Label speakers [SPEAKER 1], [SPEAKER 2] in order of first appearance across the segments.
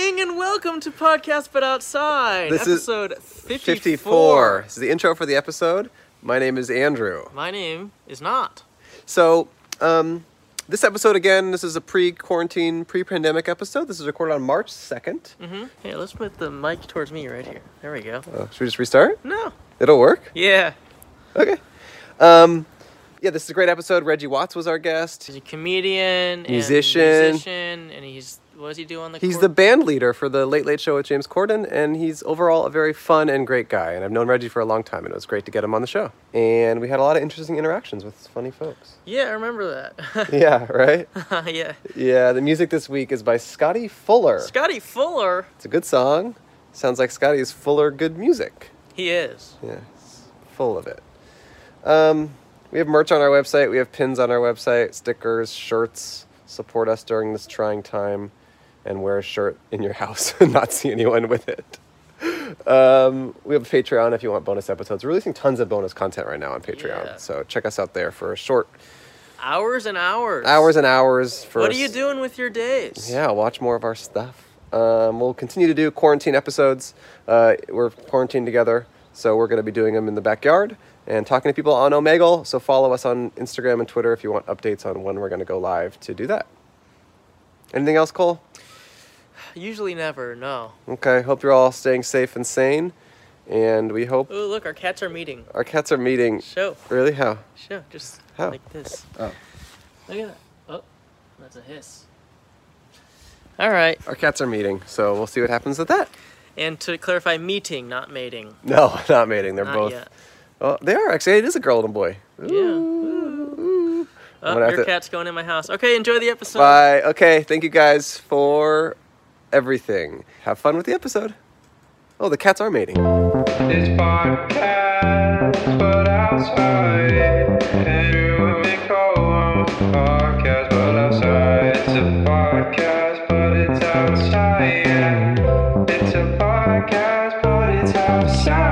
[SPEAKER 1] Welcome to Podcast But Outside,
[SPEAKER 2] This is
[SPEAKER 1] episode 54.
[SPEAKER 2] 54. This is the intro for the episode. My name is Andrew.
[SPEAKER 1] My name is not.
[SPEAKER 2] So, um, this episode again, this is a pre quarantine, pre pandemic episode. This is recorded on March 2nd.
[SPEAKER 1] Mm-hmm. Hey, let's put the mic towards me right here. There we go.
[SPEAKER 2] Oh, should we just restart?
[SPEAKER 1] No.
[SPEAKER 2] It'll work.
[SPEAKER 1] Yeah.
[SPEAKER 2] Okay. Um, yeah, this is a great episode. Reggie Watts was our guest.
[SPEAKER 1] He's a comedian, and
[SPEAKER 2] Musician.
[SPEAKER 1] musician, and he's what does he do on the?
[SPEAKER 2] He's the
[SPEAKER 1] court?
[SPEAKER 2] band leader for the Late Late Show with James Corden, and he's overall a very fun and great guy. And I've known Reggie for a long time, and it was great to get him on the show. And we had a lot of interesting interactions with funny folks.
[SPEAKER 1] yeah. I remember that.
[SPEAKER 2] yeah, right?
[SPEAKER 1] yeah.
[SPEAKER 2] Yeah, the music this week is by Scotty Fuller.
[SPEAKER 1] Scotty Fuller.
[SPEAKER 2] It's a good song. Sounds like Scotty is fuller good music.
[SPEAKER 1] He is.
[SPEAKER 2] Yeah, it's full of it. Um, we have merch on our website. We have pins on our website, stickers, shirts. Support us during this trying time, and wear a shirt in your house and not see anyone with it. Um, we have a Patreon if you want bonus episodes. We're releasing tons of bonus content right now on Patreon,
[SPEAKER 1] Yeah.
[SPEAKER 2] so check us out there for short
[SPEAKER 1] Hours and hours.
[SPEAKER 2] hours and hours. For
[SPEAKER 1] What are you doing with your days?
[SPEAKER 2] yeah, watch more of our stuff. Um, we'll continue to do quarantine episodes. Uh, we're quarantined together, so we're going to be doing them in the backyard and talking to people on Omegle. So follow us on Instagram and Twitter if you want updates on when we're going to go live to do that. Anything else, Cole?
[SPEAKER 1] Usually never. No.
[SPEAKER 2] Okay. Hope you're all staying safe and sane, and we hope
[SPEAKER 1] Oh, look, our cats are meeting.
[SPEAKER 2] our cats are meeting.
[SPEAKER 1] Show.
[SPEAKER 2] Really? How?
[SPEAKER 1] Show. Just
[SPEAKER 2] How?
[SPEAKER 1] like this.
[SPEAKER 2] Oh.
[SPEAKER 1] Look at that. Oh, that's a hiss. All right.
[SPEAKER 2] Our cats are meeting, so we'll see what happens with that.
[SPEAKER 1] And to clarify, meeting, not mating.
[SPEAKER 2] No, not mating. They're
[SPEAKER 1] Not
[SPEAKER 2] both.
[SPEAKER 1] yet.
[SPEAKER 2] Oh, they are actually. It is a girl and a boy.
[SPEAKER 1] Yeah. Ooh.
[SPEAKER 2] I'm
[SPEAKER 1] Oh,
[SPEAKER 2] gonna have
[SPEAKER 1] your
[SPEAKER 2] to-
[SPEAKER 1] cat's going in my house. Okay, enjoy the episode.
[SPEAKER 2] Bye. Okay. Thank you guys for everything. Have fun with the episode. Oh, the cats are mating.
[SPEAKER 3] It's podcast, but outside. Andrew and Cole podcast, but outside. It's a podcast, but it's outside. It's a podcast, but it's outside.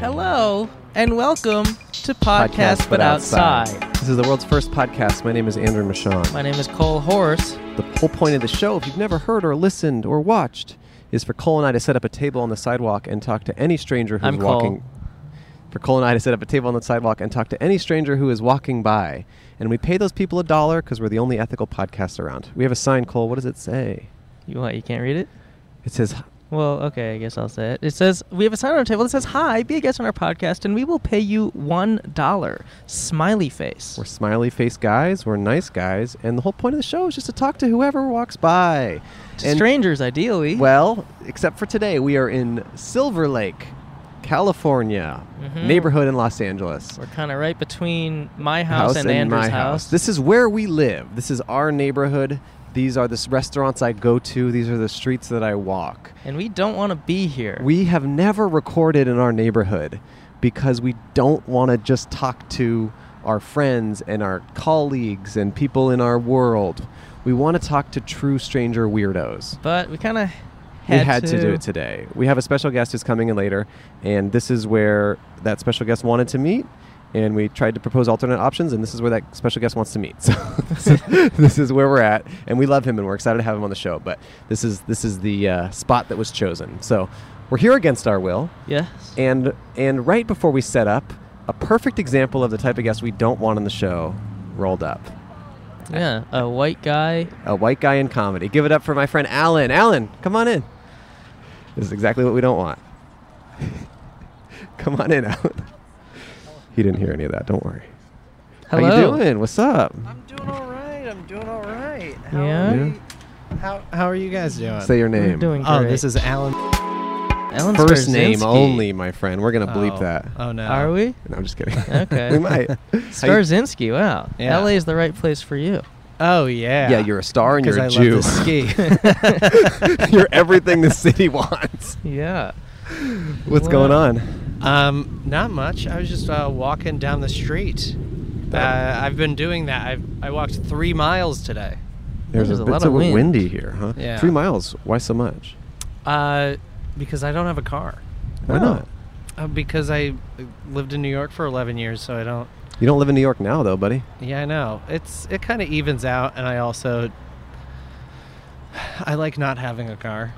[SPEAKER 1] Hello, and welcome to
[SPEAKER 2] This is the world's first podcast. My name is Andrew Michon.
[SPEAKER 1] My name is Cole Horse.
[SPEAKER 2] The whole point of the show, if you've never heard or listened or watched, is for Cole and I to set up a table on the sidewalk and talk to any stranger who's
[SPEAKER 1] I'm Cole.
[SPEAKER 2] walking. For Cole and I to set up a table on the sidewalk and talk to any stranger who is walking by. And we pay those people a dollar because we're the only ethical podcast around. We have a sign, Cole. What does it say?
[SPEAKER 1] You what? You can't read it?
[SPEAKER 2] It says,
[SPEAKER 1] Well, okay, I guess I'll say it. It says we have a sign on our table that says "Hi, be a guest on our podcast, and we will pay you one dollar." Smiley face.
[SPEAKER 2] We're smiley face guys. We're nice guys, and the whole point of the show is just to talk to whoever walks by.
[SPEAKER 1] To
[SPEAKER 2] And-
[SPEAKER 1] strangers, ideally.
[SPEAKER 2] Well, except for today, we are in Silver Lake, California,
[SPEAKER 1] Mhm.
[SPEAKER 2] neighborhood in Los Angeles.
[SPEAKER 1] we're kind of right between my house, and, Andrew's house.
[SPEAKER 2] This is where we live. This is our neighborhood. These are the s- restaurants I go to. These are the streets that I walk.
[SPEAKER 1] and we don't want to be here.
[SPEAKER 2] We have never recorded in our neighborhood because we don't want to just talk to our friends and our colleagues and people in our world. We want to talk to true stranger weirdos.
[SPEAKER 1] but we kind of
[SPEAKER 2] We
[SPEAKER 1] had,
[SPEAKER 2] had to. do it today. We have a special guest who's coming in later, and this is where that special guest wanted to meet. And we tried to propose alternate options, and this is where that special guest wants to meet. So this, is, this is where we're at, and we love him, and we're excited to have him on the show. But this is this is the uh, spot that was chosen. So we're here against our will,
[SPEAKER 1] Yes.
[SPEAKER 2] and and right before we set up, a perfect example of the type of guest we don't want on the show rolled up.
[SPEAKER 1] yeah. A white guy.
[SPEAKER 2] A white guy in comedy. Give it up for my friend Alan. Alan, come on in. This is exactly what we don't want. come on in, Alan. He didn't hear any of that. Don't worry.
[SPEAKER 1] Hello.
[SPEAKER 2] How you doing? What's up?
[SPEAKER 4] I'm doing all right. I'm doing all right.
[SPEAKER 1] Yeah?
[SPEAKER 4] Are
[SPEAKER 2] Yeah.
[SPEAKER 4] you, how How are you guys doing?
[SPEAKER 2] Say your name.
[SPEAKER 1] We're doing
[SPEAKER 4] oh,
[SPEAKER 1] great.
[SPEAKER 4] this is Alan.
[SPEAKER 1] Alan
[SPEAKER 2] First name
[SPEAKER 1] Starzinski.
[SPEAKER 2] only, my friend. We're gonna bleep
[SPEAKER 4] oh.
[SPEAKER 2] that.
[SPEAKER 4] Oh no.
[SPEAKER 1] Are we?
[SPEAKER 2] No, I'm just kidding.
[SPEAKER 1] Okay.
[SPEAKER 2] we might. How you-
[SPEAKER 1] Starzinski. Wow.
[SPEAKER 4] Yeah.
[SPEAKER 1] LA is the right place for you.
[SPEAKER 4] Oh yeah.
[SPEAKER 2] yeah, you're a star and you're a
[SPEAKER 4] I
[SPEAKER 2] Jew.
[SPEAKER 4] love to ski.
[SPEAKER 2] you're everything the city wants.
[SPEAKER 1] Yeah.
[SPEAKER 2] What's
[SPEAKER 1] Wow.
[SPEAKER 2] going on?
[SPEAKER 4] um, not much. I was just uh, walking down the street.
[SPEAKER 2] Oh.
[SPEAKER 4] Uh,
[SPEAKER 2] That-
[SPEAKER 4] I've been doing that. I've I walked three miles today.
[SPEAKER 1] There's a
[SPEAKER 2] bit-
[SPEAKER 1] lot
[SPEAKER 2] it's
[SPEAKER 1] of wind.
[SPEAKER 2] windy here, huh?
[SPEAKER 4] Yeah.
[SPEAKER 2] Three miles. Why so much?
[SPEAKER 4] Uh, because I don't have a car.
[SPEAKER 2] Why
[SPEAKER 1] Oh.
[SPEAKER 2] not?
[SPEAKER 4] Uh, because I uh, lived in New York for 11 years, so I don't.
[SPEAKER 2] You don't live in New York now, though, buddy.
[SPEAKER 4] Yeah, I know. It's it kind of evens out, and I also I like not having a car.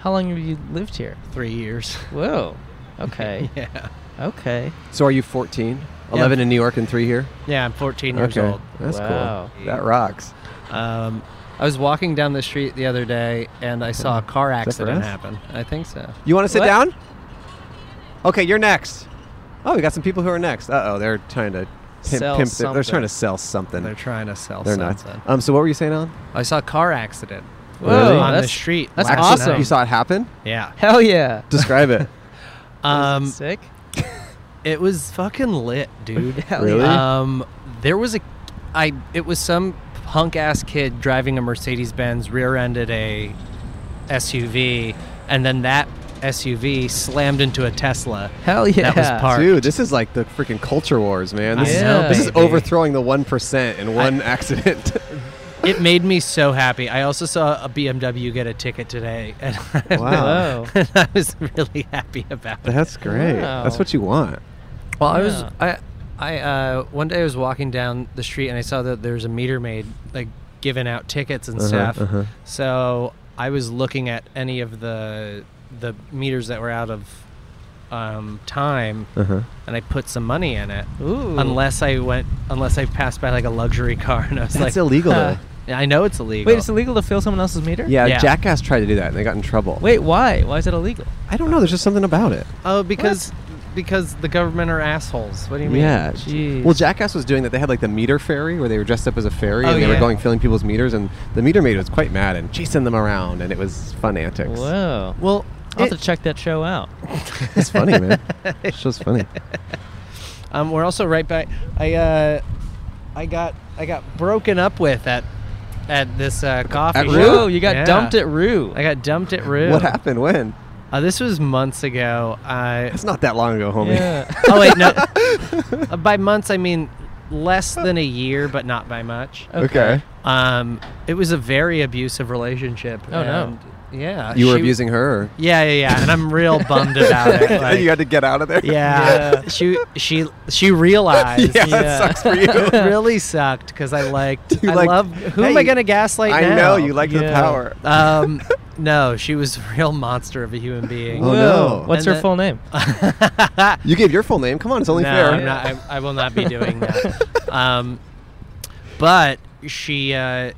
[SPEAKER 1] How long have you lived here?
[SPEAKER 4] Three years.
[SPEAKER 1] Whoa. Okay.
[SPEAKER 4] yeah.
[SPEAKER 1] Okay.
[SPEAKER 2] So are you 14?
[SPEAKER 4] Yeah.
[SPEAKER 2] 11 in New York and three here?
[SPEAKER 4] Yeah, I'm 14 years
[SPEAKER 2] okay.
[SPEAKER 4] old.
[SPEAKER 2] That's
[SPEAKER 1] Wow.
[SPEAKER 2] cool. That rocks.
[SPEAKER 4] Um, I was walking down the street the other day, and I saw a car
[SPEAKER 2] Is that for
[SPEAKER 4] accident
[SPEAKER 2] us?
[SPEAKER 4] happen. I think so.
[SPEAKER 2] You want to sit
[SPEAKER 1] What?
[SPEAKER 2] down? Okay, you're next. Oh, we got some people who are next. Uh oh, they're trying to pimp,
[SPEAKER 1] Sell
[SPEAKER 2] pimp their- They're
[SPEAKER 4] something.
[SPEAKER 2] trying to sell something.
[SPEAKER 4] They're trying to sell
[SPEAKER 2] They're not.
[SPEAKER 4] something.
[SPEAKER 2] Um, so what were you saying, Alan?
[SPEAKER 4] I saw a car accident
[SPEAKER 2] Really?
[SPEAKER 4] on the
[SPEAKER 1] that's-
[SPEAKER 4] street.
[SPEAKER 1] that's
[SPEAKER 4] last
[SPEAKER 1] awesome.
[SPEAKER 4] night.
[SPEAKER 2] You saw it happen?
[SPEAKER 4] Yeah.
[SPEAKER 1] Hell yeah.
[SPEAKER 2] Describe it.
[SPEAKER 1] Is
[SPEAKER 4] Um,
[SPEAKER 1] it sick.
[SPEAKER 4] it was fucking lit, dude.
[SPEAKER 1] Hell
[SPEAKER 2] Really?
[SPEAKER 1] yeah.
[SPEAKER 4] Um, there was a, I it was some punk ass kid driving a Mercedes Benz, rear-ended a SUV, and then that SUV slammed into a Tesla.
[SPEAKER 1] Hell yeah.
[SPEAKER 4] was part- Parked.
[SPEAKER 2] Dude, this is like the freaking culture wars, man. This,
[SPEAKER 1] I
[SPEAKER 2] is-
[SPEAKER 1] know,
[SPEAKER 2] this is
[SPEAKER 4] baby.
[SPEAKER 2] overthrowing the 1% in one accident.
[SPEAKER 4] It made me so happy. I also saw a BMW get a ticket today, and
[SPEAKER 2] Wow.
[SPEAKER 4] and I was really happy about it.
[SPEAKER 2] That's great.
[SPEAKER 1] Wow.
[SPEAKER 2] That's what you want.
[SPEAKER 4] Well, I was
[SPEAKER 1] Yeah.
[SPEAKER 4] I I uh, one day I was walking down the street and I saw that there's a meter maid like giving out tickets and
[SPEAKER 2] Uh-huh,
[SPEAKER 4] stuff.
[SPEAKER 2] uh-huh.
[SPEAKER 4] So I was looking at any of the the meters that were out of um, time,
[SPEAKER 2] Uh-huh.
[SPEAKER 4] and I put some money in it.
[SPEAKER 1] Ooh.
[SPEAKER 4] Unless I went, unless I passed by like a luxury car, and I was
[SPEAKER 2] That's
[SPEAKER 4] like,
[SPEAKER 2] illegal,
[SPEAKER 1] uh,
[SPEAKER 2] though.
[SPEAKER 4] Yeah, I know it's illegal.
[SPEAKER 1] Wait, it's illegal to fill someone else's meter?
[SPEAKER 2] Yeah,
[SPEAKER 4] yeah.
[SPEAKER 2] Jackass tried to do that and they got in trouble.
[SPEAKER 1] Wait, why? Why is it illegal?
[SPEAKER 2] I don't know. There's just something about it.
[SPEAKER 4] Oh, because because the government are assholes. What do you mean?
[SPEAKER 2] Yeah.
[SPEAKER 1] Jeez.
[SPEAKER 2] Well, Jackass was doing that. They had like the meter ferry where they were dressed up as a ferry
[SPEAKER 4] Oh,
[SPEAKER 2] and they were
[SPEAKER 4] yeah.
[SPEAKER 2] going filling people's meters, and the meter maid was quite mad and chasing them around, and it was fun antics.
[SPEAKER 1] Whoa.
[SPEAKER 4] Well,
[SPEAKER 1] I'll have
[SPEAKER 4] it-
[SPEAKER 1] to check that show out.
[SPEAKER 2] It's funny, man. It's just funny.
[SPEAKER 4] Um, we're also right by. I uh, I got I got broken up with at at this uh, coffee.
[SPEAKER 2] At
[SPEAKER 4] shop.
[SPEAKER 2] Rue?
[SPEAKER 1] Whoa, you got
[SPEAKER 4] Yeah.
[SPEAKER 1] dumped at Rue.
[SPEAKER 4] I got dumped at Rue.
[SPEAKER 2] What happened? When?
[SPEAKER 4] Uh, this was months ago. I
[SPEAKER 2] It's not that long ago, homie.
[SPEAKER 1] yeah.
[SPEAKER 4] oh wait no. Uh, by months I mean less than a year, but not by much.
[SPEAKER 2] Okay.
[SPEAKER 4] Um, it was a very abusive relationship.
[SPEAKER 1] Oh, no.
[SPEAKER 4] and, Yeah.
[SPEAKER 2] You were
[SPEAKER 4] she-
[SPEAKER 2] abusing her.
[SPEAKER 4] Yeah, yeah, yeah, and I'm real bummed about it. like-
[SPEAKER 2] you had to get out of there.
[SPEAKER 4] yeah,
[SPEAKER 1] Yeah.
[SPEAKER 4] she she she realized.
[SPEAKER 2] yeah,
[SPEAKER 1] Yeah.
[SPEAKER 2] that sucks for
[SPEAKER 4] it
[SPEAKER 2] you.
[SPEAKER 4] really sucked because I liked.
[SPEAKER 2] You
[SPEAKER 4] I
[SPEAKER 2] liked-
[SPEAKER 4] love. Who am
[SPEAKER 2] Hey,
[SPEAKER 4] I gonna gaslight now?
[SPEAKER 2] I know you like the
[SPEAKER 1] Yeah.
[SPEAKER 2] power.
[SPEAKER 4] Um, no, she was a real monster of a human being.
[SPEAKER 2] Oh,
[SPEAKER 1] Whoa.
[SPEAKER 2] no.
[SPEAKER 1] What's
[SPEAKER 4] And
[SPEAKER 1] her
[SPEAKER 4] the-
[SPEAKER 1] full name?
[SPEAKER 2] You gave your full name. Come on, it's only
[SPEAKER 4] no,
[SPEAKER 2] fair.
[SPEAKER 4] I'm not, I, I will not be doing that. Um, but she, uh,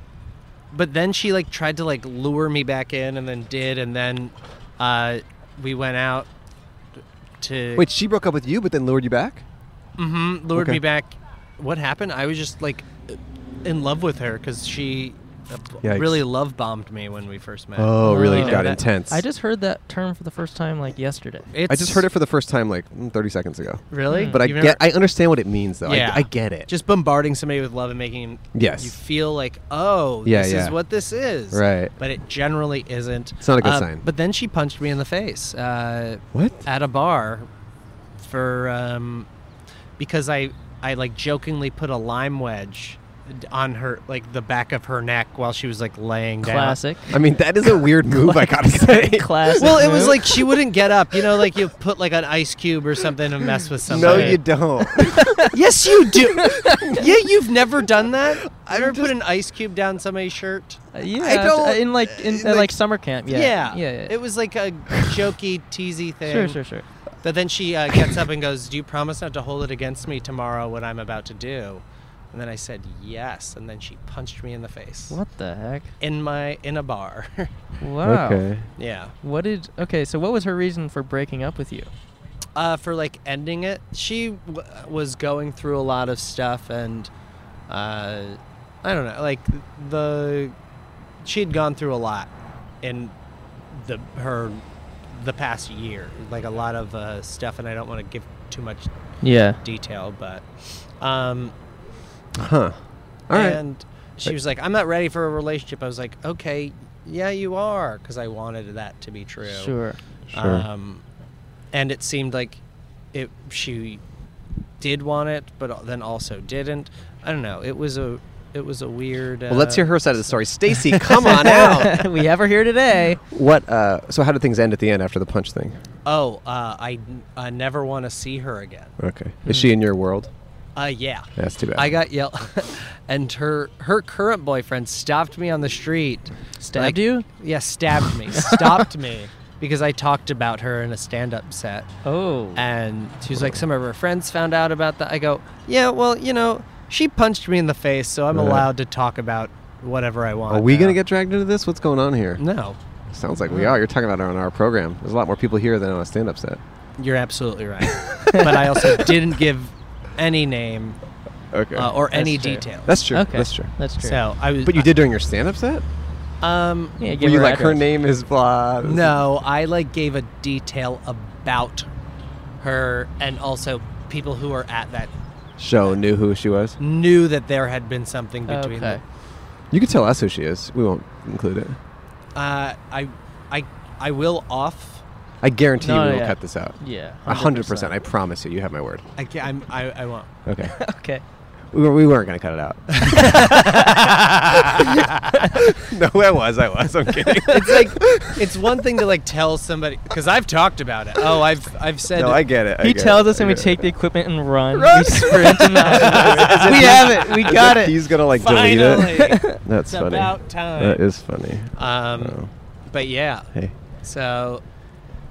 [SPEAKER 4] but then she like tried to like lure me back in, and then did, and then uh, we went out to
[SPEAKER 2] Wait, she broke up with you, but then lured you back.
[SPEAKER 4] Mm-hmm. Lured
[SPEAKER 2] Okay.
[SPEAKER 4] me back. What happened? I was just like in love with her because she uh, b-
[SPEAKER 2] Yikes.
[SPEAKER 4] really love bombed me when we first met.
[SPEAKER 2] Oh, really?
[SPEAKER 1] Oh.
[SPEAKER 2] got
[SPEAKER 4] That-
[SPEAKER 2] intense.
[SPEAKER 1] I just heard that term for the first time like yesterday.
[SPEAKER 4] It's,
[SPEAKER 2] I just heard it for the first time like mm, 30 seconds ago.
[SPEAKER 4] Really?
[SPEAKER 2] But I
[SPEAKER 4] You've
[SPEAKER 2] get,
[SPEAKER 4] never-
[SPEAKER 2] I understand what it means though.
[SPEAKER 4] Yeah.
[SPEAKER 2] I, I get it.
[SPEAKER 4] just bombarding somebody with love and making
[SPEAKER 2] Yes.
[SPEAKER 4] you feel like, oh,
[SPEAKER 2] Yeah,
[SPEAKER 4] this
[SPEAKER 2] yeah.
[SPEAKER 4] is what this is.
[SPEAKER 2] Right.
[SPEAKER 4] But it generally isn't.
[SPEAKER 2] It's not a good
[SPEAKER 4] Uh,
[SPEAKER 2] sign.
[SPEAKER 4] But then she punched me in the face. Uh,
[SPEAKER 2] what?
[SPEAKER 4] at a bar for um, because I I like jokingly put a lime wedge d- on her like the back of her neck while she was like laying down.
[SPEAKER 1] Classic.
[SPEAKER 2] I mean, that is a weird move. I gotta say.
[SPEAKER 1] Classic.
[SPEAKER 4] Well, it was
[SPEAKER 1] move.
[SPEAKER 4] like she wouldn't get up. You know, like you put like an ice cube or something and mess with
[SPEAKER 2] No,
[SPEAKER 4] somebody.
[SPEAKER 2] you don't.
[SPEAKER 4] Yes, you do. yeah, you've never done that. I ever put
[SPEAKER 2] just-
[SPEAKER 4] an ice cube down somebody's shirt.
[SPEAKER 1] yeah,
[SPEAKER 2] I don't-
[SPEAKER 1] uh, in like in,
[SPEAKER 2] in,
[SPEAKER 1] uh, like,
[SPEAKER 2] like-
[SPEAKER 1] summer camp. Yeah,
[SPEAKER 4] yeah,
[SPEAKER 1] yeah. yeah.
[SPEAKER 4] It was like a jokey, teasy thing.
[SPEAKER 1] sure, sure, sure.
[SPEAKER 4] But then she uh, gets up and goes, "Do you promise not to hold it against me tomorrow what I'm about to do?" And then I said, "Yes." And then she punched me in the face
[SPEAKER 1] What the heck?
[SPEAKER 4] in my in a bar.
[SPEAKER 1] Wow.
[SPEAKER 4] yeah.
[SPEAKER 1] What did? Okay, so what was her reason for breaking up with you?
[SPEAKER 4] Uh, for like ending it, she w- was going through a lot of stuff, and uh, I don't know, like the she had gone through a lot in the her the past year, like a lot of uh, stuff, and I don't want to give too much
[SPEAKER 1] Yeah.
[SPEAKER 4] detail, but um,
[SPEAKER 2] Huh. All right.
[SPEAKER 4] and she was like, "I'm not ready for a relationship." I was like, "Okay, yeah, you are," because I wanted that to be true.
[SPEAKER 1] Sure.
[SPEAKER 2] Sure.
[SPEAKER 4] Um, and it seemed like it. She did want it, but then also didn't. I don't know. It was a it was a weird. Uh,
[SPEAKER 5] Well, let's hear her side of the story. Stacy, come on out.
[SPEAKER 1] we have her here today.
[SPEAKER 2] What? Uh, so how did things end at the end after the punch thing?
[SPEAKER 4] Oh, uh, I I never want to see her again.
[SPEAKER 2] Okay. Is she in your world?
[SPEAKER 4] Uh, yeah.
[SPEAKER 2] That's too bad.
[SPEAKER 4] I got yelled, and her her current boyfriend stopped me on the street.
[SPEAKER 1] Stabbed you?
[SPEAKER 4] Yeah, stabbed me. stopped me because I talked about her in a stand up set.
[SPEAKER 1] Oh.
[SPEAKER 4] And she was like, some of her friends found out about that. I go, yeah, well, you know, she punched me in the face, so I'm
[SPEAKER 2] Yeah.
[SPEAKER 4] allowed to talk about whatever I want.
[SPEAKER 2] Are we
[SPEAKER 4] now."
[SPEAKER 2] gonna get dragged into this? What's going on here?
[SPEAKER 4] No,
[SPEAKER 2] Sounds like we are. You're talking about it on our program. There's a lot more people here than on a stand-up set.
[SPEAKER 4] you're absolutely right. but I also didn't give any name
[SPEAKER 2] Okay.
[SPEAKER 4] uh, or any
[SPEAKER 1] true.
[SPEAKER 4] detail.
[SPEAKER 2] that's true.
[SPEAKER 1] okay.
[SPEAKER 2] That's true.
[SPEAKER 1] That's true.
[SPEAKER 4] so I was.
[SPEAKER 2] But you did during your stand-up set.
[SPEAKER 4] Um,
[SPEAKER 1] Yeah, give
[SPEAKER 2] Were you
[SPEAKER 1] her
[SPEAKER 2] like her
[SPEAKER 1] address.
[SPEAKER 2] name is blah? this is-
[SPEAKER 4] No, I like gave a detail about her and also people who were at that
[SPEAKER 2] Show knew who she was.
[SPEAKER 4] knew that there had been something between
[SPEAKER 1] Okay.
[SPEAKER 4] them.
[SPEAKER 2] You could tell us who she is. We won't include it.
[SPEAKER 4] Uh, I, I, I will off.
[SPEAKER 2] I guarantee
[SPEAKER 1] No,
[SPEAKER 2] you we
[SPEAKER 1] no,
[SPEAKER 2] will
[SPEAKER 1] yeah.
[SPEAKER 2] cut this out.
[SPEAKER 1] Yeah.
[SPEAKER 2] A hundred percent. I promise you. You have my word.
[SPEAKER 4] I can't, I'm, I, I won't.
[SPEAKER 2] Okay.
[SPEAKER 1] okay.
[SPEAKER 2] we, were, we weren't going to cut it out. no, I was. I was. I'm kidding.
[SPEAKER 4] It's like it's one thing to like tell somebody because I've talked about it. Oh, I've I've said
[SPEAKER 2] no, I get it. I
[SPEAKER 1] He
[SPEAKER 2] get
[SPEAKER 1] tells
[SPEAKER 2] it,
[SPEAKER 1] us
[SPEAKER 2] I
[SPEAKER 1] and we
[SPEAKER 2] get it.
[SPEAKER 1] take the equipment and run.
[SPEAKER 2] Run.
[SPEAKER 1] We sprint and
[SPEAKER 2] As if
[SPEAKER 1] we
[SPEAKER 2] he's-
[SPEAKER 1] have it. We
[SPEAKER 2] as
[SPEAKER 1] got
[SPEAKER 2] if
[SPEAKER 1] it.
[SPEAKER 2] He's gonna like
[SPEAKER 4] Finally.
[SPEAKER 2] delete it.
[SPEAKER 4] it's
[SPEAKER 2] That's funny.
[SPEAKER 4] about time.
[SPEAKER 2] That is funny.
[SPEAKER 4] um,
[SPEAKER 2] Oh.
[SPEAKER 4] but yeah.
[SPEAKER 2] Hey,
[SPEAKER 4] So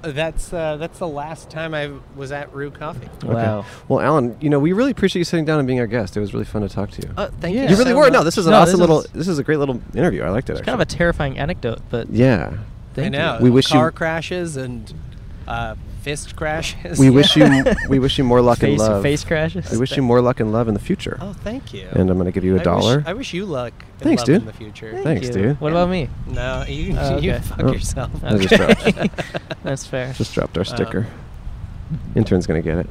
[SPEAKER 4] that's uh, that's the last time I was at Rue Coffee.
[SPEAKER 1] Wow.
[SPEAKER 2] well, Alan, you know we really appreciate you sitting down and being our guest. It was really fun to talk to you.
[SPEAKER 4] Oh, thank
[SPEAKER 1] Yeah.
[SPEAKER 4] you.
[SPEAKER 2] you really
[SPEAKER 4] so
[SPEAKER 2] were.
[SPEAKER 4] much.
[SPEAKER 2] No, this is an
[SPEAKER 1] No,
[SPEAKER 2] awesome
[SPEAKER 1] this
[SPEAKER 2] little.
[SPEAKER 1] is-
[SPEAKER 2] This is a great little interview. I liked it.
[SPEAKER 1] Kind of a terrifying anecdote, but
[SPEAKER 2] yeah.
[SPEAKER 1] thank
[SPEAKER 4] I know.
[SPEAKER 1] you.
[SPEAKER 2] We wish you-
[SPEAKER 4] car crashes and uh, fist crashes.
[SPEAKER 2] We wish you. We wish you more luck and
[SPEAKER 1] Face,
[SPEAKER 2] love.
[SPEAKER 1] face crashes.
[SPEAKER 2] We wish you more luck and love in the future.
[SPEAKER 4] Oh, thank you.
[SPEAKER 2] And I'm gonna give you
[SPEAKER 4] I
[SPEAKER 2] a
[SPEAKER 4] wish-
[SPEAKER 2] dollar.
[SPEAKER 4] I wish you luck. and
[SPEAKER 2] Thanks,
[SPEAKER 4] love
[SPEAKER 2] dude.
[SPEAKER 4] In the future.
[SPEAKER 1] Thank
[SPEAKER 2] Thanks,
[SPEAKER 1] you.
[SPEAKER 2] dude.
[SPEAKER 1] What about me?
[SPEAKER 4] No, you
[SPEAKER 1] Oh,
[SPEAKER 4] you
[SPEAKER 1] okay.
[SPEAKER 4] fuck
[SPEAKER 2] Oh.
[SPEAKER 4] yourself. Oh.
[SPEAKER 2] I just dropped.
[SPEAKER 1] That's fair.
[SPEAKER 2] Just dropped our sticker. Intern's gonna get it.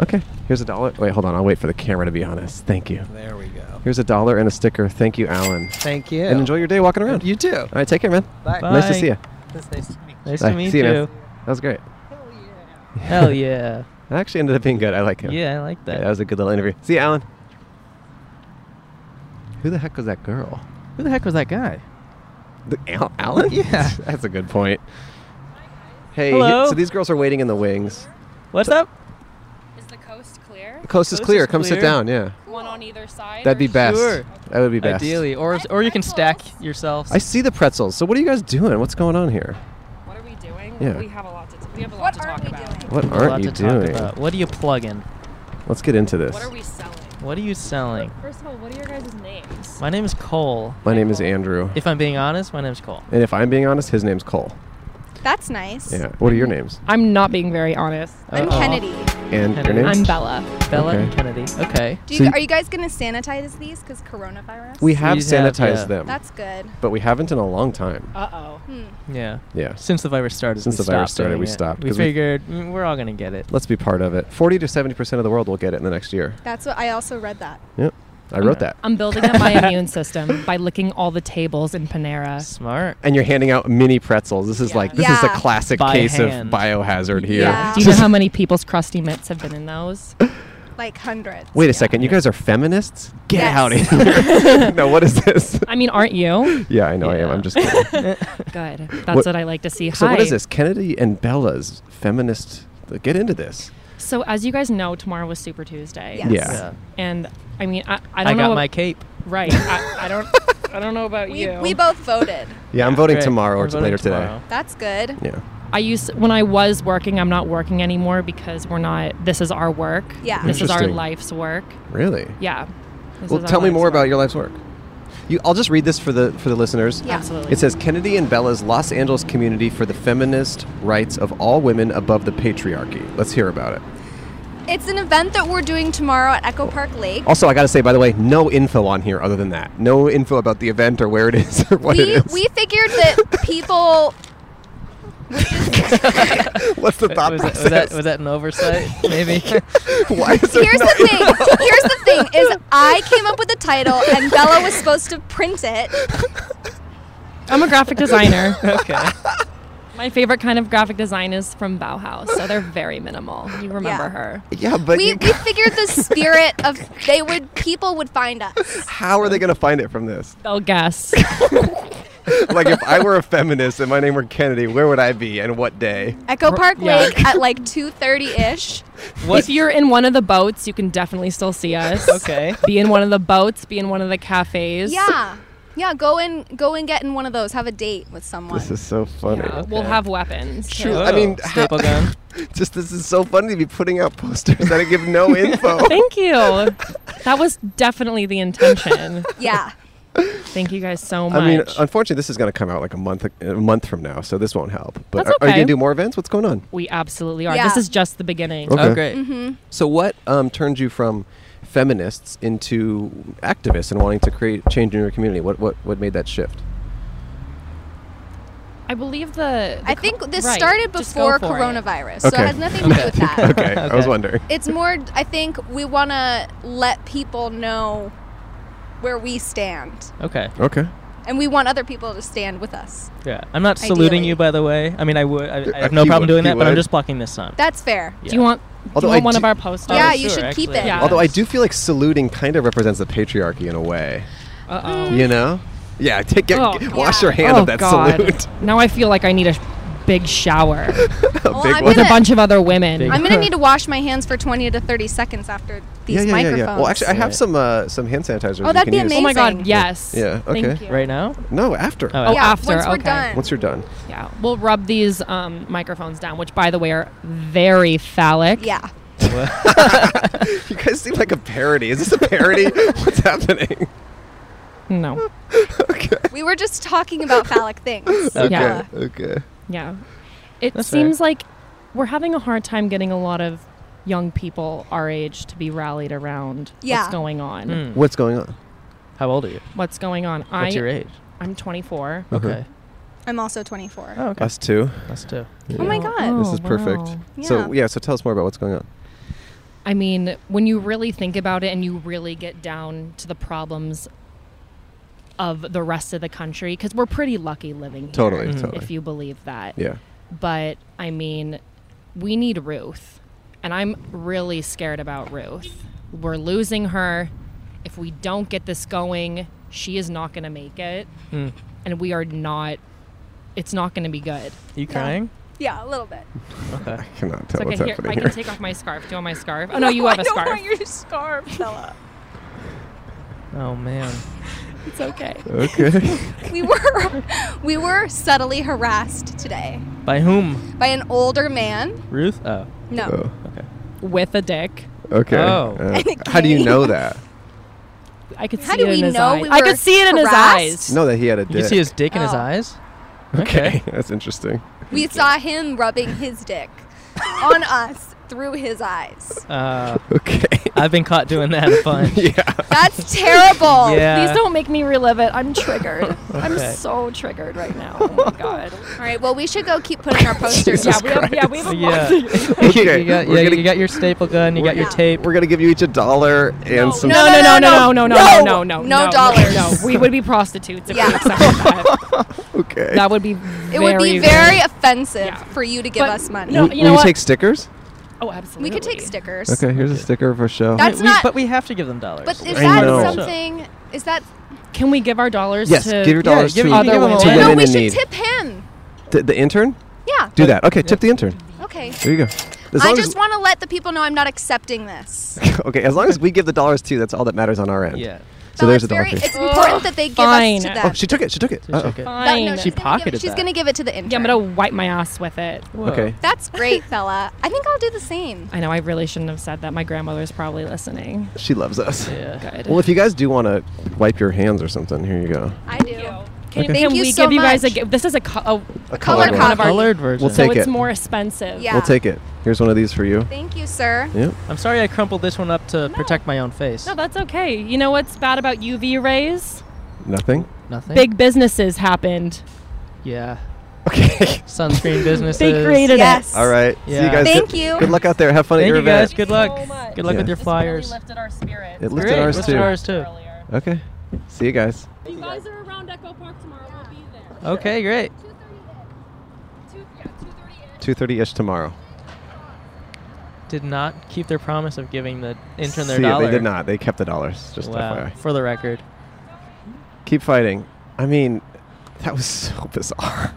[SPEAKER 2] Okay, here's a dollar. Wait, hold on. I'll wait for the camera to be honest. Thank you.
[SPEAKER 4] There we go.
[SPEAKER 2] Here's a dollar and a sticker. Thank you, Alan.
[SPEAKER 4] Thank you.
[SPEAKER 2] And enjoy your day walking around.
[SPEAKER 4] You too.
[SPEAKER 2] All right, take care, man.
[SPEAKER 4] Bye.
[SPEAKER 2] Nice to
[SPEAKER 1] Bye.
[SPEAKER 2] see you.
[SPEAKER 4] That's nice to meet you.
[SPEAKER 1] Nice
[SPEAKER 2] Bye.
[SPEAKER 1] to meet
[SPEAKER 2] See you,
[SPEAKER 1] you.
[SPEAKER 2] man. That was great.
[SPEAKER 1] Hell yeah.
[SPEAKER 2] That actually ended up being good. I like him.
[SPEAKER 1] Yeah, I like
[SPEAKER 2] Yeah,
[SPEAKER 1] that.
[SPEAKER 2] that was a good little interview. See you, Alan. Who the heck was that girl?
[SPEAKER 1] Who the heck was that guy?
[SPEAKER 2] The Al- Alan?
[SPEAKER 1] Yeah.
[SPEAKER 2] That's a good point. Hey,
[SPEAKER 1] Hello?
[SPEAKER 2] so these girls are waiting in the wings.
[SPEAKER 1] What's up?
[SPEAKER 6] Is the coast clear?
[SPEAKER 2] The coast is
[SPEAKER 1] Coast
[SPEAKER 2] clear.
[SPEAKER 1] is
[SPEAKER 2] Come sit
[SPEAKER 1] clear.
[SPEAKER 2] down. Yeah.
[SPEAKER 6] One on either side?
[SPEAKER 2] That'd
[SPEAKER 6] or
[SPEAKER 2] be
[SPEAKER 6] is it
[SPEAKER 2] best.
[SPEAKER 1] Sure.
[SPEAKER 2] That would be best.
[SPEAKER 1] Ideally, or or you can stack yourselves.
[SPEAKER 2] I see the pretzels. So what are you guys doing? What's going on here?
[SPEAKER 6] just- What are we doing?
[SPEAKER 2] Yeah.
[SPEAKER 6] We have a lot to. T- we have a lot to talk about.
[SPEAKER 2] What
[SPEAKER 1] A lot
[SPEAKER 2] aren't you
[SPEAKER 1] to talk
[SPEAKER 2] doing?
[SPEAKER 1] about. What are you plugging?
[SPEAKER 2] Let's get into this.
[SPEAKER 6] What are we selling?
[SPEAKER 1] What are you selling?
[SPEAKER 6] First of all, what are your guys' names?
[SPEAKER 1] My name is Cole.
[SPEAKER 2] My name is Andrew.
[SPEAKER 1] If I'm being honest, my name's Cole.
[SPEAKER 2] and if I'm being honest, his name's Cole.
[SPEAKER 7] That's nice.
[SPEAKER 2] Yeah. What are your names?
[SPEAKER 8] I'm not being very honest.
[SPEAKER 7] I'm
[SPEAKER 1] Uh-oh.
[SPEAKER 7] Kennedy.
[SPEAKER 2] And your
[SPEAKER 1] Kennedy.
[SPEAKER 2] names?
[SPEAKER 8] I'm Bella.
[SPEAKER 1] Bella and
[SPEAKER 2] Okay.
[SPEAKER 1] Kennedy. Okay.
[SPEAKER 7] Do you,
[SPEAKER 2] So you-
[SPEAKER 7] are you guys gonna sanitize these? Cause coronavirus.
[SPEAKER 2] We
[SPEAKER 1] We have-
[SPEAKER 2] have sanitized
[SPEAKER 1] yeah.
[SPEAKER 2] them,
[SPEAKER 7] That's good.
[SPEAKER 2] but we haven't in a long time.
[SPEAKER 8] Uh oh.
[SPEAKER 7] Hmm.
[SPEAKER 1] Yeah.
[SPEAKER 2] Yeah.
[SPEAKER 1] Since the virus started,
[SPEAKER 2] Since
[SPEAKER 1] we
[SPEAKER 2] the virus
[SPEAKER 1] stopped
[SPEAKER 2] started,
[SPEAKER 1] doing
[SPEAKER 2] we
[SPEAKER 1] it.
[SPEAKER 2] stopped,
[SPEAKER 1] We
[SPEAKER 2] 'cause we-
[SPEAKER 1] figured mm, we're all gonna get it.
[SPEAKER 2] Let's be part of it. 40 to 70% of the world will get it in the next year.
[SPEAKER 7] That's what I also read that.
[SPEAKER 2] Yep. I wrote that.
[SPEAKER 8] I'm building up my immune system by licking all the tables in Panera.
[SPEAKER 1] Smart.
[SPEAKER 2] And you're handing out mini pretzels. This is like this is a
[SPEAKER 7] Yeah.
[SPEAKER 2] classic
[SPEAKER 1] By
[SPEAKER 2] case of
[SPEAKER 1] hand.
[SPEAKER 2] biohazard here.
[SPEAKER 7] Yeah.
[SPEAKER 8] Do you know how many people's crusty mitts have been in those?
[SPEAKER 7] Like hundreds.
[SPEAKER 2] Wait a second. You guys are feminists? Get
[SPEAKER 7] Yes.
[SPEAKER 2] out of here. no, what is this?
[SPEAKER 8] I mean, aren't you?
[SPEAKER 2] Yeah, I know I am.
[SPEAKER 1] Yeah.
[SPEAKER 2] I'm just kidding.
[SPEAKER 8] Good. That's
[SPEAKER 2] What-
[SPEAKER 8] what, I like to see.
[SPEAKER 2] So
[SPEAKER 8] Hi.
[SPEAKER 2] what is this? Kennedy and Bella's feminist. Get into this.
[SPEAKER 8] So as you guys know, tomorrow was Super Tuesday.
[SPEAKER 7] Yes.
[SPEAKER 2] Yeah.
[SPEAKER 1] Yeah.
[SPEAKER 8] And I mean, I, I
[SPEAKER 1] I,
[SPEAKER 8] don't know.
[SPEAKER 1] got
[SPEAKER 8] ab-
[SPEAKER 1] my cape.
[SPEAKER 8] right. I, I don't. I don't know about
[SPEAKER 7] We,
[SPEAKER 8] you.
[SPEAKER 7] we both voted.
[SPEAKER 2] Yeah, I'm voting
[SPEAKER 1] Great.
[SPEAKER 2] tomorrow or
[SPEAKER 1] We're
[SPEAKER 2] t-
[SPEAKER 1] voting
[SPEAKER 2] later
[SPEAKER 1] tomorrow.
[SPEAKER 7] That's good.
[SPEAKER 2] today. Yeah.
[SPEAKER 8] I used when I was working. I'm not working anymore because we're not. This is our work.
[SPEAKER 7] Yeah.
[SPEAKER 8] This is our
[SPEAKER 2] Interesting.
[SPEAKER 8] life's work.
[SPEAKER 2] Really?
[SPEAKER 8] Yeah. This
[SPEAKER 2] Well,
[SPEAKER 8] is our
[SPEAKER 2] tell me
[SPEAKER 8] life's
[SPEAKER 2] more
[SPEAKER 8] work.
[SPEAKER 2] about your life's work. You, I'll just read this for the for the listeners.
[SPEAKER 7] Yeah.
[SPEAKER 8] Absolutely.
[SPEAKER 2] It says Kennedy and Bella's Los Angeles community for the feminist rights of all women above the patriarchy. Let's hear about it.
[SPEAKER 7] It's an event that we're doing tomorrow at Echo Park Lake.
[SPEAKER 2] Also, I got to say, by the way, no info on here other than that. No info about the event or where it is or what
[SPEAKER 7] we
[SPEAKER 2] it is.
[SPEAKER 7] we figured that people
[SPEAKER 2] What's the thought
[SPEAKER 1] was, that,
[SPEAKER 2] process?
[SPEAKER 1] was that was that an oversight? Maybe.
[SPEAKER 2] Why is there
[SPEAKER 7] Here's
[SPEAKER 2] no
[SPEAKER 7] the thing. Here's the thing is I came up with the title and Bella was supposed to print it.
[SPEAKER 8] I'm a graphic designer.
[SPEAKER 1] okay.
[SPEAKER 8] My favorite kind of graphic design is from Bauhaus, so they're very minimal. You remember
[SPEAKER 7] Yeah.
[SPEAKER 8] her.
[SPEAKER 2] Yeah, but
[SPEAKER 7] we,
[SPEAKER 2] you,
[SPEAKER 7] we figured the spirit of they would people would find us.
[SPEAKER 2] how are they going to find it from this?
[SPEAKER 8] They'll guess.
[SPEAKER 2] Like, if I were a feminist and my name were Kennedy, where would I be and what day?
[SPEAKER 7] Echo Park
[SPEAKER 8] yeah.
[SPEAKER 7] Lake at like two thirty ish.
[SPEAKER 9] What?
[SPEAKER 8] If you're in one of the boats, you can definitely still see us.
[SPEAKER 9] okay.
[SPEAKER 8] Be in one of the boats, be in one of the cafes.
[SPEAKER 7] Yeah. Yeah, go and go and get in one of those. Have a date with someone.
[SPEAKER 2] This is so funny.
[SPEAKER 8] Yeah, We'll have weapons. too.
[SPEAKER 2] Shoot, I mean, how-
[SPEAKER 1] staple gun.
[SPEAKER 2] just this is so funny to be putting out posters that give no info.
[SPEAKER 8] Thank you. That was definitely the intention.
[SPEAKER 7] yeah.
[SPEAKER 8] Thank you guys so much.
[SPEAKER 2] I mean, uh, unfortunately, this is going to come out like a month a month from now, so this won't help. But
[SPEAKER 8] That's
[SPEAKER 2] are, are you
[SPEAKER 8] okay.
[SPEAKER 2] going to do more events? What's going on?
[SPEAKER 8] we absolutely are.
[SPEAKER 7] Yeah. Mm-hmm.
[SPEAKER 8] This is just the beginning.
[SPEAKER 2] Okay.
[SPEAKER 1] Oh, great.
[SPEAKER 2] So what um, turned you from feminists into activists and wanting to create change in your community? What what what made that shift?
[SPEAKER 8] I believe the, the
[SPEAKER 7] I think this
[SPEAKER 8] right,
[SPEAKER 7] started
[SPEAKER 8] just go
[SPEAKER 7] before
[SPEAKER 8] for it.
[SPEAKER 7] coronavirus. So
[SPEAKER 2] Okay.
[SPEAKER 7] it has nothing to do with that.
[SPEAKER 2] Okay, I was wondering.
[SPEAKER 7] It's more I think we want to let people know where we stand
[SPEAKER 1] Okay.
[SPEAKER 2] Okay.
[SPEAKER 7] and we want other people to stand with us.
[SPEAKER 1] Yeah. I'm not saluting
[SPEAKER 7] Ideally.
[SPEAKER 1] you, by the way. I mean, I would. I, I have
[SPEAKER 2] Uh,
[SPEAKER 1] no
[SPEAKER 2] he
[SPEAKER 1] problem
[SPEAKER 2] would-
[SPEAKER 1] doing
[SPEAKER 2] he
[SPEAKER 1] that, but I'm
[SPEAKER 2] would.
[SPEAKER 1] just blocking this sign.
[SPEAKER 7] That's fair.
[SPEAKER 8] Do you want, do
[SPEAKER 2] Although
[SPEAKER 8] you
[SPEAKER 2] I
[SPEAKER 8] want one of
[SPEAKER 2] do-
[SPEAKER 8] our posters?
[SPEAKER 7] yeah,
[SPEAKER 1] Oh,
[SPEAKER 7] you
[SPEAKER 1] sure,
[SPEAKER 7] should keep
[SPEAKER 1] actually.
[SPEAKER 7] it.
[SPEAKER 8] Yeah.
[SPEAKER 2] Although I do feel like saluting kind of represents the patriarchy in a way.
[SPEAKER 8] Uh-oh.
[SPEAKER 7] Mm-hmm.
[SPEAKER 2] You know? Yeah. Take get,
[SPEAKER 8] Oh,
[SPEAKER 2] get- wash your
[SPEAKER 7] God.
[SPEAKER 2] hand of that salute.
[SPEAKER 8] Now I feel like I need a sh- big shower
[SPEAKER 7] Well,
[SPEAKER 2] big one.
[SPEAKER 7] I'm
[SPEAKER 8] with a
[SPEAKER 7] gonna-
[SPEAKER 8] bunch of other women.
[SPEAKER 1] Big-
[SPEAKER 7] I'm going to need to wash my hands for 20 to 30 seconds after these
[SPEAKER 2] yeah, yeah, yeah,
[SPEAKER 7] microphones.
[SPEAKER 2] yeah. Well, actually, I have
[SPEAKER 1] Yeah.
[SPEAKER 2] some uh, some hand sanitizers.
[SPEAKER 7] Oh,
[SPEAKER 2] you
[SPEAKER 7] that'd
[SPEAKER 2] can
[SPEAKER 7] be
[SPEAKER 2] use.
[SPEAKER 8] oh my god,
[SPEAKER 7] amazing.
[SPEAKER 8] yes.
[SPEAKER 2] Yeah, okay.
[SPEAKER 8] Thank you.
[SPEAKER 1] Right now?
[SPEAKER 2] No, after.
[SPEAKER 1] Oh,
[SPEAKER 8] Oh,
[SPEAKER 7] yeah,
[SPEAKER 8] after.
[SPEAKER 7] once we're
[SPEAKER 8] okay.
[SPEAKER 7] done.
[SPEAKER 2] Once you're done.
[SPEAKER 8] Yeah. We'll rub these um, microphones down, which by the way are very phallic.
[SPEAKER 7] Yeah.
[SPEAKER 2] You guys seem like a parody. Is this a parody? What's happening?
[SPEAKER 8] No.
[SPEAKER 7] We were just talking about phallic things.
[SPEAKER 1] Okay.
[SPEAKER 8] Yeah.
[SPEAKER 2] Okay.
[SPEAKER 8] Yeah. It
[SPEAKER 1] That's fair.
[SPEAKER 8] seems like we're having a hard time getting a lot of young people our age to be rallied around
[SPEAKER 7] Yeah.
[SPEAKER 8] what's going on.
[SPEAKER 1] Hmm.
[SPEAKER 2] What's going on?
[SPEAKER 1] How old are you?
[SPEAKER 8] What's going on?
[SPEAKER 1] What's
[SPEAKER 8] I
[SPEAKER 1] your age?
[SPEAKER 8] I'm 24.
[SPEAKER 1] Okay.
[SPEAKER 7] I'm also 24.
[SPEAKER 1] Oh, okay.
[SPEAKER 2] Us too.
[SPEAKER 1] Us too.
[SPEAKER 7] Oh my God.
[SPEAKER 2] this is
[SPEAKER 8] wow.
[SPEAKER 2] perfect. So
[SPEAKER 7] Yeah.
[SPEAKER 2] yeah, so tell us more about what's going on.
[SPEAKER 8] I mean, when you really think about it and you really get down to the problems of the rest of the country, because we're pretty lucky living here.
[SPEAKER 2] Totally,
[SPEAKER 1] Mhm.
[SPEAKER 2] totally.
[SPEAKER 8] If you believe that.
[SPEAKER 2] Yeah.
[SPEAKER 8] But I mean, we need Ruth. And I'm really scared about Ruth. We're losing her. If we don't get this going, she is not going to make it.
[SPEAKER 3] Hmm.
[SPEAKER 1] Mm.
[SPEAKER 8] And we are not, it's not going to be good.
[SPEAKER 1] You crying?
[SPEAKER 7] Yeah, a little bit.
[SPEAKER 1] Okay.
[SPEAKER 2] I cannot
[SPEAKER 8] It's
[SPEAKER 2] tell what's
[SPEAKER 8] okay, here,
[SPEAKER 2] happening
[SPEAKER 8] I
[SPEAKER 2] here.
[SPEAKER 8] can take off my scarf. Do you want my scarf? Oh, no, you have a
[SPEAKER 7] I don't
[SPEAKER 8] scarf.
[SPEAKER 7] want your scarf, Bella.
[SPEAKER 1] Oh man.
[SPEAKER 8] It's okay.
[SPEAKER 2] okay.
[SPEAKER 7] we were we were subtly harassed today
[SPEAKER 1] By whom?
[SPEAKER 7] by an older man.
[SPEAKER 1] Ruth? Oh.
[SPEAKER 7] No.
[SPEAKER 2] oh.
[SPEAKER 8] With a dick.
[SPEAKER 2] Okay.
[SPEAKER 1] Oh.
[SPEAKER 2] Uh, how do you know that?
[SPEAKER 8] I could
[SPEAKER 7] How
[SPEAKER 8] see
[SPEAKER 7] do
[SPEAKER 8] it
[SPEAKER 7] we
[SPEAKER 8] in his
[SPEAKER 7] know
[SPEAKER 8] eyes.
[SPEAKER 7] we
[SPEAKER 8] I
[SPEAKER 7] were
[SPEAKER 8] could see it in his
[SPEAKER 7] harassed?
[SPEAKER 8] eyes.
[SPEAKER 2] Know that he had a dick.
[SPEAKER 1] You can see his dick in his
[SPEAKER 7] Oh.
[SPEAKER 1] eyes?
[SPEAKER 2] Okay, that's interesting.
[SPEAKER 7] We saw him rubbing his dick on us through his eyes.
[SPEAKER 1] Uh,
[SPEAKER 2] Okay.
[SPEAKER 1] I've been caught doing that a bunch.
[SPEAKER 2] yeah.
[SPEAKER 7] That's terrible.
[SPEAKER 1] Yeah.
[SPEAKER 8] Please don't make me relive it. I'm triggered. I'm
[SPEAKER 1] Okay.
[SPEAKER 8] so triggered right now. Oh my god.
[SPEAKER 7] All right. Well, we should go keep putting our posters
[SPEAKER 8] yeah,
[SPEAKER 2] Jesus
[SPEAKER 7] up.
[SPEAKER 8] we have, yeah, we have a
[SPEAKER 1] Yeah.
[SPEAKER 8] lot.
[SPEAKER 1] You-
[SPEAKER 2] Okay.
[SPEAKER 1] you, got,
[SPEAKER 2] we're
[SPEAKER 1] yeah,
[SPEAKER 2] gonna-
[SPEAKER 1] you got your staple gun. You
[SPEAKER 2] we're
[SPEAKER 1] got your
[SPEAKER 7] gonna-
[SPEAKER 1] tape.
[SPEAKER 2] We're gonna give you each a dollar and some.
[SPEAKER 8] No, no, no, no, no, no, no, no, no,
[SPEAKER 7] No
[SPEAKER 8] no,
[SPEAKER 7] dollars.
[SPEAKER 8] No, we would be prostitutes if
[SPEAKER 7] Yeah.
[SPEAKER 8] we accepted that.
[SPEAKER 2] Okay.
[SPEAKER 8] That would be.
[SPEAKER 7] It would be very offensive
[SPEAKER 8] Yeah.
[SPEAKER 7] for you to give
[SPEAKER 8] But-
[SPEAKER 7] us money.
[SPEAKER 8] No,
[SPEAKER 2] Will-
[SPEAKER 8] you
[SPEAKER 2] will
[SPEAKER 8] know
[SPEAKER 2] you
[SPEAKER 8] what?
[SPEAKER 2] take stickers?
[SPEAKER 8] Oh, absolutely.
[SPEAKER 7] We could take stickers.
[SPEAKER 2] Okay. Here's a sticker for show.
[SPEAKER 7] That's
[SPEAKER 1] We-
[SPEAKER 7] not-
[SPEAKER 1] But we have to give them dollars.
[SPEAKER 7] But is
[SPEAKER 2] I
[SPEAKER 7] that
[SPEAKER 2] know.
[SPEAKER 7] something? Is that
[SPEAKER 8] Can we give our dollars
[SPEAKER 2] yes.
[SPEAKER 8] to?
[SPEAKER 2] Give your
[SPEAKER 1] Yeah,
[SPEAKER 2] dollars
[SPEAKER 1] give-
[SPEAKER 2] to,
[SPEAKER 1] you can
[SPEAKER 8] Other
[SPEAKER 1] give 'em
[SPEAKER 8] women.
[SPEAKER 2] to
[SPEAKER 1] away.
[SPEAKER 2] women
[SPEAKER 7] no? We
[SPEAKER 2] in
[SPEAKER 7] should
[SPEAKER 2] need.
[SPEAKER 7] tip him.
[SPEAKER 2] The, the intern.
[SPEAKER 7] Yeah.
[SPEAKER 2] Do that. Okay. Tip the intern.
[SPEAKER 7] Okay.
[SPEAKER 2] There you go. As
[SPEAKER 7] I
[SPEAKER 2] long as-
[SPEAKER 7] just want to let the people know I'm not accepting this.
[SPEAKER 2] okay, as long as we give the dollars too, that's all that matters on our end.
[SPEAKER 1] yeah.
[SPEAKER 2] So
[SPEAKER 7] No,
[SPEAKER 2] there's
[SPEAKER 7] it's
[SPEAKER 2] a dollar.
[SPEAKER 7] very-
[SPEAKER 2] for you.
[SPEAKER 7] It's important that they give
[SPEAKER 8] Fine.
[SPEAKER 7] us to
[SPEAKER 8] Oh,
[SPEAKER 7] them.
[SPEAKER 2] oh, she took it. She took it.
[SPEAKER 1] To
[SPEAKER 2] Uh-oh.
[SPEAKER 1] check it.
[SPEAKER 7] That-
[SPEAKER 8] Fine.
[SPEAKER 7] no,
[SPEAKER 1] She
[SPEAKER 7] she's gonna give it-
[SPEAKER 1] pocketed
[SPEAKER 7] She's
[SPEAKER 1] that.
[SPEAKER 7] gonna give it to the intern.
[SPEAKER 8] yeah, I'm gonna wipe my ass with it.
[SPEAKER 1] Whoa.
[SPEAKER 2] Okay.
[SPEAKER 7] That's great, fella. I think I'll do the same.
[SPEAKER 8] I know I really shouldn't have said that. My grandmother's probably listening.
[SPEAKER 2] She loves us.
[SPEAKER 1] Yeah.
[SPEAKER 8] Good.
[SPEAKER 2] Well, if you guys do want to wipe your hands or something, here you go.
[SPEAKER 7] I do.
[SPEAKER 8] Can,
[SPEAKER 7] Thank
[SPEAKER 8] can
[SPEAKER 7] you
[SPEAKER 8] we
[SPEAKER 7] so
[SPEAKER 8] give you guys a
[SPEAKER 7] much.
[SPEAKER 8] gi- This is a, co- a,
[SPEAKER 2] A
[SPEAKER 7] Color
[SPEAKER 2] colored one.
[SPEAKER 8] copy.
[SPEAKER 1] Colored version.
[SPEAKER 2] We'll
[SPEAKER 8] so
[SPEAKER 2] take
[SPEAKER 8] it's
[SPEAKER 2] it.
[SPEAKER 8] more expensive.
[SPEAKER 7] Yeah.
[SPEAKER 2] We'll take it. Here's one of these for you.
[SPEAKER 7] Thank you, sir.
[SPEAKER 2] Yep.
[SPEAKER 1] I'm sorry I crumpled this one up to protect my own face.
[SPEAKER 8] No, that's okay. You know what's bad about UV rays?
[SPEAKER 2] Nothing.
[SPEAKER 1] Nothing.
[SPEAKER 8] Big businesses happened.
[SPEAKER 1] Yeah.
[SPEAKER 2] Okay.
[SPEAKER 1] Sunscreen businesses.
[SPEAKER 8] They created
[SPEAKER 7] Yes.
[SPEAKER 2] all right. See
[SPEAKER 1] Yeah.
[SPEAKER 2] you guys.
[SPEAKER 7] Thank
[SPEAKER 2] Good-
[SPEAKER 7] you.
[SPEAKER 2] Good luck out there. Have fun at
[SPEAKER 1] Thank
[SPEAKER 2] your
[SPEAKER 1] you guys.
[SPEAKER 2] event.
[SPEAKER 1] Good
[SPEAKER 8] so
[SPEAKER 1] luck.
[SPEAKER 8] much.
[SPEAKER 1] Good luck
[SPEAKER 2] Yeah.
[SPEAKER 1] with your
[SPEAKER 8] This really
[SPEAKER 1] flyers.
[SPEAKER 8] lifted our spirits.
[SPEAKER 2] It lifted
[SPEAKER 1] Great.
[SPEAKER 2] ours
[SPEAKER 1] Lifted
[SPEAKER 2] too.
[SPEAKER 1] ours too.
[SPEAKER 8] earlier.
[SPEAKER 2] Okay. See you guys.
[SPEAKER 8] If you guys are around Echo Park tomorrow, we'll be there.
[SPEAKER 1] Okay, great.
[SPEAKER 6] Two, yeah, 2.30ish.
[SPEAKER 2] 2.30ish tomorrow.
[SPEAKER 1] Did not keep their promise of giving the intern their
[SPEAKER 2] See,
[SPEAKER 1] dollar.
[SPEAKER 2] They did not. They kept the dollars. Just
[SPEAKER 1] wow.
[SPEAKER 2] FYI.
[SPEAKER 1] For the record.
[SPEAKER 2] Keep fighting. I mean, that was so bizarre.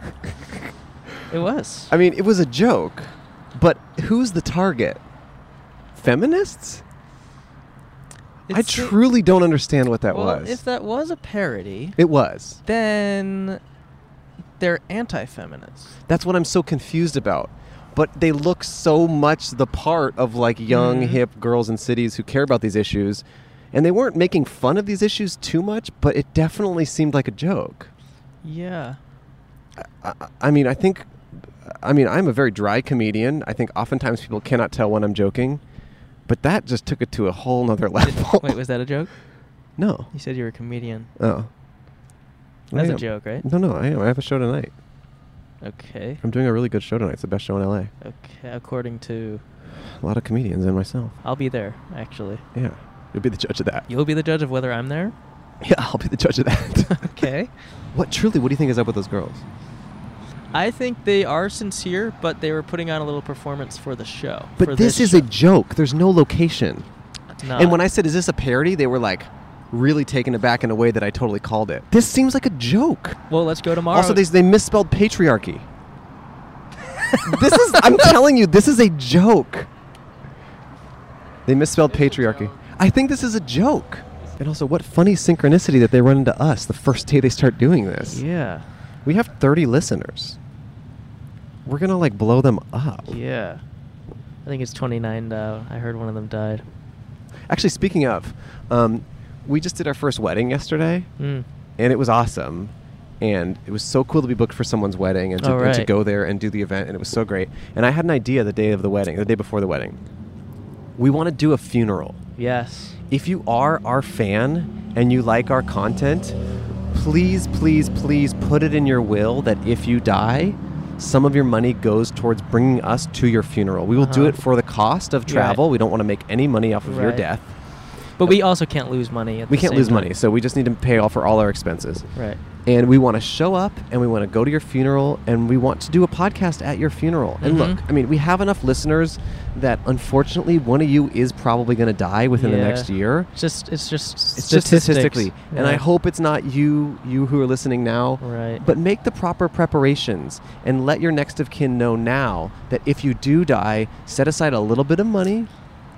[SPEAKER 1] It was.
[SPEAKER 2] I mean, it was a joke, but who's the target? Feminists? I
[SPEAKER 1] It's-
[SPEAKER 2] truly don't understand what that
[SPEAKER 1] well,
[SPEAKER 2] was.
[SPEAKER 1] If that was a parody,
[SPEAKER 2] it was.
[SPEAKER 1] then they're anti feminist.
[SPEAKER 2] That's what I'm so confused about. But they look so much the part of like young,
[SPEAKER 1] Mhm.
[SPEAKER 2] hip girls in cities who care about these issues. And they weren't making fun of these issues too much, but it definitely seemed like a joke.
[SPEAKER 1] Yeah.
[SPEAKER 2] I, I- I mean, I think, I mean, I'm a very dry comedian. I think oftentimes people cannot tell when I'm joking, but that just took it to a whole nother
[SPEAKER 1] Did-
[SPEAKER 2] level.
[SPEAKER 1] wait, was that a joke?
[SPEAKER 2] no.
[SPEAKER 1] You said you were a comedian.
[SPEAKER 2] Oh.
[SPEAKER 1] That's
[SPEAKER 2] I
[SPEAKER 1] a
[SPEAKER 2] am.
[SPEAKER 1] joke, right?
[SPEAKER 2] No, no, I am. I have a show tonight.
[SPEAKER 1] Okay.
[SPEAKER 2] I'm doing a really good show tonight. It's the best show in LA.
[SPEAKER 1] Okay. According to,
[SPEAKER 2] A lot of comedians and myself.
[SPEAKER 1] I'll be there actually.
[SPEAKER 2] Yeah. You'll be the judge of that.
[SPEAKER 1] You'll be the judge of whether I'm there.
[SPEAKER 2] Yeah, I'll be the judge of that.
[SPEAKER 1] Okay.
[SPEAKER 2] What truly? What do you think is up with those girls?
[SPEAKER 1] I think they are sincere, but they were putting on a little performance for the show.
[SPEAKER 2] But
[SPEAKER 1] for
[SPEAKER 2] this, is a joke. There's no location.
[SPEAKER 1] It's
[SPEAKER 2] And when
[SPEAKER 1] not.
[SPEAKER 2] I said, "Is this a parody?" They were like, really taken aback in a way that I totally called it. This seems like a joke.
[SPEAKER 1] well, let's go tomorrow.
[SPEAKER 2] Also, they they misspelled patriarchy. this is. I'm telling you, this is a joke. They misspelled patriarchy. I think this is a joke. And also, what funny synchronicity that they run into us the first day they start doing this.
[SPEAKER 1] Yeah.
[SPEAKER 2] We have 30 listeners. We're gonna like blow them up.
[SPEAKER 1] Yeah. I think it's 29 now. I heard one of them died.
[SPEAKER 2] Actually, speaking of, um, we just did our first wedding yesterday,
[SPEAKER 1] Mm.
[SPEAKER 2] and it was awesome. And it was so cool to be booked for someone's wedding and to,
[SPEAKER 1] Oh,
[SPEAKER 2] and to
[SPEAKER 1] right.
[SPEAKER 2] go there and do the event, and it was so great. And I had an idea the day of the wedding, the day before the wedding. We want to do a funeral.
[SPEAKER 1] Yes.
[SPEAKER 2] If you are our fan and you like our content, please, please, please put it in your will that if you die, some of your money goes towards bringing us to your funeral. We will do
[SPEAKER 1] Uh-huh.
[SPEAKER 2] it for the cost of travel. We don't want to make any money off of your
[SPEAKER 1] Right.
[SPEAKER 2] death.
[SPEAKER 1] But we also can't lose money. At
[SPEAKER 2] We
[SPEAKER 1] the
[SPEAKER 2] can't
[SPEAKER 1] same
[SPEAKER 2] lose
[SPEAKER 1] time.
[SPEAKER 2] money, so we just need to pay off for all our expenses.
[SPEAKER 1] Right.
[SPEAKER 2] And we want to show up and we want to go to your funeral and we want to do a podcast at your funeral. And look,
[SPEAKER 1] Mhm.
[SPEAKER 2] I mean, we have enough listeners that unfortunately one of you is probably going to die within the
[SPEAKER 1] Yeah.
[SPEAKER 2] next year.
[SPEAKER 1] It's just it's just
[SPEAKER 2] It's
[SPEAKER 1] statistics.
[SPEAKER 2] just statistically. And I
[SPEAKER 1] Right.
[SPEAKER 2] hope it's not you you who are listening now.
[SPEAKER 1] Right.
[SPEAKER 2] But make the proper preparations and let your next of kin know now that if you do die, set aside a little bit of money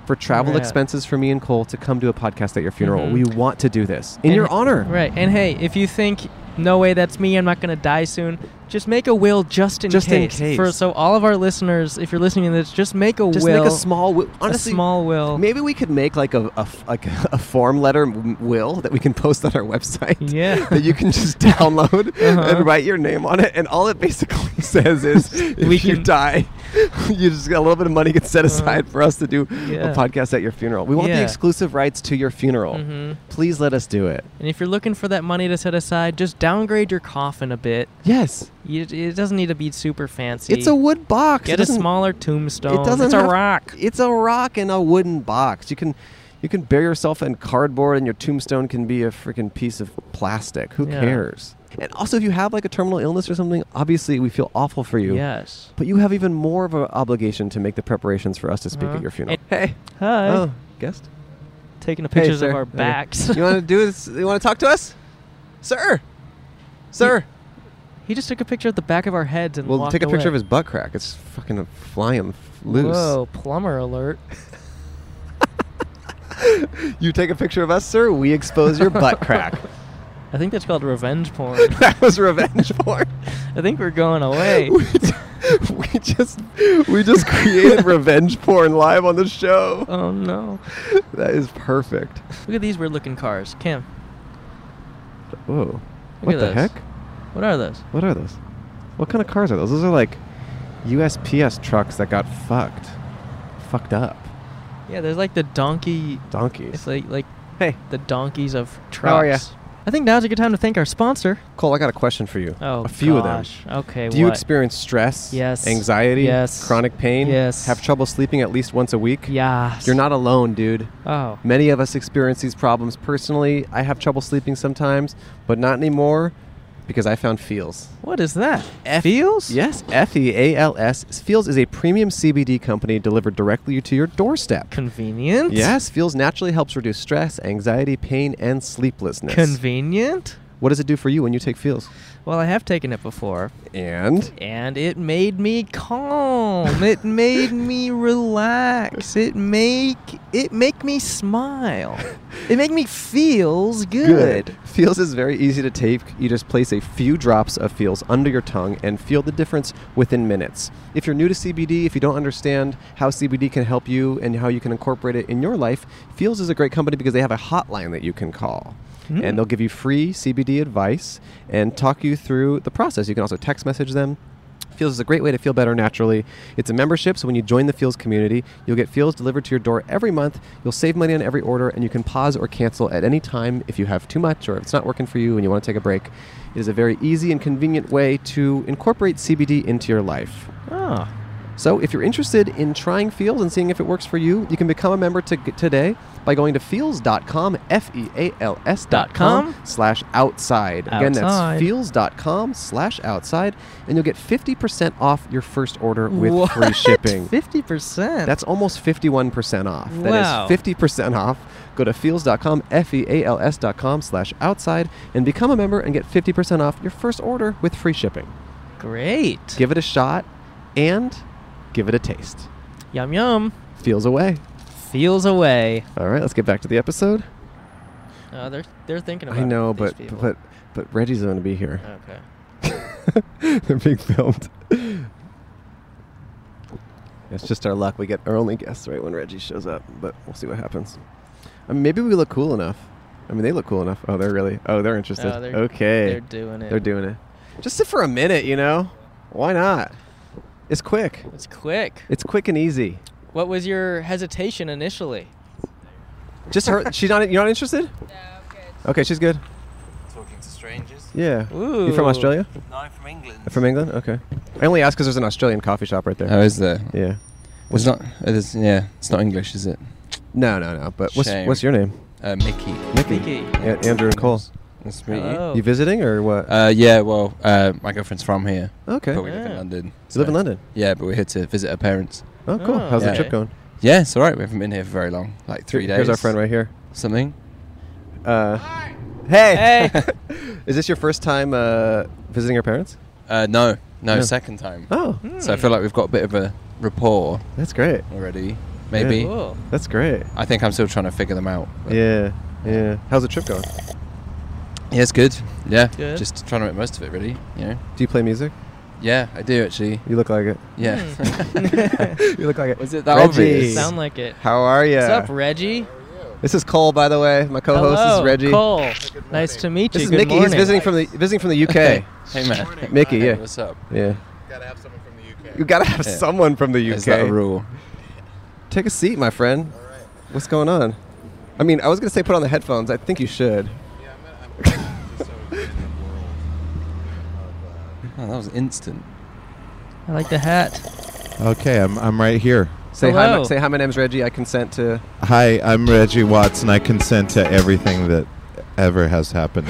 [SPEAKER 2] for travel
[SPEAKER 1] Right.
[SPEAKER 2] expenses for me and Cole to come do a podcast at your funeral.
[SPEAKER 1] Mhm.
[SPEAKER 2] We want to do this in
[SPEAKER 1] And-
[SPEAKER 2] your honor.
[SPEAKER 1] Right. And hey, if you think no way that's me, I'm not going to die soon, just make a will just in
[SPEAKER 2] Just in
[SPEAKER 1] case.
[SPEAKER 2] case.
[SPEAKER 1] For so all of our listeners, if you're listening to this, just make a
[SPEAKER 2] Just
[SPEAKER 1] will.
[SPEAKER 2] make a small will. Honestly,
[SPEAKER 1] a small will.
[SPEAKER 2] maybe we could make like a, a f- like a form letter m- will that we can post on our website.
[SPEAKER 1] Yeah.
[SPEAKER 2] that you can just download
[SPEAKER 1] Uh-huh.
[SPEAKER 2] and write your name on it, and all it basically says is if
[SPEAKER 1] We
[SPEAKER 2] you
[SPEAKER 1] can- Uh-huh.
[SPEAKER 2] die, you just got a little bit of money gets set aside for us to do
[SPEAKER 1] Yeah.
[SPEAKER 2] a podcast at your funeral. We want the
[SPEAKER 1] Yeah.
[SPEAKER 2] exclusive rights to your funeral.
[SPEAKER 1] Mhm.
[SPEAKER 2] Please let us do it.
[SPEAKER 1] And if you're looking for that money to set aside, just downgrade your coffin a bit.
[SPEAKER 2] Yes,
[SPEAKER 1] You, it doesn't need to be super fancy.
[SPEAKER 2] it's a wood box. It
[SPEAKER 1] Get a
[SPEAKER 2] doesn't-
[SPEAKER 1] smaller tombstone.
[SPEAKER 2] It doesn't.
[SPEAKER 1] It's a
[SPEAKER 2] have-
[SPEAKER 1] rock.
[SPEAKER 2] It's a rock in a wooden box. You can, you can bury yourself in cardboard, and your tombstone can be a freaking piece of plastic. Who
[SPEAKER 1] Yeah.
[SPEAKER 2] cares? And also, if you have like a terminal illness or something, obviously we feel awful for you.
[SPEAKER 1] Yes.
[SPEAKER 2] But you have even more of an obligation to make the preparations for us to speak
[SPEAKER 1] Uh-huh.
[SPEAKER 2] at your funeral.
[SPEAKER 1] It-
[SPEAKER 2] Hey.
[SPEAKER 1] Hi.
[SPEAKER 2] Oh, guest.
[SPEAKER 1] Taking the
[SPEAKER 2] Hey,
[SPEAKER 1] pictures
[SPEAKER 2] sir.
[SPEAKER 1] of our
[SPEAKER 2] Okay.
[SPEAKER 1] backs.
[SPEAKER 2] you want to do this? You want to talk to us, sir? Sir.
[SPEAKER 1] he just took a picture of the back of our heads and
[SPEAKER 2] Well,
[SPEAKER 1] walked
[SPEAKER 2] take a picture of
[SPEAKER 1] away.
[SPEAKER 2] his butt crack. It's fucking flying loose.
[SPEAKER 1] Whoa, plumber alert.
[SPEAKER 2] You take a picture of us, sir. We expose your butt crack.
[SPEAKER 1] I think that's called revenge porn.
[SPEAKER 2] that was revenge porn.
[SPEAKER 1] I think we're going away.
[SPEAKER 2] We, ju- we just we just created revenge porn live on the show.
[SPEAKER 1] oh no.
[SPEAKER 2] That is perfect.
[SPEAKER 1] Look at these weird looking cars. Kim,
[SPEAKER 2] Whoa.
[SPEAKER 1] Look
[SPEAKER 2] What
[SPEAKER 1] at
[SPEAKER 2] the
[SPEAKER 1] those.
[SPEAKER 2] heck?
[SPEAKER 1] what are those?
[SPEAKER 2] What are those? What kind of cars are those? Those are like USPS trucks that got fucked. Fucked up.
[SPEAKER 1] Yeah, there's like the donkey. It's
[SPEAKER 2] Donkeys.
[SPEAKER 1] like like
[SPEAKER 2] Hey,
[SPEAKER 1] the donkeys of trucks.
[SPEAKER 2] How are ya?
[SPEAKER 1] I think now's a good time to thank our sponsor.
[SPEAKER 2] Oh, Cole, I got a question for you.
[SPEAKER 1] Oh,
[SPEAKER 2] a few
[SPEAKER 1] gosh.
[SPEAKER 2] of them.
[SPEAKER 1] Okay,
[SPEAKER 2] Do you
[SPEAKER 1] what?
[SPEAKER 2] experience stress?
[SPEAKER 1] Yes.
[SPEAKER 2] Anxiety?
[SPEAKER 1] Yes.
[SPEAKER 2] Chronic pain?
[SPEAKER 1] Yes.
[SPEAKER 2] Have trouble sleeping at least once a week?
[SPEAKER 1] Yeah.
[SPEAKER 2] You're not alone, dude.
[SPEAKER 1] Oh.
[SPEAKER 2] Many of us experience these problems personally. I have trouble sleeping sometimes, but not anymore. because I found Feels.
[SPEAKER 1] What is that? Feels?
[SPEAKER 2] Yes, F E A L S. Feels is a premium CBD company delivered directly to your doorstep.
[SPEAKER 1] Convenient?
[SPEAKER 2] Yes, Feels naturally helps reduce stress, anxiety, pain, and sleeplessness.
[SPEAKER 1] Convenient?
[SPEAKER 2] what does it do for you when you take Feels?
[SPEAKER 1] Well, I have taken it before,
[SPEAKER 2] And
[SPEAKER 1] and it made me calm. it made me relax. It make it make me smile. It make me feels good.
[SPEAKER 2] Feels is very easy to take. You just place a few drops of Feels under your tongue and feel the difference within minutes. If you're new to CBD, if you don't understand how CBD can help you and how you can incorporate it in your life, Feels is a great company because they have a hotline that you can call.
[SPEAKER 1] Hmm.
[SPEAKER 2] And they'll give you free CBD advice and talk you through the process. You can also text message them. Feels is a great way to feel better naturally. It's a membership, so when you join the Feels community, you'll get Feels delivered to your door every month. You'll save money on every order, and you can pause or cancel at any time if you have too much or if it's not working for you and you want to take a break. It is a very easy and convenient way to incorporate CBD into your life.
[SPEAKER 1] Oh,
[SPEAKER 2] Ah. So, if you're interested in trying Feels and seeing if it works for you, you can become a member to today by going to feels.com, F E A L S dot com slash outside. Again,
[SPEAKER 1] Outside.
[SPEAKER 2] that's feels.com slash outside, and you'll get 50% off your first order with free shipping.
[SPEAKER 1] fifty percent.
[SPEAKER 2] That's almost 51% off. That is
[SPEAKER 1] Wow.
[SPEAKER 2] 50% off. Go to feels.com, F E A L S dot com slash outside, and become a member and get 50% off your first order with free shipping.
[SPEAKER 1] great.
[SPEAKER 2] Give it a shot and give it a taste.
[SPEAKER 1] yum yum.
[SPEAKER 2] Feels away.
[SPEAKER 1] Feels away.
[SPEAKER 2] All right, let's get back to the episode.
[SPEAKER 1] Uh, they're they're thinking about.
[SPEAKER 2] I know,
[SPEAKER 1] these
[SPEAKER 2] but,
[SPEAKER 1] people.
[SPEAKER 2] but but Reggie's going to be here.
[SPEAKER 1] okay.
[SPEAKER 2] They're being filmed. It's just our luck. We get our only guests right when Reggie shows up, but we'll see what happens. I mean, maybe we look cool enough. I mean, they look cool enough. Oh, they're really. Oh, they're interested.
[SPEAKER 1] Oh, they're-
[SPEAKER 2] okay,
[SPEAKER 1] They're doing it.
[SPEAKER 2] They're doing it. Just sit for a minute, you know. Why not? It's quick.
[SPEAKER 1] It's quick.
[SPEAKER 2] It's quick and easy.
[SPEAKER 1] What was your hesitation initially?
[SPEAKER 2] Just her. she's not. You're not interested?
[SPEAKER 10] No, I'm good.
[SPEAKER 2] Okay, she's good.
[SPEAKER 11] Talking to strangers.
[SPEAKER 2] Yeah. You from
[SPEAKER 1] Ooh.
[SPEAKER 2] Australia?
[SPEAKER 11] No, I'm from England.
[SPEAKER 2] From England? Okay. I only asked because there's an Australian coffee shop right there.
[SPEAKER 11] Oh, is there?
[SPEAKER 2] yeah.
[SPEAKER 11] It's not. It is, yeah, it's not English, is it?
[SPEAKER 2] No, no, no. But what's
[SPEAKER 11] Shame.
[SPEAKER 2] what's your name?
[SPEAKER 11] Uh, Mickey.
[SPEAKER 1] Mickey.
[SPEAKER 2] A- Andrew and Cole.
[SPEAKER 11] Nice to meet
[SPEAKER 1] Hello.
[SPEAKER 2] You visiting or what?
[SPEAKER 11] you. Uh, yeah, well, uh, my girlfriend's from here,
[SPEAKER 2] okay.
[SPEAKER 11] but we
[SPEAKER 2] You
[SPEAKER 11] live
[SPEAKER 1] Yeah.
[SPEAKER 11] in London. so-
[SPEAKER 2] live in London?
[SPEAKER 11] Yeah, but we're here to visit her parents.
[SPEAKER 2] Oh, cool.
[SPEAKER 1] Oh,
[SPEAKER 2] How's the
[SPEAKER 11] Yeah.
[SPEAKER 2] trip going?
[SPEAKER 11] Yeah, it's all right. We haven't been here for very long, like three days.
[SPEAKER 2] Here's our friend right here.
[SPEAKER 11] Something.
[SPEAKER 2] Uh, hey.
[SPEAKER 1] Hey.
[SPEAKER 2] Is this your first time uh, visiting your parents?
[SPEAKER 11] Uh, no, no,
[SPEAKER 2] No.
[SPEAKER 11] second time.
[SPEAKER 2] Oh,
[SPEAKER 11] So I feel like we've got a bit of a rapport
[SPEAKER 2] that's great.
[SPEAKER 11] already. Maybe.
[SPEAKER 1] Cool.
[SPEAKER 2] That's great.
[SPEAKER 11] I think I'm still trying to figure them out. but-
[SPEAKER 2] Yeah. Yeah. How's the trip going?
[SPEAKER 11] Yeah, it's good. Yeah.
[SPEAKER 1] Good.
[SPEAKER 11] Just trying to make most of it, really. You know.
[SPEAKER 2] Do you play music?
[SPEAKER 11] Yeah, I do actually.
[SPEAKER 2] You look like it.
[SPEAKER 11] Yeah.
[SPEAKER 2] you look like it.
[SPEAKER 11] Was it that
[SPEAKER 2] Reggie.
[SPEAKER 11] obvious?
[SPEAKER 1] Hmm. Sound like it.
[SPEAKER 2] How are you?
[SPEAKER 1] What's up, Reggie?
[SPEAKER 2] This is Cole, by the way. My co-host
[SPEAKER 1] Hello,
[SPEAKER 2] is Reggie.
[SPEAKER 1] Cole. Nice to meet you.
[SPEAKER 2] This is
[SPEAKER 1] Good
[SPEAKER 2] Mickey.
[SPEAKER 1] Morning.
[SPEAKER 2] He's visiting from the visiting from the UK.
[SPEAKER 11] Hey, hey man.
[SPEAKER 2] Mickey,
[SPEAKER 11] Hey,
[SPEAKER 2] yeah,
[SPEAKER 11] What's up?
[SPEAKER 2] yeah.
[SPEAKER 12] Gotta have someone from the UK.
[SPEAKER 2] You gotta have
[SPEAKER 11] Yeah.
[SPEAKER 2] someone from the
[SPEAKER 11] Is that a
[SPEAKER 2] UK.
[SPEAKER 11] rule?
[SPEAKER 2] Take a seat, my friend.
[SPEAKER 12] All right.
[SPEAKER 2] What's going on? I mean, I was gonna say put on the headphones. I think you should.
[SPEAKER 12] Yeah, I'm, gonna, I'm just so in the world of.
[SPEAKER 11] Oh, that was instant.
[SPEAKER 1] I like the hat.
[SPEAKER 12] Uh... Okay, I'm, I'm right here.
[SPEAKER 2] Say hi.
[SPEAKER 1] Hello.
[SPEAKER 2] My, say hi. My name's Reggie. I consent to.
[SPEAKER 12] Hi, I'm Reggie Watts, and I consent to everything that ever has happened.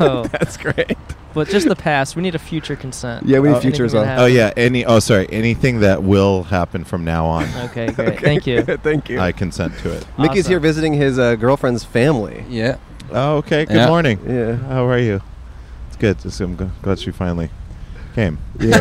[SPEAKER 1] Oh,
[SPEAKER 2] That's great.
[SPEAKER 1] but just the past. We need a future consent.
[SPEAKER 2] Yeah, we need
[SPEAKER 1] Oh,
[SPEAKER 2] future as
[SPEAKER 1] anything
[SPEAKER 2] well.
[SPEAKER 1] that
[SPEAKER 12] oh yeah, any. Oh sorry, anything that will happen from now on,
[SPEAKER 1] Okay, great. Thank you.
[SPEAKER 2] Thank you.
[SPEAKER 12] I consent to it.
[SPEAKER 2] Mickey's
[SPEAKER 1] Awesome.
[SPEAKER 2] here visiting his uh, girlfriend's family.
[SPEAKER 11] Yeah.
[SPEAKER 12] Oh okay. Good
[SPEAKER 11] Yeah.
[SPEAKER 12] morning.
[SPEAKER 2] Yeah.
[SPEAKER 12] How are you? It's good. Just- I'm g- glad she finally came.
[SPEAKER 2] Yeah.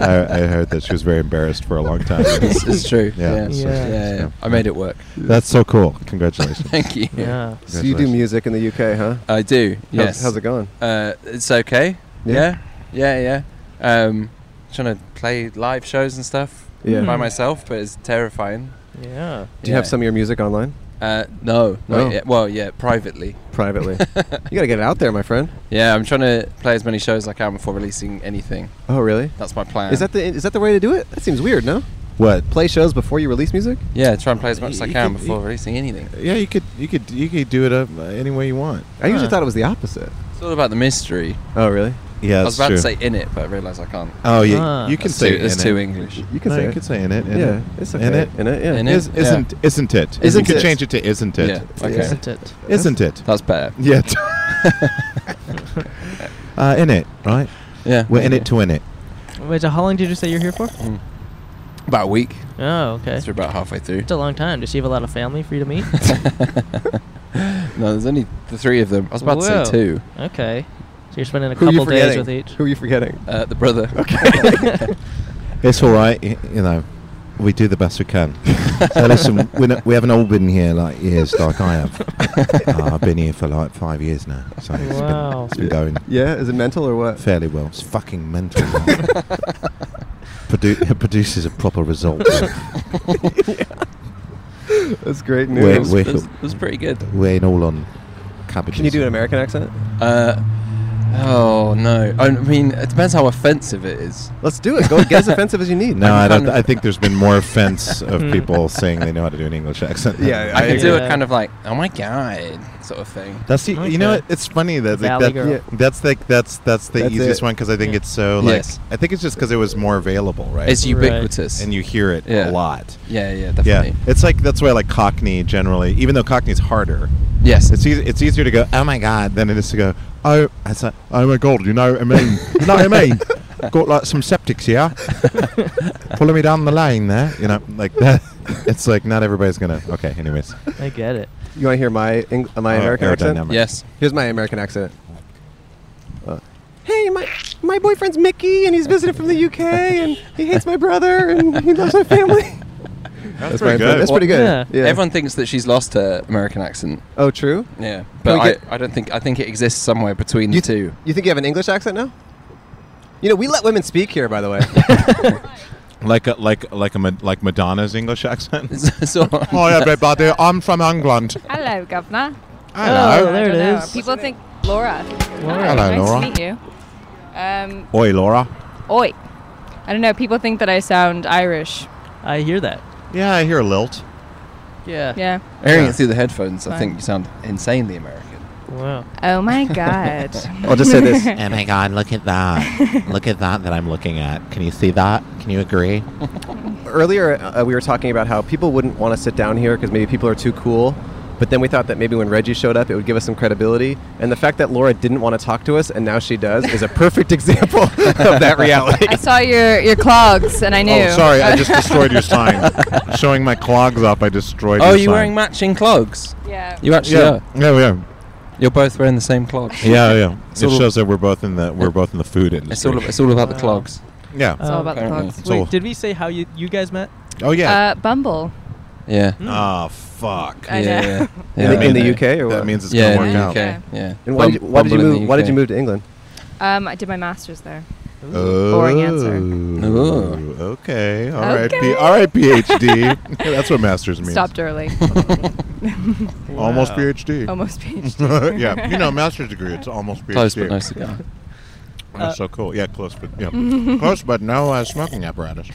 [SPEAKER 12] I, I heard that she was very embarrassed for a long time.
[SPEAKER 11] It's, it's true.
[SPEAKER 12] Yeah,
[SPEAKER 11] Yeah.
[SPEAKER 12] it's
[SPEAKER 11] Yeah.
[SPEAKER 1] true.
[SPEAKER 11] yeah,
[SPEAKER 12] Yeah.
[SPEAKER 11] I made it work.
[SPEAKER 12] That's so cool. Congratulations.
[SPEAKER 11] Thank you.
[SPEAKER 1] Yeah.
[SPEAKER 2] So you do
[SPEAKER 12] Congratulations.
[SPEAKER 2] music in the UK, huh?
[SPEAKER 11] I do. Yes.
[SPEAKER 2] How's, how's it going?
[SPEAKER 11] Uh, it's okay.
[SPEAKER 2] Yeah?
[SPEAKER 11] Yeah. Yeah. Yeah. Um, trying to play live shows and stuff
[SPEAKER 2] Yeah.
[SPEAKER 11] by myself, but it's terrifying.
[SPEAKER 1] Yeah.
[SPEAKER 2] Do you have
[SPEAKER 11] Hmm. Yeah.
[SPEAKER 2] some of your music online
[SPEAKER 11] Uh, no. Not
[SPEAKER 2] No?
[SPEAKER 11] yet. Well, yeah, privately.
[SPEAKER 2] privately? you gotta get it out there, my friend.
[SPEAKER 11] Yeah, I'm trying to play as many shows as I can before releasing anything.
[SPEAKER 2] Oh, really?
[SPEAKER 11] That's my plan.
[SPEAKER 2] Is that the is that the way to do it? That seems weird, no?
[SPEAKER 12] What?
[SPEAKER 2] Play shows before you release music?
[SPEAKER 11] Yeah, try and play as much as I
[SPEAKER 12] You
[SPEAKER 11] can
[SPEAKER 12] could-
[SPEAKER 11] before
[SPEAKER 12] you-
[SPEAKER 11] releasing anything.
[SPEAKER 12] Yeah, you could you could you could do it up uh, any way you want.
[SPEAKER 2] I usually
[SPEAKER 1] Huh.
[SPEAKER 2] thought it was the opposite.
[SPEAKER 11] It's all about the mystery.
[SPEAKER 2] Oh, really?
[SPEAKER 12] Yeah,
[SPEAKER 11] I
[SPEAKER 12] that's
[SPEAKER 11] was about
[SPEAKER 12] true.
[SPEAKER 11] to say in it, but I realised I can't.
[SPEAKER 12] oh yeah,
[SPEAKER 1] Ah.
[SPEAKER 12] you can
[SPEAKER 11] That's
[SPEAKER 12] say
[SPEAKER 11] too, that's
[SPEAKER 12] in
[SPEAKER 11] too
[SPEAKER 12] it.
[SPEAKER 11] English.
[SPEAKER 2] You can
[SPEAKER 12] no,
[SPEAKER 2] say
[SPEAKER 12] you
[SPEAKER 2] it.
[SPEAKER 12] could say in it. In
[SPEAKER 2] yeah,
[SPEAKER 12] it.
[SPEAKER 2] it's
[SPEAKER 12] In
[SPEAKER 2] okay.
[SPEAKER 12] it.
[SPEAKER 2] In it, yeah.
[SPEAKER 11] In it.
[SPEAKER 12] Is,
[SPEAKER 11] Yeah.
[SPEAKER 12] isn't isn't it?
[SPEAKER 2] Isn't
[SPEAKER 12] you could
[SPEAKER 2] it?
[SPEAKER 12] change it to isn't it?
[SPEAKER 11] Yeah. Okay.
[SPEAKER 1] Isn't it?
[SPEAKER 12] Isn't it?
[SPEAKER 11] That's better.
[SPEAKER 12] Yeah. uh, in it, right?
[SPEAKER 11] Yeah.
[SPEAKER 12] We're in it to win it.
[SPEAKER 1] Wait, so how long did you say you're here for?
[SPEAKER 11] About a week.
[SPEAKER 1] Oh, okay.
[SPEAKER 11] So we're about halfway through.
[SPEAKER 1] It's a long time. Does she have a lot of family for you to meet?
[SPEAKER 11] no, there's only the three of them. I was about
[SPEAKER 1] Whoa.
[SPEAKER 11] to say two.
[SPEAKER 1] okay. So you're spending a
[SPEAKER 2] Who are you
[SPEAKER 1] couple days
[SPEAKER 2] forgetting?
[SPEAKER 1] with each.
[SPEAKER 2] Who are you forgetting?
[SPEAKER 11] Uh, the brother.
[SPEAKER 1] Okay.
[SPEAKER 12] It's all right, y- you know. We do the best we can. so listen, we're not, we haven't all been here like years, like I have. Uh, I've been here for like five years now, so it's been-
[SPEAKER 1] Wow.
[SPEAKER 12] it's been going
[SPEAKER 2] Yeah, is it mental or what?
[SPEAKER 12] fairly well. It's fucking mental. Produ- it produces a proper result.
[SPEAKER 2] That's great
[SPEAKER 12] Wait,
[SPEAKER 2] news.
[SPEAKER 12] wait.
[SPEAKER 11] It was, it was pretty good.
[SPEAKER 12] We're in all on cabbages.
[SPEAKER 2] Can you do an American accent?
[SPEAKER 11] Uh, oh no. I mean, it depends how offensive it is.
[SPEAKER 2] Let's do it. Go get as offensive as you need.
[SPEAKER 12] No,
[SPEAKER 11] I'm
[SPEAKER 12] I don't.
[SPEAKER 11] kind of-
[SPEAKER 12] I think there's been more offense of people saying they know how to do an English accent. than-
[SPEAKER 2] Hmm. Yeah,
[SPEAKER 11] I,
[SPEAKER 2] I
[SPEAKER 11] can do
[SPEAKER 1] agree.
[SPEAKER 11] a kind of like, oh my god, sort of thing.
[SPEAKER 12] That's the, you know
[SPEAKER 1] Okay.
[SPEAKER 12] what, it's funny that, like,
[SPEAKER 1] Valley
[SPEAKER 12] that
[SPEAKER 1] girl.
[SPEAKER 2] yeah.
[SPEAKER 12] that's like that's that's the
[SPEAKER 2] That's
[SPEAKER 12] easiest
[SPEAKER 2] it.
[SPEAKER 12] one 'cause one because I think
[SPEAKER 1] Yeah.
[SPEAKER 12] it's so like
[SPEAKER 11] Yes.
[SPEAKER 12] I think it's just because it was more available, right?
[SPEAKER 11] It's
[SPEAKER 1] Right.
[SPEAKER 11] ubiquitous.
[SPEAKER 12] and you hear it a
[SPEAKER 11] Yeah.
[SPEAKER 12] lot.
[SPEAKER 11] yeah, yeah,
[SPEAKER 12] Yeah,
[SPEAKER 11] definitely.
[SPEAKER 12] it's like that's why like Cockney generally, even though Cockney's harder,
[SPEAKER 11] Yes,
[SPEAKER 12] it's easy, it's easier to go oh my god than it is to go oh it's like, oh my god you know what I mean you know what I mean got like some septics here follow me down the lane there you know like that it's like not everybody's gonna okay anyways
[SPEAKER 1] I get it.
[SPEAKER 2] You want to hear my Eng- uh, my
[SPEAKER 12] Oh,
[SPEAKER 2] American
[SPEAKER 12] aerodynamic.
[SPEAKER 2] accent?
[SPEAKER 11] yes.
[SPEAKER 2] Here's my American accent. Uh, hey, my my boyfriend's Mickey, and he's visiting from the UK, and he hates my brother, and he loves my family.
[SPEAKER 12] that's,
[SPEAKER 2] my Impre- That's pretty good.
[SPEAKER 1] Yeah.
[SPEAKER 11] Everyone thinks that she's lost her American accent.
[SPEAKER 2] Oh, true.
[SPEAKER 11] Yeah,
[SPEAKER 2] Can
[SPEAKER 11] but
[SPEAKER 2] we
[SPEAKER 11] I,
[SPEAKER 2] get-
[SPEAKER 11] I don't think I think it exists somewhere between the two.
[SPEAKER 2] You think you have an English accent now? You know, we let women speak here, by the way.
[SPEAKER 12] like a, like like a Ma- like Madonna's English accent Oh,
[SPEAKER 11] so
[SPEAKER 12] hi everybody I'm from England
[SPEAKER 6] Hello, Governor.
[SPEAKER 1] Hello. Oh, there
[SPEAKER 6] I don't
[SPEAKER 1] it
[SPEAKER 6] know.
[SPEAKER 1] is.
[SPEAKER 6] People think Laura. Hi,
[SPEAKER 12] Hello,
[SPEAKER 6] nice
[SPEAKER 12] Laura.
[SPEAKER 6] to meet you. Um,
[SPEAKER 12] oi Laura
[SPEAKER 6] oi. I don't know. People think that I sound Irish.
[SPEAKER 1] I hear that.
[SPEAKER 12] yeah I hear a lilt
[SPEAKER 1] Yeah.
[SPEAKER 6] Yeah.
[SPEAKER 11] hearing
[SPEAKER 12] Yeah.
[SPEAKER 11] it through the headphones, I
[SPEAKER 6] Fine.
[SPEAKER 11] think you sound insanely American.
[SPEAKER 1] Wow.
[SPEAKER 6] Oh my God.
[SPEAKER 2] I'll just say this.
[SPEAKER 12] oh my god look at that look at that that I'm looking at can you see that can you agree
[SPEAKER 2] Earlier, uh, we were talking about how people wouldn't want to sit down here because maybe people are too cool. But then we thought that maybe when Reggie showed up, it would give us some credibility. And the fact that Laura didn't want to talk to us and now she does is a perfect example of that reality.
[SPEAKER 6] I saw your your clogs and I knew.
[SPEAKER 12] oh sorry I just destroyed your sign showing my clogs up I destroyed
[SPEAKER 11] Oh,
[SPEAKER 12] your
[SPEAKER 11] you're
[SPEAKER 12] sign.
[SPEAKER 11] wearing matching clogs.
[SPEAKER 6] Yeah.
[SPEAKER 11] You actually
[SPEAKER 12] yeah
[SPEAKER 11] are.
[SPEAKER 12] yeah yeah
[SPEAKER 11] You're both wearing the same clogs.
[SPEAKER 12] Yeah, yeah.
[SPEAKER 11] all-
[SPEAKER 12] it shows that we're both in the we're both in the food industry.
[SPEAKER 11] It's all it's all about the
[SPEAKER 1] Wow.
[SPEAKER 11] clogs.
[SPEAKER 12] yeah.
[SPEAKER 6] It's all
[SPEAKER 1] Um,
[SPEAKER 6] about the
[SPEAKER 11] apparently.
[SPEAKER 6] clogs.
[SPEAKER 12] So-
[SPEAKER 1] Wait, did we say how you you guys met?
[SPEAKER 12] Oh yeah.
[SPEAKER 6] Uh, Bumble.
[SPEAKER 11] Yeah.
[SPEAKER 12] Ah fuck.
[SPEAKER 6] I
[SPEAKER 11] yeah,
[SPEAKER 6] know.
[SPEAKER 11] yeah,
[SPEAKER 12] That
[SPEAKER 11] yeah.
[SPEAKER 2] In the-
[SPEAKER 12] means
[SPEAKER 2] in the
[SPEAKER 12] that-
[SPEAKER 2] UK or
[SPEAKER 12] that
[SPEAKER 2] what?
[SPEAKER 12] means it's
[SPEAKER 11] yeah,
[SPEAKER 12] gonna
[SPEAKER 11] in
[SPEAKER 12] work
[SPEAKER 11] the
[SPEAKER 12] out.
[SPEAKER 11] UK. Yeah.
[SPEAKER 2] and why did, you, why did
[SPEAKER 11] Bumble
[SPEAKER 2] you
[SPEAKER 11] in
[SPEAKER 2] move?
[SPEAKER 11] the
[SPEAKER 2] Why did
[SPEAKER 11] UK.
[SPEAKER 2] you move to England?
[SPEAKER 6] Um, I did my master's there.
[SPEAKER 12] Oh,
[SPEAKER 6] Boring answer.
[SPEAKER 11] Ooh.
[SPEAKER 12] Okay. All right.
[SPEAKER 6] Okay.
[SPEAKER 12] P- all right. PhD. Yeah, That's what masters means.
[SPEAKER 6] Stopped early.
[SPEAKER 12] Almost PhD.
[SPEAKER 6] Almost PhD.
[SPEAKER 12] yeah. You know, master's degree. It's almost PhD.
[SPEAKER 11] Close but no cigar.
[SPEAKER 12] That's
[SPEAKER 1] Uh,
[SPEAKER 12] so cool. Yeah. Close but yeah. close but no uh, smoking apparatus.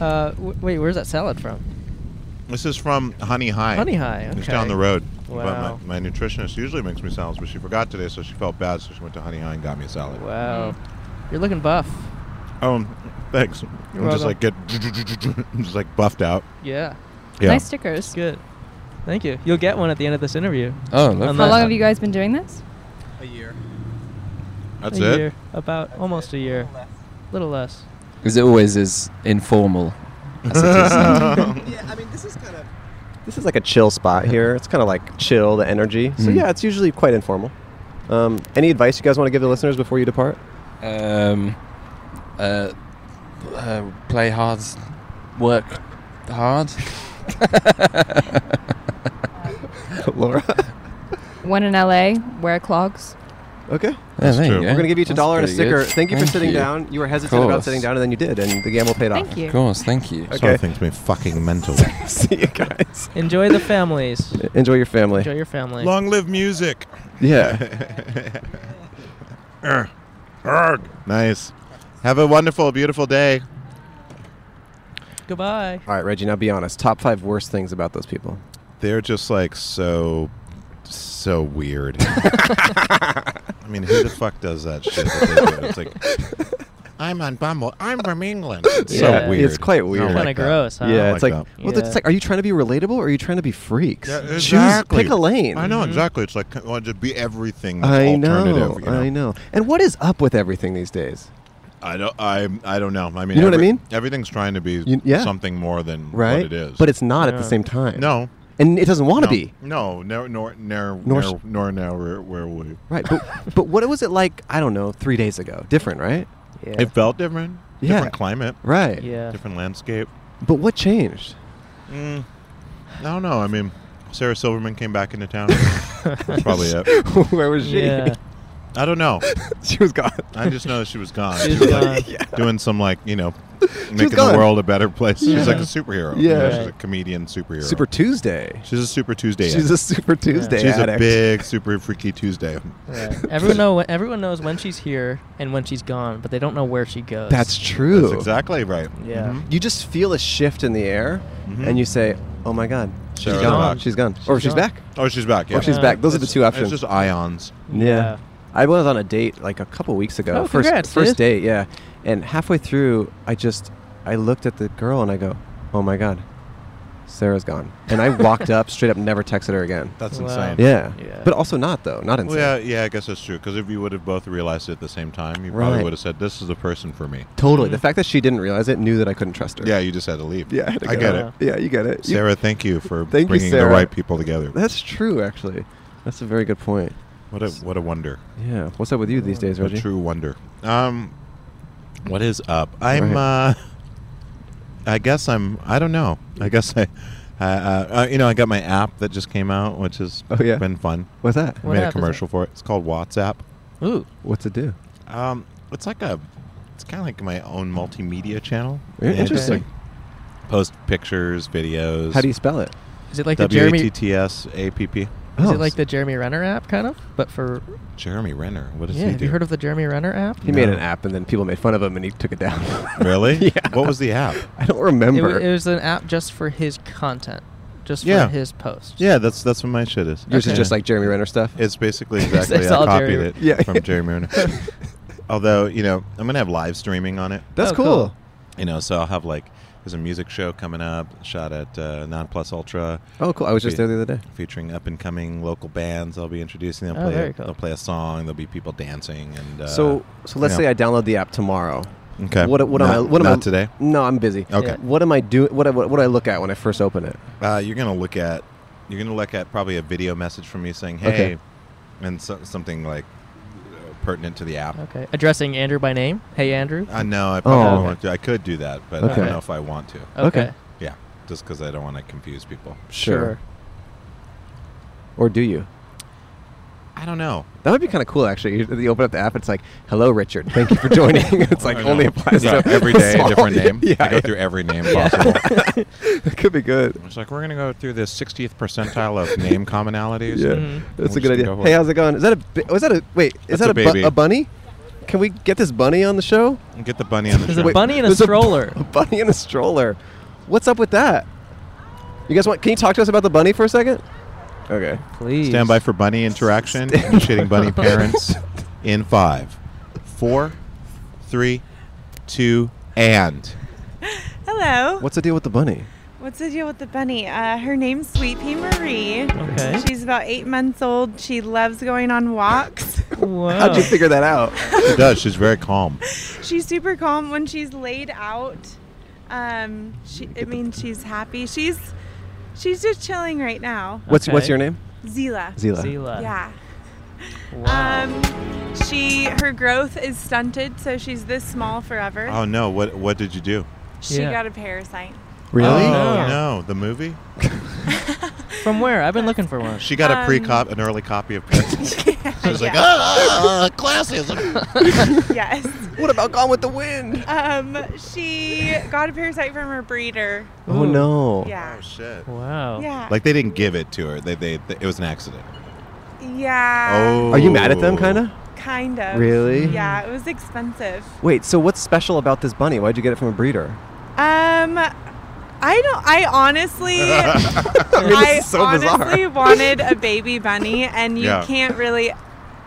[SPEAKER 1] Uh, w- wait, where's that salad from?
[SPEAKER 12] This is from Honey High.
[SPEAKER 1] Honey High. Okay.
[SPEAKER 12] It's down the road.
[SPEAKER 1] Wow.
[SPEAKER 12] But my, my nutritionist usually makes me salads, but she forgot today, so she felt bad, so she went to Honey High and got me a salad.
[SPEAKER 1] Wow.
[SPEAKER 6] Mm.
[SPEAKER 1] You're looking buff.
[SPEAKER 12] Oh, thanks. I'm
[SPEAKER 1] welcome.
[SPEAKER 12] just like get just like buffed out.
[SPEAKER 1] Yeah.
[SPEAKER 12] Yeah.
[SPEAKER 6] Nice stickers.
[SPEAKER 1] It's good. Thank you. You'll get one at the end of this interview.
[SPEAKER 11] Oh,
[SPEAKER 1] Um,
[SPEAKER 11] lovely.
[SPEAKER 6] How long have you guys been doing this?
[SPEAKER 12] That's
[SPEAKER 1] a
[SPEAKER 12] it.
[SPEAKER 1] year. About almost a year. Little less.
[SPEAKER 11] Because it always is informal. As it is now.
[SPEAKER 2] yeah, I mean, this is kind of. This is like a chill spot here. It's kind of like chill, the energy. So
[SPEAKER 11] Mm.
[SPEAKER 2] yeah, it's usually quite informal. Um, any advice you guys want to give the listeners before you depart?
[SPEAKER 11] um, uh, uh, play hard, work hard.
[SPEAKER 2] Laura.
[SPEAKER 6] One in LA, wear clogs.
[SPEAKER 2] Okay.
[SPEAKER 12] That's true. We're
[SPEAKER 11] go.
[SPEAKER 2] We're gonna give you each a
[SPEAKER 11] That's
[SPEAKER 2] dollar and a
[SPEAKER 11] pretty
[SPEAKER 2] sticker.
[SPEAKER 11] good.
[SPEAKER 2] Thank you for
[SPEAKER 11] Thank
[SPEAKER 2] sitting
[SPEAKER 11] you.
[SPEAKER 2] down. You were hesitant about
[SPEAKER 11] course.
[SPEAKER 2] sitting down, and then you did, and the gamble paid off.
[SPEAKER 6] Thank you.
[SPEAKER 11] Of course, thank you.
[SPEAKER 12] Sort
[SPEAKER 2] Okay.
[SPEAKER 12] of things me fucking mental.
[SPEAKER 2] See you guys.
[SPEAKER 1] Enjoy the families.
[SPEAKER 2] Enjoy your family.
[SPEAKER 1] Enjoy your family.
[SPEAKER 12] Long live music.
[SPEAKER 2] yeah.
[SPEAKER 12] Arr.
[SPEAKER 2] Er.
[SPEAKER 12] Arg. Nice. Have a wonderful, beautiful day.
[SPEAKER 1] Goodbye.
[SPEAKER 2] All right, Reggie. Now be honest. Top five worst things about those people.
[SPEAKER 12] They're just like so, so weird. I mean, who the fuck does that shit? That they do? It's like I'm on Bumble. I'm from England. It's
[SPEAKER 2] Yeah,
[SPEAKER 12] so weird.
[SPEAKER 2] it's quite
[SPEAKER 12] I don't
[SPEAKER 2] weird.
[SPEAKER 12] like that.
[SPEAKER 2] Kinda
[SPEAKER 1] gross, huh?
[SPEAKER 12] I don't
[SPEAKER 2] yeah, it's like,
[SPEAKER 12] that.
[SPEAKER 2] well, it's
[SPEAKER 1] Yeah.
[SPEAKER 2] like, are you trying to be relatable or are you trying to be freaks?
[SPEAKER 12] Yeah,
[SPEAKER 2] Choose,
[SPEAKER 12] exactly.
[SPEAKER 2] pick a lane. Mm-hmm.
[SPEAKER 12] I know
[SPEAKER 1] Mm-hmm.
[SPEAKER 12] exactly. It's like well, just be everything. That's
[SPEAKER 2] I know,
[SPEAKER 12] alternative, you know?
[SPEAKER 2] I know. And what is up with everything these days?
[SPEAKER 12] I don't. I. I don't know. I mean,
[SPEAKER 2] You know what I mean?
[SPEAKER 12] Everything's trying to be
[SPEAKER 2] You- yeah.
[SPEAKER 12] something more than
[SPEAKER 2] Right?
[SPEAKER 12] what it is.
[SPEAKER 2] But it's not at the
[SPEAKER 1] Yeah.
[SPEAKER 2] same time.
[SPEAKER 12] no.
[SPEAKER 2] And it doesn't want to
[SPEAKER 12] no,
[SPEAKER 2] be.
[SPEAKER 12] No. Nor. Nor. Nor. Nor.
[SPEAKER 2] Nor sh-
[SPEAKER 12] Nor. Nor. Where, where we?
[SPEAKER 2] Right. But, but what was it like, I don't know, three days ago? Different, right?
[SPEAKER 1] Yeah.
[SPEAKER 12] It felt different.
[SPEAKER 2] Yeah.
[SPEAKER 12] Different climate.
[SPEAKER 2] Right.
[SPEAKER 1] yeah.
[SPEAKER 12] Different landscape.
[SPEAKER 2] But what changed?
[SPEAKER 12] Mm, I don't know. I mean, Sarah Silverman came back into town. That's probably it.
[SPEAKER 2] Where was she?
[SPEAKER 1] Yeah.
[SPEAKER 12] I don't know.
[SPEAKER 2] she was gone.
[SPEAKER 12] I just know that she was gone.
[SPEAKER 1] She was gone.
[SPEAKER 12] Like, doing some like you know, making the
[SPEAKER 2] gone.
[SPEAKER 12] world a better place. She's like a superhero. you know,
[SPEAKER 2] Yeah.
[SPEAKER 12] she's a comedian superhero.
[SPEAKER 2] Super Tuesday.
[SPEAKER 12] She's a Super Tuesday.
[SPEAKER 2] She's a Super Tuesday
[SPEAKER 12] She's
[SPEAKER 2] addict.
[SPEAKER 12] a big super freaky Tuesday.
[SPEAKER 1] Yeah. Everyone know everyone knows when she's here and when she's gone, but they don't know where she goes.
[SPEAKER 2] That's true. Mm-hmm.
[SPEAKER 12] That's exactly right.
[SPEAKER 1] Yeah. Mm-hmm.
[SPEAKER 12] Mhm.
[SPEAKER 2] You just feel a shift in the air,
[SPEAKER 12] Mhm.
[SPEAKER 2] and you say, "Oh my God, she's
[SPEAKER 12] Sarah's
[SPEAKER 2] gone.
[SPEAKER 12] back.
[SPEAKER 2] She's gone, or she's
[SPEAKER 1] gone.
[SPEAKER 2] back,
[SPEAKER 12] Oh, she's back. Yeah.
[SPEAKER 2] or she's
[SPEAKER 1] Yeah.
[SPEAKER 2] back." Those are the
[SPEAKER 12] It's-
[SPEAKER 2] two options.
[SPEAKER 12] It's just ions.
[SPEAKER 2] yeah. I was on a date like a couple weeks ago.
[SPEAKER 1] Oh,
[SPEAKER 2] first,
[SPEAKER 1] congrats,
[SPEAKER 2] first
[SPEAKER 1] dude.
[SPEAKER 2] date, yeah. And halfway through, I just I looked at the girl and I go, "Oh my God, Sarah's gone." And I walked up, straight up, never texted her again.
[SPEAKER 12] That's
[SPEAKER 1] Wow.
[SPEAKER 12] insane.
[SPEAKER 2] Yeah.
[SPEAKER 1] Yeah.
[SPEAKER 2] But also not though, not insane.
[SPEAKER 12] Well, yeah, yeah, I guess that's true. Because if you would have both realized it at the same time, you
[SPEAKER 2] Right.
[SPEAKER 12] probably would have said, "This is the person for me."
[SPEAKER 2] Totally. The fact that she didn't realize it knew that I couldn't trust her.
[SPEAKER 12] Mm-hmm. Yeah, you just had to leave.
[SPEAKER 2] Yeah. I, had to
[SPEAKER 12] I
[SPEAKER 2] go.
[SPEAKER 12] get
[SPEAKER 1] Yeah.
[SPEAKER 12] it.
[SPEAKER 2] Yeah, you get it. You-
[SPEAKER 12] Sarah, thank you for
[SPEAKER 2] Thank you,
[SPEAKER 12] bringing the
[SPEAKER 2] Sarah.
[SPEAKER 12] right people together.
[SPEAKER 2] that's true, actually. That's a very good point.
[SPEAKER 12] What a what a wonder.
[SPEAKER 2] Yeah. What's up with you these days,
[SPEAKER 12] A
[SPEAKER 2] Reggie?
[SPEAKER 12] true wonder. Um, what is up? I'm. Uh, I guess I'm. I don't know. I guess I. Uh, uh, uh, you know, I got my app that just came out, which has
[SPEAKER 2] Oh, yeah.
[SPEAKER 12] been fun.
[SPEAKER 2] What's that?
[SPEAKER 1] What
[SPEAKER 12] I made
[SPEAKER 1] app
[SPEAKER 12] a
[SPEAKER 1] is
[SPEAKER 12] commercial for it. It's called WhatsApp.
[SPEAKER 1] Ooh.
[SPEAKER 2] What's it do?
[SPEAKER 12] Um, it's like a, it's kind of like my own multimedia channel.
[SPEAKER 2] Very
[SPEAKER 12] And it's just,
[SPEAKER 2] interesting.
[SPEAKER 12] like, post pictures, videos.
[SPEAKER 2] How do you spell it?
[SPEAKER 1] Is it like the
[SPEAKER 12] W a
[SPEAKER 1] Jeremy?
[SPEAKER 12] t t s a p p?
[SPEAKER 1] Is
[SPEAKER 2] Oh,
[SPEAKER 1] it like the Jeremy Renner app, kind of? But for
[SPEAKER 12] Jeremy Renner. What does
[SPEAKER 1] yeah,
[SPEAKER 12] he
[SPEAKER 1] have
[SPEAKER 12] do?
[SPEAKER 1] you heard of the Jeremy Renner app?
[SPEAKER 2] He made
[SPEAKER 12] No.
[SPEAKER 2] an app, and then people made fun of him, and he took it down.
[SPEAKER 12] Really?
[SPEAKER 2] yeah.
[SPEAKER 12] What was the app?
[SPEAKER 2] I don't
[SPEAKER 1] It,
[SPEAKER 2] remember.
[SPEAKER 1] wa- it was an app just for his content, just
[SPEAKER 12] Yeah.
[SPEAKER 1] for his posts.
[SPEAKER 12] Yeah, that's that's what my shit is.
[SPEAKER 2] Yours is
[SPEAKER 1] Okay.
[SPEAKER 2] just like Jeremy Renner stuff.
[SPEAKER 12] It's basically
[SPEAKER 1] It's-
[SPEAKER 12] exactly
[SPEAKER 1] it's
[SPEAKER 12] I
[SPEAKER 1] all
[SPEAKER 12] copied
[SPEAKER 1] Jeremy-
[SPEAKER 12] it
[SPEAKER 2] Yeah.
[SPEAKER 12] from Jeremy Renner. Although you know, I'm gonna have live streaming on it.
[SPEAKER 2] That's
[SPEAKER 1] Oh,
[SPEAKER 2] cool.
[SPEAKER 1] cool.
[SPEAKER 12] You know, so I'll have like there's a music show coming up, shot at uh, Non Plus Ultra,
[SPEAKER 2] Oh, cool. I was just
[SPEAKER 12] Yeah.
[SPEAKER 2] there the other day.
[SPEAKER 12] featuring up and coming local bands. I'll be introducing. They'll
[SPEAKER 1] Oh,
[SPEAKER 12] play.
[SPEAKER 1] very
[SPEAKER 12] a,
[SPEAKER 1] cool.
[SPEAKER 12] They'll play a song. There'll be people dancing and. Uh,
[SPEAKER 2] so, so let's
[SPEAKER 12] yeah.
[SPEAKER 2] say I download the app tomorrow.
[SPEAKER 12] okay,
[SPEAKER 2] What, what
[SPEAKER 12] not,
[SPEAKER 2] am I? What am
[SPEAKER 12] not
[SPEAKER 2] I,
[SPEAKER 12] today?
[SPEAKER 2] No, I'm busy.
[SPEAKER 12] Okay.
[SPEAKER 1] Yeah.
[SPEAKER 2] What am I doing? What, what what do I look at when I first open it?
[SPEAKER 12] Uh, you're gonna look at you're gonna look at probably a video message from me saying hey,
[SPEAKER 2] Okay.
[SPEAKER 12] and so, something like uh, pertinent to the app.
[SPEAKER 1] Okay. Addressing Andrew by name. Hey, Andrew.
[SPEAKER 12] I know I probably
[SPEAKER 2] oh, okay.
[SPEAKER 12] won't do. I could do that, but I
[SPEAKER 2] Okay.
[SPEAKER 12] don't know if I want to.
[SPEAKER 2] Okay.
[SPEAKER 12] Yeah, just because I don't want to confuse people.
[SPEAKER 1] Sure.
[SPEAKER 2] Or do you?
[SPEAKER 12] I don't know.
[SPEAKER 2] That would be kind of cool, actually. You, you open up the app, it's like, "Hello, Richard. Thank you for joining." it's like
[SPEAKER 12] I
[SPEAKER 2] only
[SPEAKER 12] know.
[SPEAKER 2] applies
[SPEAKER 12] Yeah,
[SPEAKER 2] to
[SPEAKER 12] every day a
[SPEAKER 2] small-
[SPEAKER 12] different name.
[SPEAKER 2] Yeah,
[SPEAKER 12] I go
[SPEAKER 2] yeah.
[SPEAKER 12] through every name possible.
[SPEAKER 2] it could be good.
[SPEAKER 12] it's like we're gonna go through the 60th percentile of name commonalities.
[SPEAKER 2] Yeah,
[SPEAKER 1] Mhm.
[SPEAKER 2] that's a
[SPEAKER 12] We'll
[SPEAKER 2] good
[SPEAKER 12] just
[SPEAKER 2] idea.
[SPEAKER 12] go for
[SPEAKER 2] Hey,
[SPEAKER 12] it.
[SPEAKER 2] how's it going? Is that a bi- was that a wait? Is
[SPEAKER 12] That's a
[SPEAKER 2] that a, bu-
[SPEAKER 12] baby.
[SPEAKER 2] a bunny? Can we get this bunny on the show?
[SPEAKER 12] And Get the bunny on the
[SPEAKER 1] There's a
[SPEAKER 12] show.
[SPEAKER 2] Wait,
[SPEAKER 1] bunny and a
[SPEAKER 2] there's bu-
[SPEAKER 1] stroller.
[SPEAKER 2] A, bunny and a stroller. What's up with that? You guys want? Can you talk to us about the bunny for a second? Okay.
[SPEAKER 1] Please.
[SPEAKER 12] Stand by for bunny interaction. Initiating bunny parents in five, four, three, two, and.
[SPEAKER 13] Hello.
[SPEAKER 2] What's the deal with the bunny?
[SPEAKER 13] What's the deal with the bunny? Uh, her name's Sweet Pea Marie.
[SPEAKER 1] Okay.
[SPEAKER 13] She's about eight months old. She loves going on walks.
[SPEAKER 1] Wow.
[SPEAKER 2] How'd you figure that out?
[SPEAKER 12] Oh. She does. She's very calm.
[SPEAKER 13] she's super calm when she's laid out. Um, she, I mean, she's happy. She's she's just chilling right now.
[SPEAKER 2] What's what's
[SPEAKER 1] Okay.
[SPEAKER 2] your name?
[SPEAKER 13] Zila.
[SPEAKER 2] Zila.
[SPEAKER 1] Zila.
[SPEAKER 13] Yeah.
[SPEAKER 1] Wow.
[SPEAKER 13] Um, she her growth is stunted, so she's this small forever.
[SPEAKER 12] Oh no! What what did you do?
[SPEAKER 13] she
[SPEAKER 1] yeah.
[SPEAKER 13] got a parasite.
[SPEAKER 2] Really?
[SPEAKER 1] Oh.
[SPEAKER 12] No,
[SPEAKER 1] Yeah.
[SPEAKER 12] no. The movie.
[SPEAKER 1] From where? I've been looking for one. Um,
[SPEAKER 12] She got a pre cop, an early copy of. Parents. she was like, ah, classism.
[SPEAKER 13] yes.
[SPEAKER 2] What about Gone with the Wind?
[SPEAKER 13] Um, she got a parasite from her breeder.
[SPEAKER 2] Oh
[SPEAKER 1] Ooh.
[SPEAKER 2] no.
[SPEAKER 13] Yeah.
[SPEAKER 12] Oh shit.
[SPEAKER 1] Wow.
[SPEAKER 13] Yeah.
[SPEAKER 12] Like they didn't give it to her. They, they, they- it was an accident.
[SPEAKER 13] yeah.
[SPEAKER 12] Oh.
[SPEAKER 2] Are you mad at them, kind of?
[SPEAKER 13] Kind of.
[SPEAKER 2] Really?
[SPEAKER 13] Yeah, it was expensive.
[SPEAKER 2] Wait. So what's special about this bunny? Why'd you get it from a breeder?
[SPEAKER 13] Um, I don't. I honestly, I,
[SPEAKER 2] is so bizarre.
[SPEAKER 13] honestly wanted a baby bunny, and you
[SPEAKER 12] Yeah.
[SPEAKER 13] can't really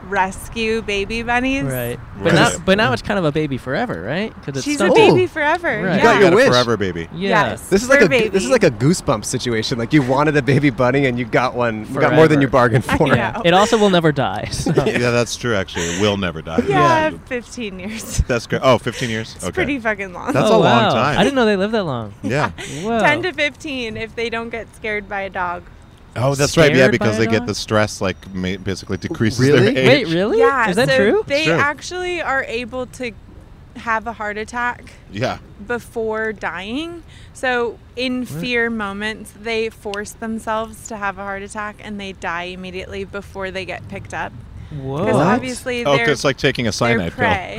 [SPEAKER 13] rescue baby bunnies.
[SPEAKER 1] Right. But now, but now it's kind of a baby forever, right? Because
[SPEAKER 13] She's a baby forever.
[SPEAKER 1] Right.
[SPEAKER 13] Yeah.
[SPEAKER 1] You got
[SPEAKER 2] your wish.
[SPEAKER 12] forever baby.
[SPEAKER 1] Yeah.
[SPEAKER 13] Yes.
[SPEAKER 2] This is
[SPEAKER 13] Her
[SPEAKER 2] like a
[SPEAKER 13] baby.
[SPEAKER 2] this is like a goosebump situation. Like you wanted a baby bunny and you got one. You got more than
[SPEAKER 1] Forever.
[SPEAKER 2] you bargained
[SPEAKER 13] I
[SPEAKER 2] for.
[SPEAKER 13] know.
[SPEAKER 1] It also will never die. so-
[SPEAKER 12] yeah, that's true. Actually, it will never die.
[SPEAKER 13] yeah, 15 years.
[SPEAKER 12] That's great. Oh, 15 years.
[SPEAKER 13] It's
[SPEAKER 12] okay.
[SPEAKER 13] pretty fucking long.
[SPEAKER 12] That's
[SPEAKER 1] Oh,
[SPEAKER 12] a long
[SPEAKER 1] wow.
[SPEAKER 12] time.
[SPEAKER 1] I didn't know they lived that long.
[SPEAKER 12] yeah.
[SPEAKER 13] 10
[SPEAKER 1] Whoa.
[SPEAKER 13] to 15 if they don't get scared by a dog.
[SPEAKER 12] Oh, that's right. Yeah,
[SPEAKER 1] Scared
[SPEAKER 12] because
[SPEAKER 1] by
[SPEAKER 12] they
[SPEAKER 1] a
[SPEAKER 12] get
[SPEAKER 1] dog?
[SPEAKER 12] the stress like ma- basically decreases
[SPEAKER 2] Really?
[SPEAKER 12] their
[SPEAKER 1] Wait,
[SPEAKER 12] age.
[SPEAKER 1] really?
[SPEAKER 13] Yeah.
[SPEAKER 1] Is that
[SPEAKER 13] so
[SPEAKER 1] true?
[SPEAKER 13] They
[SPEAKER 12] Sure.
[SPEAKER 13] actually are able to have a heart attack
[SPEAKER 12] Yeah.
[SPEAKER 13] before dying. So, in fear moments, they force themselves to have a heart attack and they die immediately before they get picked up. Because
[SPEAKER 1] Whoa.
[SPEAKER 13] obviously
[SPEAKER 12] Oh, 'cause
[SPEAKER 13] they're,
[SPEAKER 12] it's like taking a
[SPEAKER 13] they're
[SPEAKER 12] cyanide pill.
[SPEAKER 13] prey.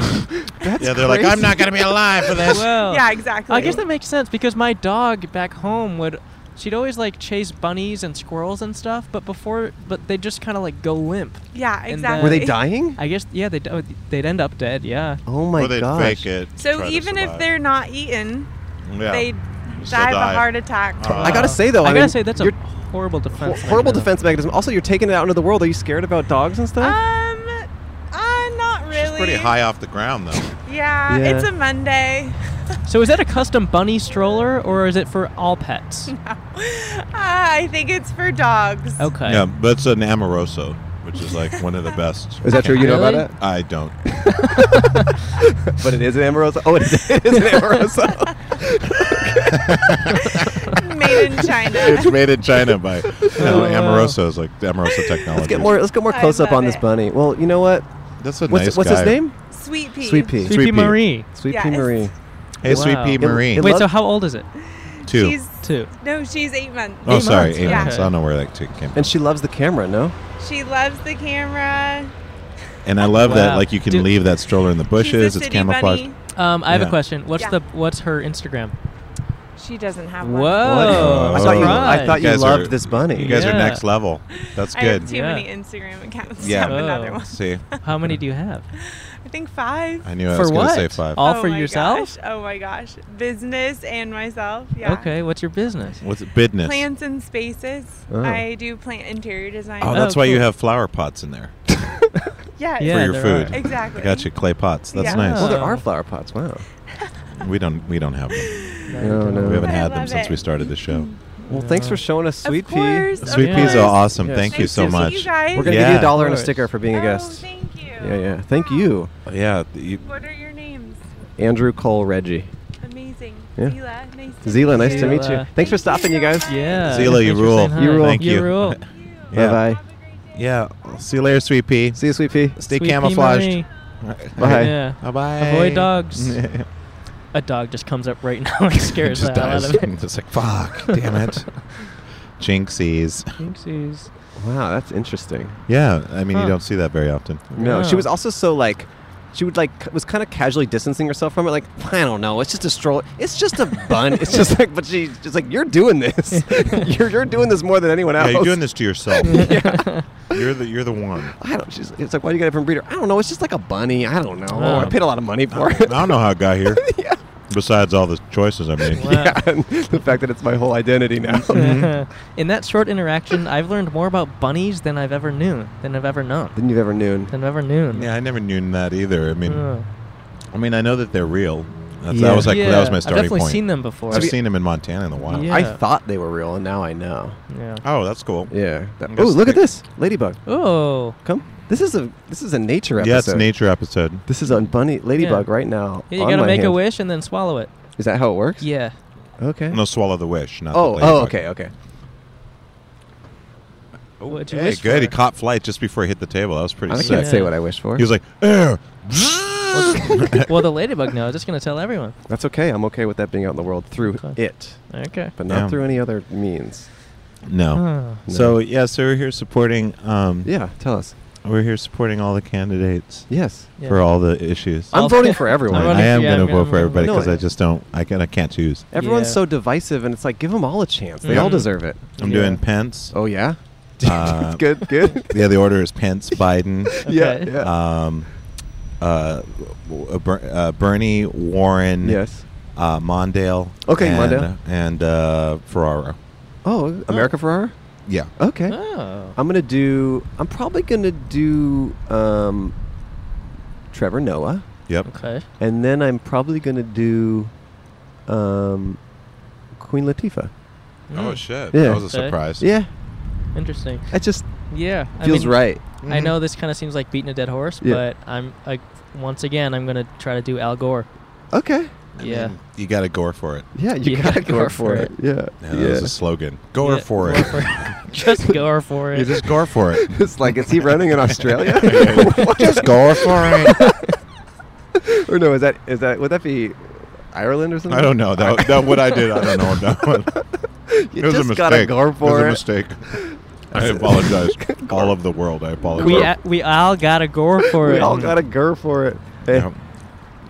[SPEAKER 12] yeah, they're like, I'm not gonna be alive for this.
[SPEAKER 1] Whoa.
[SPEAKER 13] yeah, exactly.
[SPEAKER 1] I guess that makes sense because my dog back home would she'd always like chase bunnies and squirrels and stuff, but before but they just kind of like go limp.
[SPEAKER 13] Yeah,
[SPEAKER 1] And
[SPEAKER 13] exactly.
[SPEAKER 1] then-
[SPEAKER 2] Were they dying?
[SPEAKER 1] I guess yeah, they would they'd end up dead. Yeah.
[SPEAKER 2] Oh my
[SPEAKER 12] or they
[SPEAKER 2] gosh.
[SPEAKER 12] fake it.
[SPEAKER 13] So
[SPEAKER 12] try to
[SPEAKER 13] even if
[SPEAKER 12] survive.
[SPEAKER 13] they're not eaten,
[SPEAKER 12] yeah.
[SPEAKER 13] they
[SPEAKER 12] still
[SPEAKER 13] die of
[SPEAKER 12] die.
[SPEAKER 13] a heart attack.
[SPEAKER 12] Oh.
[SPEAKER 2] I gotta say though,
[SPEAKER 1] I,
[SPEAKER 2] I,
[SPEAKER 1] gotta
[SPEAKER 2] mean,
[SPEAKER 1] say that's a
[SPEAKER 2] you're-
[SPEAKER 1] horrible
[SPEAKER 2] hor-
[SPEAKER 1] defense.
[SPEAKER 2] horrible
[SPEAKER 1] mechanism.
[SPEAKER 2] defense mechanism. Also, you're taking it out into the world. Are you scared about dogs and stuff?
[SPEAKER 13] Um, uh, not really.
[SPEAKER 12] She's pretty high off the ground though.
[SPEAKER 13] Yeah,
[SPEAKER 2] Yeah.
[SPEAKER 13] it's a Monday.
[SPEAKER 1] So is that a custom bunny stroller or is it for all pets?
[SPEAKER 13] Uh, I think it's for dogs.
[SPEAKER 1] Okay.
[SPEAKER 12] yeah, but it's an Amoroso, which is like one of the best.
[SPEAKER 2] is that true? You know
[SPEAKER 1] Really?
[SPEAKER 2] about it?
[SPEAKER 12] I don't.
[SPEAKER 2] But it is an Amorosa. Oh, it is, it is an Amorosa.
[SPEAKER 13] Made in China.
[SPEAKER 12] it's made in China by you know,
[SPEAKER 1] wow.
[SPEAKER 12] Amoroso is like Amoroso technology.
[SPEAKER 2] let's get more. Let's get more
[SPEAKER 13] I
[SPEAKER 2] close up
[SPEAKER 13] love
[SPEAKER 2] on this
[SPEAKER 13] it.
[SPEAKER 2] bunny. Well, you know what?
[SPEAKER 12] That's a
[SPEAKER 2] What's
[SPEAKER 12] nice
[SPEAKER 2] what's
[SPEAKER 12] guy.
[SPEAKER 2] his name?
[SPEAKER 13] Sweet pea.
[SPEAKER 2] Sweet Pea.
[SPEAKER 1] Sweet Pea
[SPEAKER 12] Sweet Pea.
[SPEAKER 1] Marie.
[SPEAKER 2] Sweet Pea
[SPEAKER 13] Yes.
[SPEAKER 2] Marie.
[SPEAKER 12] Hey, Sweet
[SPEAKER 1] Wow.
[SPEAKER 12] Pea
[SPEAKER 1] It-
[SPEAKER 12] Marine.
[SPEAKER 2] it
[SPEAKER 1] Wait,
[SPEAKER 2] love-
[SPEAKER 1] so how old is it?
[SPEAKER 12] Two.
[SPEAKER 13] She's
[SPEAKER 1] Two.
[SPEAKER 13] no, she's eight months.
[SPEAKER 12] oh,
[SPEAKER 1] eight
[SPEAKER 12] sorry,
[SPEAKER 1] months.
[SPEAKER 12] eight
[SPEAKER 13] Yeah.
[SPEAKER 12] months. I don't know where that two came. from.
[SPEAKER 2] And she loves the camera. No.
[SPEAKER 13] She loves the camera.
[SPEAKER 12] And I love
[SPEAKER 1] Wow.
[SPEAKER 12] that like you can
[SPEAKER 1] Do-
[SPEAKER 12] leave that stroller in the bushes.
[SPEAKER 13] she's a
[SPEAKER 12] It's
[SPEAKER 13] city
[SPEAKER 12] camouflage.
[SPEAKER 13] bunny.
[SPEAKER 1] Um, I have a
[SPEAKER 12] Yeah.
[SPEAKER 1] question. What's
[SPEAKER 13] Yeah.
[SPEAKER 1] the what's her Instagram?
[SPEAKER 13] She doesn't have
[SPEAKER 1] Whoa!
[SPEAKER 13] one.
[SPEAKER 12] What?
[SPEAKER 2] I thought you. I
[SPEAKER 1] Surprise.
[SPEAKER 2] thought you,
[SPEAKER 12] You guys
[SPEAKER 2] loved
[SPEAKER 12] are-
[SPEAKER 2] this bunny.
[SPEAKER 12] You guys
[SPEAKER 1] Yeah.
[SPEAKER 12] are next level. That's
[SPEAKER 13] I have
[SPEAKER 12] good.
[SPEAKER 13] too
[SPEAKER 1] Yeah.
[SPEAKER 13] many Instagram accounts.
[SPEAKER 12] Yeah.
[SPEAKER 13] Yeah, another
[SPEAKER 1] Oh.
[SPEAKER 13] one.
[SPEAKER 12] See,
[SPEAKER 1] How many do you have?
[SPEAKER 13] I think five.
[SPEAKER 12] I knew I
[SPEAKER 1] for
[SPEAKER 12] was
[SPEAKER 1] what?
[SPEAKER 12] gonna say five.
[SPEAKER 1] All
[SPEAKER 13] Oh
[SPEAKER 1] for
[SPEAKER 13] my
[SPEAKER 1] yourself?
[SPEAKER 13] gosh. Oh my gosh, business and myself. Yeah.
[SPEAKER 1] Okay. What's your business?
[SPEAKER 12] What's it? Bidness.
[SPEAKER 13] Plants and spaces.
[SPEAKER 2] Oh.
[SPEAKER 13] I do plant interior design.
[SPEAKER 12] Oh, that's
[SPEAKER 1] Oh,
[SPEAKER 12] why you
[SPEAKER 1] cool.
[SPEAKER 12] have flower pots in there
[SPEAKER 13] yes.
[SPEAKER 1] Yeah,
[SPEAKER 12] for your
[SPEAKER 1] there
[SPEAKER 12] food.
[SPEAKER 1] are.
[SPEAKER 13] Exactly.
[SPEAKER 12] I got you clay pots. That's
[SPEAKER 13] Yeah.
[SPEAKER 2] Well,
[SPEAKER 12] nice.
[SPEAKER 2] there are flower pots. Wow.
[SPEAKER 12] We don't. We don't have them.
[SPEAKER 2] No, no.
[SPEAKER 12] We haven't
[SPEAKER 13] I
[SPEAKER 12] had them
[SPEAKER 13] love
[SPEAKER 12] since
[SPEAKER 13] it.
[SPEAKER 12] we started the show.
[SPEAKER 2] Well, thanks for showing us Sweet
[SPEAKER 13] of
[SPEAKER 2] Pea.
[SPEAKER 13] course, of
[SPEAKER 12] Sweet
[SPEAKER 1] Yeah.
[SPEAKER 12] peas
[SPEAKER 13] course.
[SPEAKER 12] are awesome.
[SPEAKER 2] Yes.
[SPEAKER 12] Thank you
[SPEAKER 13] Nice
[SPEAKER 12] so
[SPEAKER 13] to see
[SPEAKER 12] much.
[SPEAKER 13] You guys.
[SPEAKER 2] We're gonna
[SPEAKER 12] Yeah,
[SPEAKER 2] give you a
[SPEAKER 12] of
[SPEAKER 2] dollar and a
[SPEAKER 1] course.
[SPEAKER 2] sticker for being a
[SPEAKER 13] Oh,
[SPEAKER 2] guest.
[SPEAKER 13] thank you.
[SPEAKER 2] Yeah, yeah. Thank you,
[SPEAKER 12] Yeah, th- you,
[SPEAKER 13] What are your names?
[SPEAKER 2] Andrew Cole Reggie.
[SPEAKER 13] Amazing.
[SPEAKER 2] Yeah.
[SPEAKER 13] Zila, nice to
[SPEAKER 2] Zila,
[SPEAKER 13] meet
[SPEAKER 2] nice to
[SPEAKER 13] you.
[SPEAKER 2] meet you.
[SPEAKER 1] Zila.
[SPEAKER 2] Thanks for stopping, you guys.
[SPEAKER 1] Yeah.
[SPEAKER 12] Zila, you
[SPEAKER 1] thanks for
[SPEAKER 12] rule.
[SPEAKER 1] saying hi.
[SPEAKER 2] You rule.
[SPEAKER 12] Thank you.
[SPEAKER 1] rule.
[SPEAKER 12] Yeah.
[SPEAKER 2] Bye bye.
[SPEAKER 12] yeah. See you later, sweet pea.
[SPEAKER 2] See you, Sweet Pea.
[SPEAKER 12] Stay
[SPEAKER 1] Sweet Pea
[SPEAKER 12] camouflaged.
[SPEAKER 1] Marie.
[SPEAKER 2] Bye.
[SPEAKER 1] Yeah.
[SPEAKER 12] Bye bye.
[SPEAKER 1] Avoid dogs. A dog just comes up right now and scares
[SPEAKER 12] just
[SPEAKER 1] the hell out
[SPEAKER 12] dies.
[SPEAKER 1] of it.
[SPEAKER 12] It's like fuck, damn it. Jinxies.
[SPEAKER 1] Jinxies.
[SPEAKER 2] Wow, that's interesting.
[SPEAKER 12] Yeah, I mean
[SPEAKER 1] Huh.
[SPEAKER 12] you don't see that very often.
[SPEAKER 2] No,
[SPEAKER 1] Yeah.
[SPEAKER 2] she was also so like, she would like c- was kind of casually distancing herself from it. Like, I don't know, it's just a stroller. It's just a bun. it's just like, but she's just like, you're doing this. you're you're doing this more than anyone
[SPEAKER 12] Yeah,
[SPEAKER 2] else.
[SPEAKER 12] you're doing this to yourself. You're the you're the one.
[SPEAKER 2] I don't. She's, it's like, why do you get it from breeder? I don't know. It's just like a bunny. I don't know.
[SPEAKER 1] Oh.
[SPEAKER 2] I paid a lot of money for
[SPEAKER 12] I
[SPEAKER 2] it.
[SPEAKER 12] don't know how it got here. Besides all the choices I made. Mm-hmm.
[SPEAKER 1] Wow.
[SPEAKER 2] yeah, and the fact that it's my whole identity now.
[SPEAKER 1] Mm-hmm. In that short interaction, I've learned more about bunnies than I've ever knew, than I've ever known,
[SPEAKER 2] Than you've ever known.
[SPEAKER 1] than I've ever known.
[SPEAKER 12] Yeah, I never knew that either. I mean,
[SPEAKER 1] Uh,
[SPEAKER 12] I mean, I know that they're real. That's,
[SPEAKER 2] Yeah.
[SPEAKER 12] That was like
[SPEAKER 1] yeah,
[SPEAKER 12] that was my
[SPEAKER 1] I've
[SPEAKER 12] starting
[SPEAKER 1] definitely
[SPEAKER 12] point.
[SPEAKER 1] seen them before.
[SPEAKER 12] I've seen them in Montana in the wild.
[SPEAKER 1] Yeah.
[SPEAKER 2] I thought they were real, and now I know.
[SPEAKER 1] yeah.
[SPEAKER 12] Oh, that's cool.
[SPEAKER 2] Yeah.
[SPEAKER 12] I'm
[SPEAKER 2] Oh,
[SPEAKER 12] just
[SPEAKER 2] look at
[SPEAKER 12] like-
[SPEAKER 2] this ladybug.
[SPEAKER 1] Oh.
[SPEAKER 2] Come. This is a this is a nature episode.
[SPEAKER 12] Yeah, it's nature episode.
[SPEAKER 2] This is a bunny ladybug
[SPEAKER 1] Yeah.
[SPEAKER 2] right now.
[SPEAKER 1] Yeah, you
[SPEAKER 2] on
[SPEAKER 1] gotta
[SPEAKER 2] my
[SPEAKER 1] make a
[SPEAKER 2] hand.
[SPEAKER 1] wish and then swallow it.
[SPEAKER 2] Is that how it works?
[SPEAKER 1] Yeah.
[SPEAKER 2] Okay.
[SPEAKER 12] No, swallow the wish. Not
[SPEAKER 2] Oh.
[SPEAKER 12] The
[SPEAKER 2] Oh.
[SPEAKER 12] ladybug.
[SPEAKER 2] Okay. Okay.
[SPEAKER 1] What'd you
[SPEAKER 12] Oh, Hey,
[SPEAKER 1] wish
[SPEAKER 12] good. He
[SPEAKER 1] for?
[SPEAKER 12] caught flight just before he hit the table. That was pretty
[SPEAKER 2] I
[SPEAKER 12] sick.
[SPEAKER 2] can't
[SPEAKER 1] Yeah.
[SPEAKER 2] say what I wished for.
[SPEAKER 12] He was like, "Eh."
[SPEAKER 1] well, the ladybug knows. It's gonna tell everyone.
[SPEAKER 2] That's okay. I'm okay with that being out in the world through
[SPEAKER 1] Okay.
[SPEAKER 2] it,
[SPEAKER 1] Okay.
[SPEAKER 2] but not
[SPEAKER 12] Yeah.
[SPEAKER 2] through any other means.
[SPEAKER 12] no.
[SPEAKER 1] Huh.
[SPEAKER 12] So yeah, so we're here supporting. Um,
[SPEAKER 2] Yeah. Tell us.
[SPEAKER 12] we're here supporting all the candidates
[SPEAKER 2] Yes.
[SPEAKER 1] Yeah.
[SPEAKER 12] for all the issues.
[SPEAKER 2] I'm
[SPEAKER 1] All-
[SPEAKER 2] voting for everyone.
[SPEAKER 1] I'm
[SPEAKER 12] I
[SPEAKER 1] running-
[SPEAKER 12] am
[SPEAKER 1] yeah,
[SPEAKER 12] going to
[SPEAKER 1] I'm
[SPEAKER 12] vote for
[SPEAKER 1] gonna-
[SPEAKER 12] everybody
[SPEAKER 2] No,
[SPEAKER 12] because
[SPEAKER 2] I-
[SPEAKER 12] I just don't. I can. I can't choose.
[SPEAKER 2] Everyone's
[SPEAKER 1] Yeah.
[SPEAKER 2] so divisive, and it's like give them all a chance. They
[SPEAKER 1] Yeah.
[SPEAKER 2] all deserve it.
[SPEAKER 12] I'm
[SPEAKER 1] Yeah.
[SPEAKER 12] doing Pence.
[SPEAKER 2] Oh yeah.
[SPEAKER 12] Mm. Uh,
[SPEAKER 2] good. Good.
[SPEAKER 12] Yeah, the order is Pence, Biden,
[SPEAKER 2] Yeah.
[SPEAKER 1] Okay.
[SPEAKER 2] Yeah.
[SPEAKER 12] um, uh, uh, Ber- uh, Bernie, Warren,
[SPEAKER 2] yes.
[SPEAKER 12] uh, Mondale,
[SPEAKER 2] Okay,
[SPEAKER 12] and,
[SPEAKER 2] Mondale.
[SPEAKER 12] and uh, Ferraro.
[SPEAKER 2] Oh, America Ferrara.
[SPEAKER 12] Yeah.
[SPEAKER 2] Okay.
[SPEAKER 1] Oh.
[SPEAKER 2] I'm gonna do. I'm probably gonna do um, Trevor Noah,
[SPEAKER 12] Yep.
[SPEAKER 1] Okay.
[SPEAKER 2] and then I'm probably gonna do um, Queen Latifah.
[SPEAKER 12] Oh shit.
[SPEAKER 2] Yeah.
[SPEAKER 12] That was a
[SPEAKER 1] Okay.
[SPEAKER 12] surprise.
[SPEAKER 2] Yeah,
[SPEAKER 1] Mm. Interesting.
[SPEAKER 2] it just
[SPEAKER 1] Yeah.
[SPEAKER 2] feels right. Mm-hmm.
[SPEAKER 1] I
[SPEAKER 12] Mhm.
[SPEAKER 1] know this kind of seems like beating a dead horse,
[SPEAKER 2] Yeah.
[SPEAKER 1] but I'm like once again I'm gonna try to do Al Gore.
[SPEAKER 2] Okay.
[SPEAKER 12] I
[SPEAKER 1] yeah.
[SPEAKER 12] mean, you got to gore for it.
[SPEAKER 2] Yeah, you
[SPEAKER 1] Yeah,
[SPEAKER 2] gotta
[SPEAKER 1] go
[SPEAKER 2] go
[SPEAKER 1] for
[SPEAKER 2] for it. Yeah.
[SPEAKER 12] Yeah, That was a slogan. Gore
[SPEAKER 1] Yeah,
[SPEAKER 12] for
[SPEAKER 1] gore
[SPEAKER 12] it.
[SPEAKER 1] just gore for
[SPEAKER 12] you
[SPEAKER 1] it.
[SPEAKER 12] just gore for it.
[SPEAKER 2] it's like, is he running in Australia?
[SPEAKER 12] just gore for it.
[SPEAKER 2] or no? Is that is that would that be Ireland or something?
[SPEAKER 12] I don't know. That, that what I did. I don't know that one.
[SPEAKER 2] You
[SPEAKER 12] it was
[SPEAKER 2] just
[SPEAKER 12] a mistake.
[SPEAKER 2] gotta go
[SPEAKER 12] it was
[SPEAKER 2] for
[SPEAKER 12] a
[SPEAKER 2] it.
[SPEAKER 12] mistake. I apologize. all of the world. I apologize.
[SPEAKER 1] we a, we all got a gore for
[SPEAKER 2] we
[SPEAKER 1] it.
[SPEAKER 2] all gotta go for it.
[SPEAKER 12] Yeah.
[SPEAKER 2] Eh.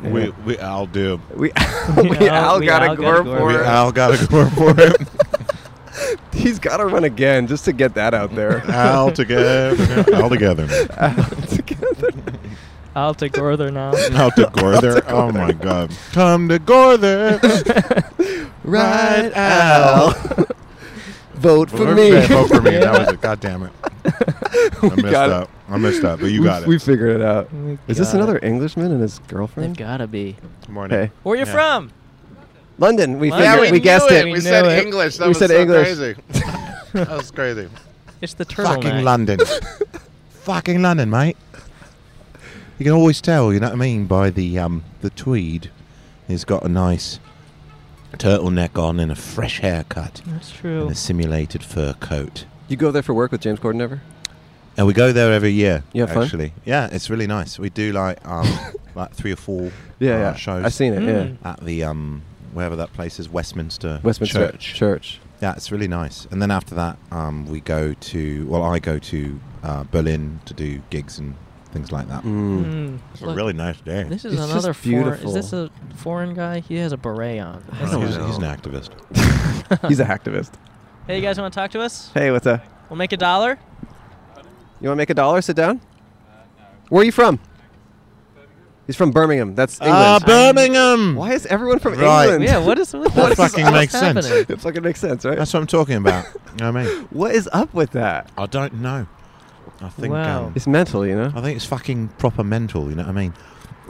[SPEAKER 2] Yeah.
[SPEAKER 12] We we all do.
[SPEAKER 2] We,
[SPEAKER 1] We
[SPEAKER 2] we,
[SPEAKER 1] all-
[SPEAKER 2] all,
[SPEAKER 1] we all
[SPEAKER 2] gotta
[SPEAKER 1] gotta
[SPEAKER 2] go
[SPEAKER 1] go
[SPEAKER 2] for
[SPEAKER 12] We
[SPEAKER 2] it.
[SPEAKER 12] all got to gore for it.
[SPEAKER 2] He's gotta run again just to get that out there.
[SPEAKER 12] All together. All together.
[SPEAKER 1] I'll take gore there now.
[SPEAKER 12] Out to gore there. Oh my god. Come to gore there.
[SPEAKER 2] right out. Vote for me.
[SPEAKER 12] Vote for me. That was it. God damn it. I missed
[SPEAKER 2] got it.
[SPEAKER 12] up. I missed up. But you
[SPEAKER 2] we,
[SPEAKER 12] got it.
[SPEAKER 2] We figured it out.
[SPEAKER 1] We
[SPEAKER 2] Is this
[SPEAKER 1] got
[SPEAKER 2] another
[SPEAKER 1] it.
[SPEAKER 2] Englishman and his
[SPEAKER 1] They've
[SPEAKER 2] girlfriend?
[SPEAKER 1] gotta be.
[SPEAKER 12] Morning.
[SPEAKER 2] Okay.
[SPEAKER 1] Where you
[SPEAKER 12] Yeah.
[SPEAKER 1] from?
[SPEAKER 2] London. We
[SPEAKER 1] London.
[SPEAKER 2] figured.
[SPEAKER 1] Yeah,
[SPEAKER 2] we, guessed it.
[SPEAKER 1] We said it.
[SPEAKER 12] English.
[SPEAKER 2] That We was said so English. crazy.
[SPEAKER 12] that was crazy.
[SPEAKER 1] It's the turtle.
[SPEAKER 12] Fucking London. Fucking London, mate. You can always tell, you know what I mean, by the um the tweed. He's got a nice turtleneck on and a fresh haircut
[SPEAKER 1] That's
[SPEAKER 12] and
[SPEAKER 1] true.
[SPEAKER 12] a simulated fur coat.
[SPEAKER 2] You go there for work with James Corden ever?
[SPEAKER 12] And we go there every year.
[SPEAKER 2] You have fun?
[SPEAKER 12] actually. Yeah, it's really nice. We do like um like three or four
[SPEAKER 2] Yeah,
[SPEAKER 12] uh,
[SPEAKER 2] yeah.
[SPEAKER 12] shows
[SPEAKER 2] I've seen it.
[SPEAKER 1] Mm.
[SPEAKER 2] Yeah.
[SPEAKER 12] at the um wherever that place is, Westminster
[SPEAKER 2] Westminster
[SPEAKER 12] Church.
[SPEAKER 2] Church.
[SPEAKER 12] Yeah, it's really nice. And then after that, um, we go to well, I go to uh, Berlin to do gigs and things like that.
[SPEAKER 2] Mm.
[SPEAKER 1] Mm.
[SPEAKER 12] It's a
[SPEAKER 1] Look,
[SPEAKER 12] really nice day.
[SPEAKER 1] This is
[SPEAKER 2] It's just
[SPEAKER 1] another foreign. Is
[SPEAKER 2] beautiful.
[SPEAKER 1] this a foreign guy? He has a beret on.
[SPEAKER 2] I
[SPEAKER 12] He's,
[SPEAKER 2] don't
[SPEAKER 12] he's
[SPEAKER 2] know.
[SPEAKER 12] an activist.
[SPEAKER 2] He's a hacktivist.
[SPEAKER 1] Hey, you guys want to talk to us?
[SPEAKER 2] Hey, what's up?
[SPEAKER 1] We'll make a dollar.
[SPEAKER 2] You want to make a dollar? Sit down. Where are you from? He's from Birmingham. That's England.
[SPEAKER 12] Ah, Birmingham.
[SPEAKER 2] Why is everyone from
[SPEAKER 12] Right.
[SPEAKER 2] England?
[SPEAKER 1] Yeah. What is what
[SPEAKER 12] That
[SPEAKER 1] the
[SPEAKER 12] fucking
[SPEAKER 1] what's
[SPEAKER 12] makes sense.
[SPEAKER 1] happening?
[SPEAKER 2] It fucking makes sense, right?
[SPEAKER 12] That's what I'm talking about. you know what I mean?
[SPEAKER 2] What is up with that?
[SPEAKER 12] I don't know. I think
[SPEAKER 1] Wow.
[SPEAKER 12] um,
[SPEAKER 2] It's mental, you know?
[SPEAKER 12] I think it's fucking proper mental. You know what I mean?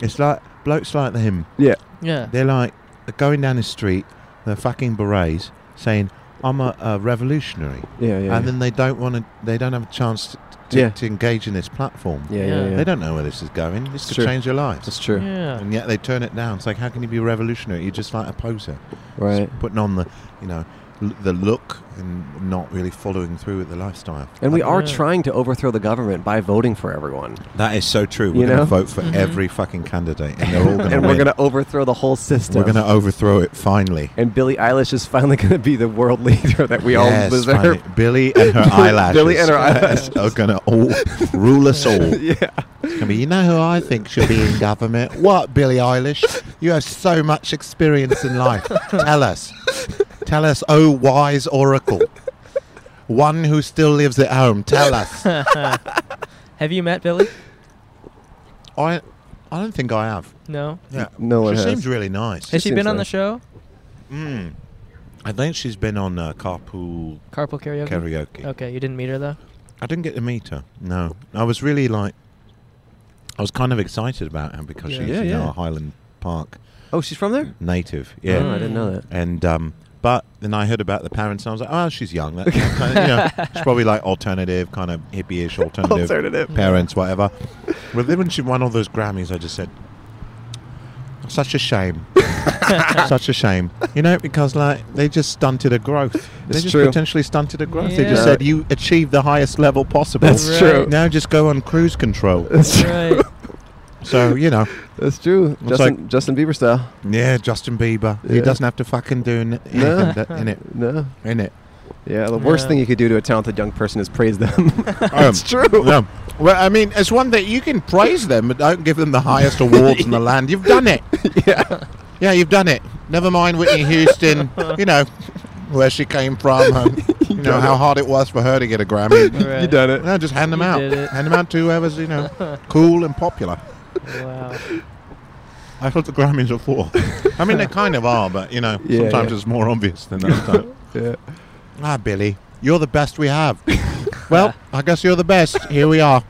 [SPEAKER 12] It's like blokes like him.
[SPEAKER 2] Yeah.
[SPEAKER 1] Yeah.
[SPEAKER 12] They're like they're going down the street, they're fucking berets, saying, "I'm a, a revolutionary,"
[SPEAKER 2] Yeah, yeah.
[SPEAKER 12] and then they don't want to. They don't have a chance to, to,
[SPEAKER 2] Yeah.
[SPEAKER 12] to engage in this platform.
[SPEAKER 2] yeah, yeah,
[SPEAKER 1] Yeah.
[SPEAKER 2] yeah.
[SPEAKER 12] They don't know where this is going. This could
[SPEAKER 2] true.
[SPEAKER 12] change your lives.
[SPEAKER 2] That's true.
[SPEAKER 1] Yeah.
[SPEAKER 12] And yet they turn it down. It's like, how can you be revolutionary? You're just like a poser,
[SPEAKER 2] Right.
[SPEAKER 12] Just putting on the, you know, l- the look and not really following through with the lifestyle.
[SPEAKER 2] And we are
[SPEAKER 1] Yeah.
[SPEAKER 2] trying to overthrow the government by voting for everyone.
[SPEAKER 12] That is so true.
[SPEAKER 2] You
[SPEAKER 12] We're going to
[SPEAKER 2] know?
[SPEAKER 12] vote for
[SPEAKER 1] Mhm.
[SPEAKER 12] every fucking candidate, and they're all going to.
[SPEAKER 2] and we're going to overthrow the whole system.
[SPEAKER 12] we're going to overthrow it finally.
[SPEAKER 2] and Billie Eilish is finally going to be the world leader that we
[SPEAKER 12] Yes,
[SPEAKER 2] all
[SPEAKER 12] finally.
[SPEAKER 2] deserve.
[SPEAKER 12] Billy and her
[SPEAKER 2] Billy
[SPEAKER 12] eyelashes.
[SPEAKER 2] and her eyelashes.
[SPEAKER 12] are going to all rule us all.
[SPEAKER 2] yeah.
[SPEAKER 12] I mean, you know who I think should be in government? What, Billie Eilish? You have so much experience in life. Tell us. Tell us, oh wise oracle. One who still lives at home. Tell us.
[SPEAKER 1] Have you met Billy?
[SPEAKER 12] I I don't think I have.
[SPEAKER 1] No.
[SPEAKER 12] Yeah.
[SPEAKER 2] No one
[SPEAKER 12] she
[SPEAKER 2] has.
[SPEAKER 12] seems really nice.
[SPEAKER 1] Has she
[SPEAKER 2] seems
[SPEAKER 1] been on the
[SPEAKER 2] nice.
[SPEAKER 1] show?
[SPEAKER 12] Mm. I think she's been on uh, Carpool
[SPEAKER 1] Carpool karaoke.
[SPEAKER 12] Karaoke.
[SPEAKER 1] Okay, you didn't meet her though.
[SPEAKER 12] I didn't get to meet her. No. I was really like, I was kind of excited about her because
[SPEAKER 1] Yeah.
[SPEAKER 12] she's,
[SPEAKER 2] Yeah,
[SPEAKER 12] you know,
[SPEAKER 2] yeah.
[SPEAKER 12] a Highland Park
[SPEAKER 2] oh, she's from there?
[SPEAKER 12] native. Yeah.
[SPEAKER 2] Oh, I didn't know that.
[SPEAKER 12] And um, but then I heard about the parents, and I was like, oh, she's young. That, that kind of, you know, she's probably like alternative, kind of hippie-ish alternative,
[SPEAKER 2] Alternative.
[SPEAKER 12] parents, whatever. But then when she won all those Grammys, I just said, such a shame, such a shame. You know, because like they just stunted her growth. they
[SPEAKER 2] It's
[SPEAKER 12] just
[SPEAKER 2] true.
[SPEAKER 12] potentially stunted her growth. They just
[SPEAKER 2] Yeah.
[SPEAKER 12] said you achieved the highest level possible.
[SPEAKER 2] That's
[SPEAKER 1] Right.
[SPEAKER 2] true.
[SPEAKER 12] Now just go on cruise control.
[SPEAKER 2] That's true.
[SPEAKER 1] Right.
[SPEAKER 12] so you know,
[SPEAKER 2] That's true.
[SPEAKER 12] It's
[SPEAKER 2] Justin, Justin Bieber style.
[SPEAKER 12] yeah, Justin Bieber. He
[SPEAKER 2] Yeah.
[SPEAKER 12] doesn't have to fucking do n- anything
[SPEAKER 2] No.
[SPEAKER 12] that- in it.
[SPEAKER 2] No.
[SPEAKER 12] In it.
[SPEAKER 2] Yeah, the worst
[SPEAKER 1] Yeah.
[SPEAKER 2] thing you could do to a talented young person is praise them.
[SPEAKER 12] That's
[SPEAKER 2] true.
[SPEAKER 12] Yeah. Well, I mean, it's one that you can praise them, but don't give them the highest awards in the land. You've done it.
[SPEAKER 2] yeah.
[SPEAKER 12] Yeah, you've done it. Never mind Whitney Houston, you know, where she came from, and, you know,
[SPEAKER 2] done
[SPEAKER 12] how
[SPEAKER 2] it.
[SPEAKER 12] hard it was for her to get a Grammy.
[SPEAKER 2] You
[SPEAKER 1] Right.
[SPEAKER 2] done it.
[SPEAKER 12] No, just hand them
[SPEAKER 1] You
[SPEAKER 12] out.
[SPEAKER 1] did it.
[SPEAKER 12] Hand them out to whoever's, you know, cool and popular.
[SPEAKER 1] Wow.
[SPEAKER 12] I thought the Grammys were for. I mean, they kind of are, but, you know,
[SPEAKER 2] Yeah,
[SPEAKER 12] sometimes
[SPEAKER 2] yeah.
[SPEAKER 12] it's more obvious than that.
[SPEAKER 2] Yeah.
[SPEAKER 12] ah, Billy. You're the best we have. well, I guess you're the best. Here we are.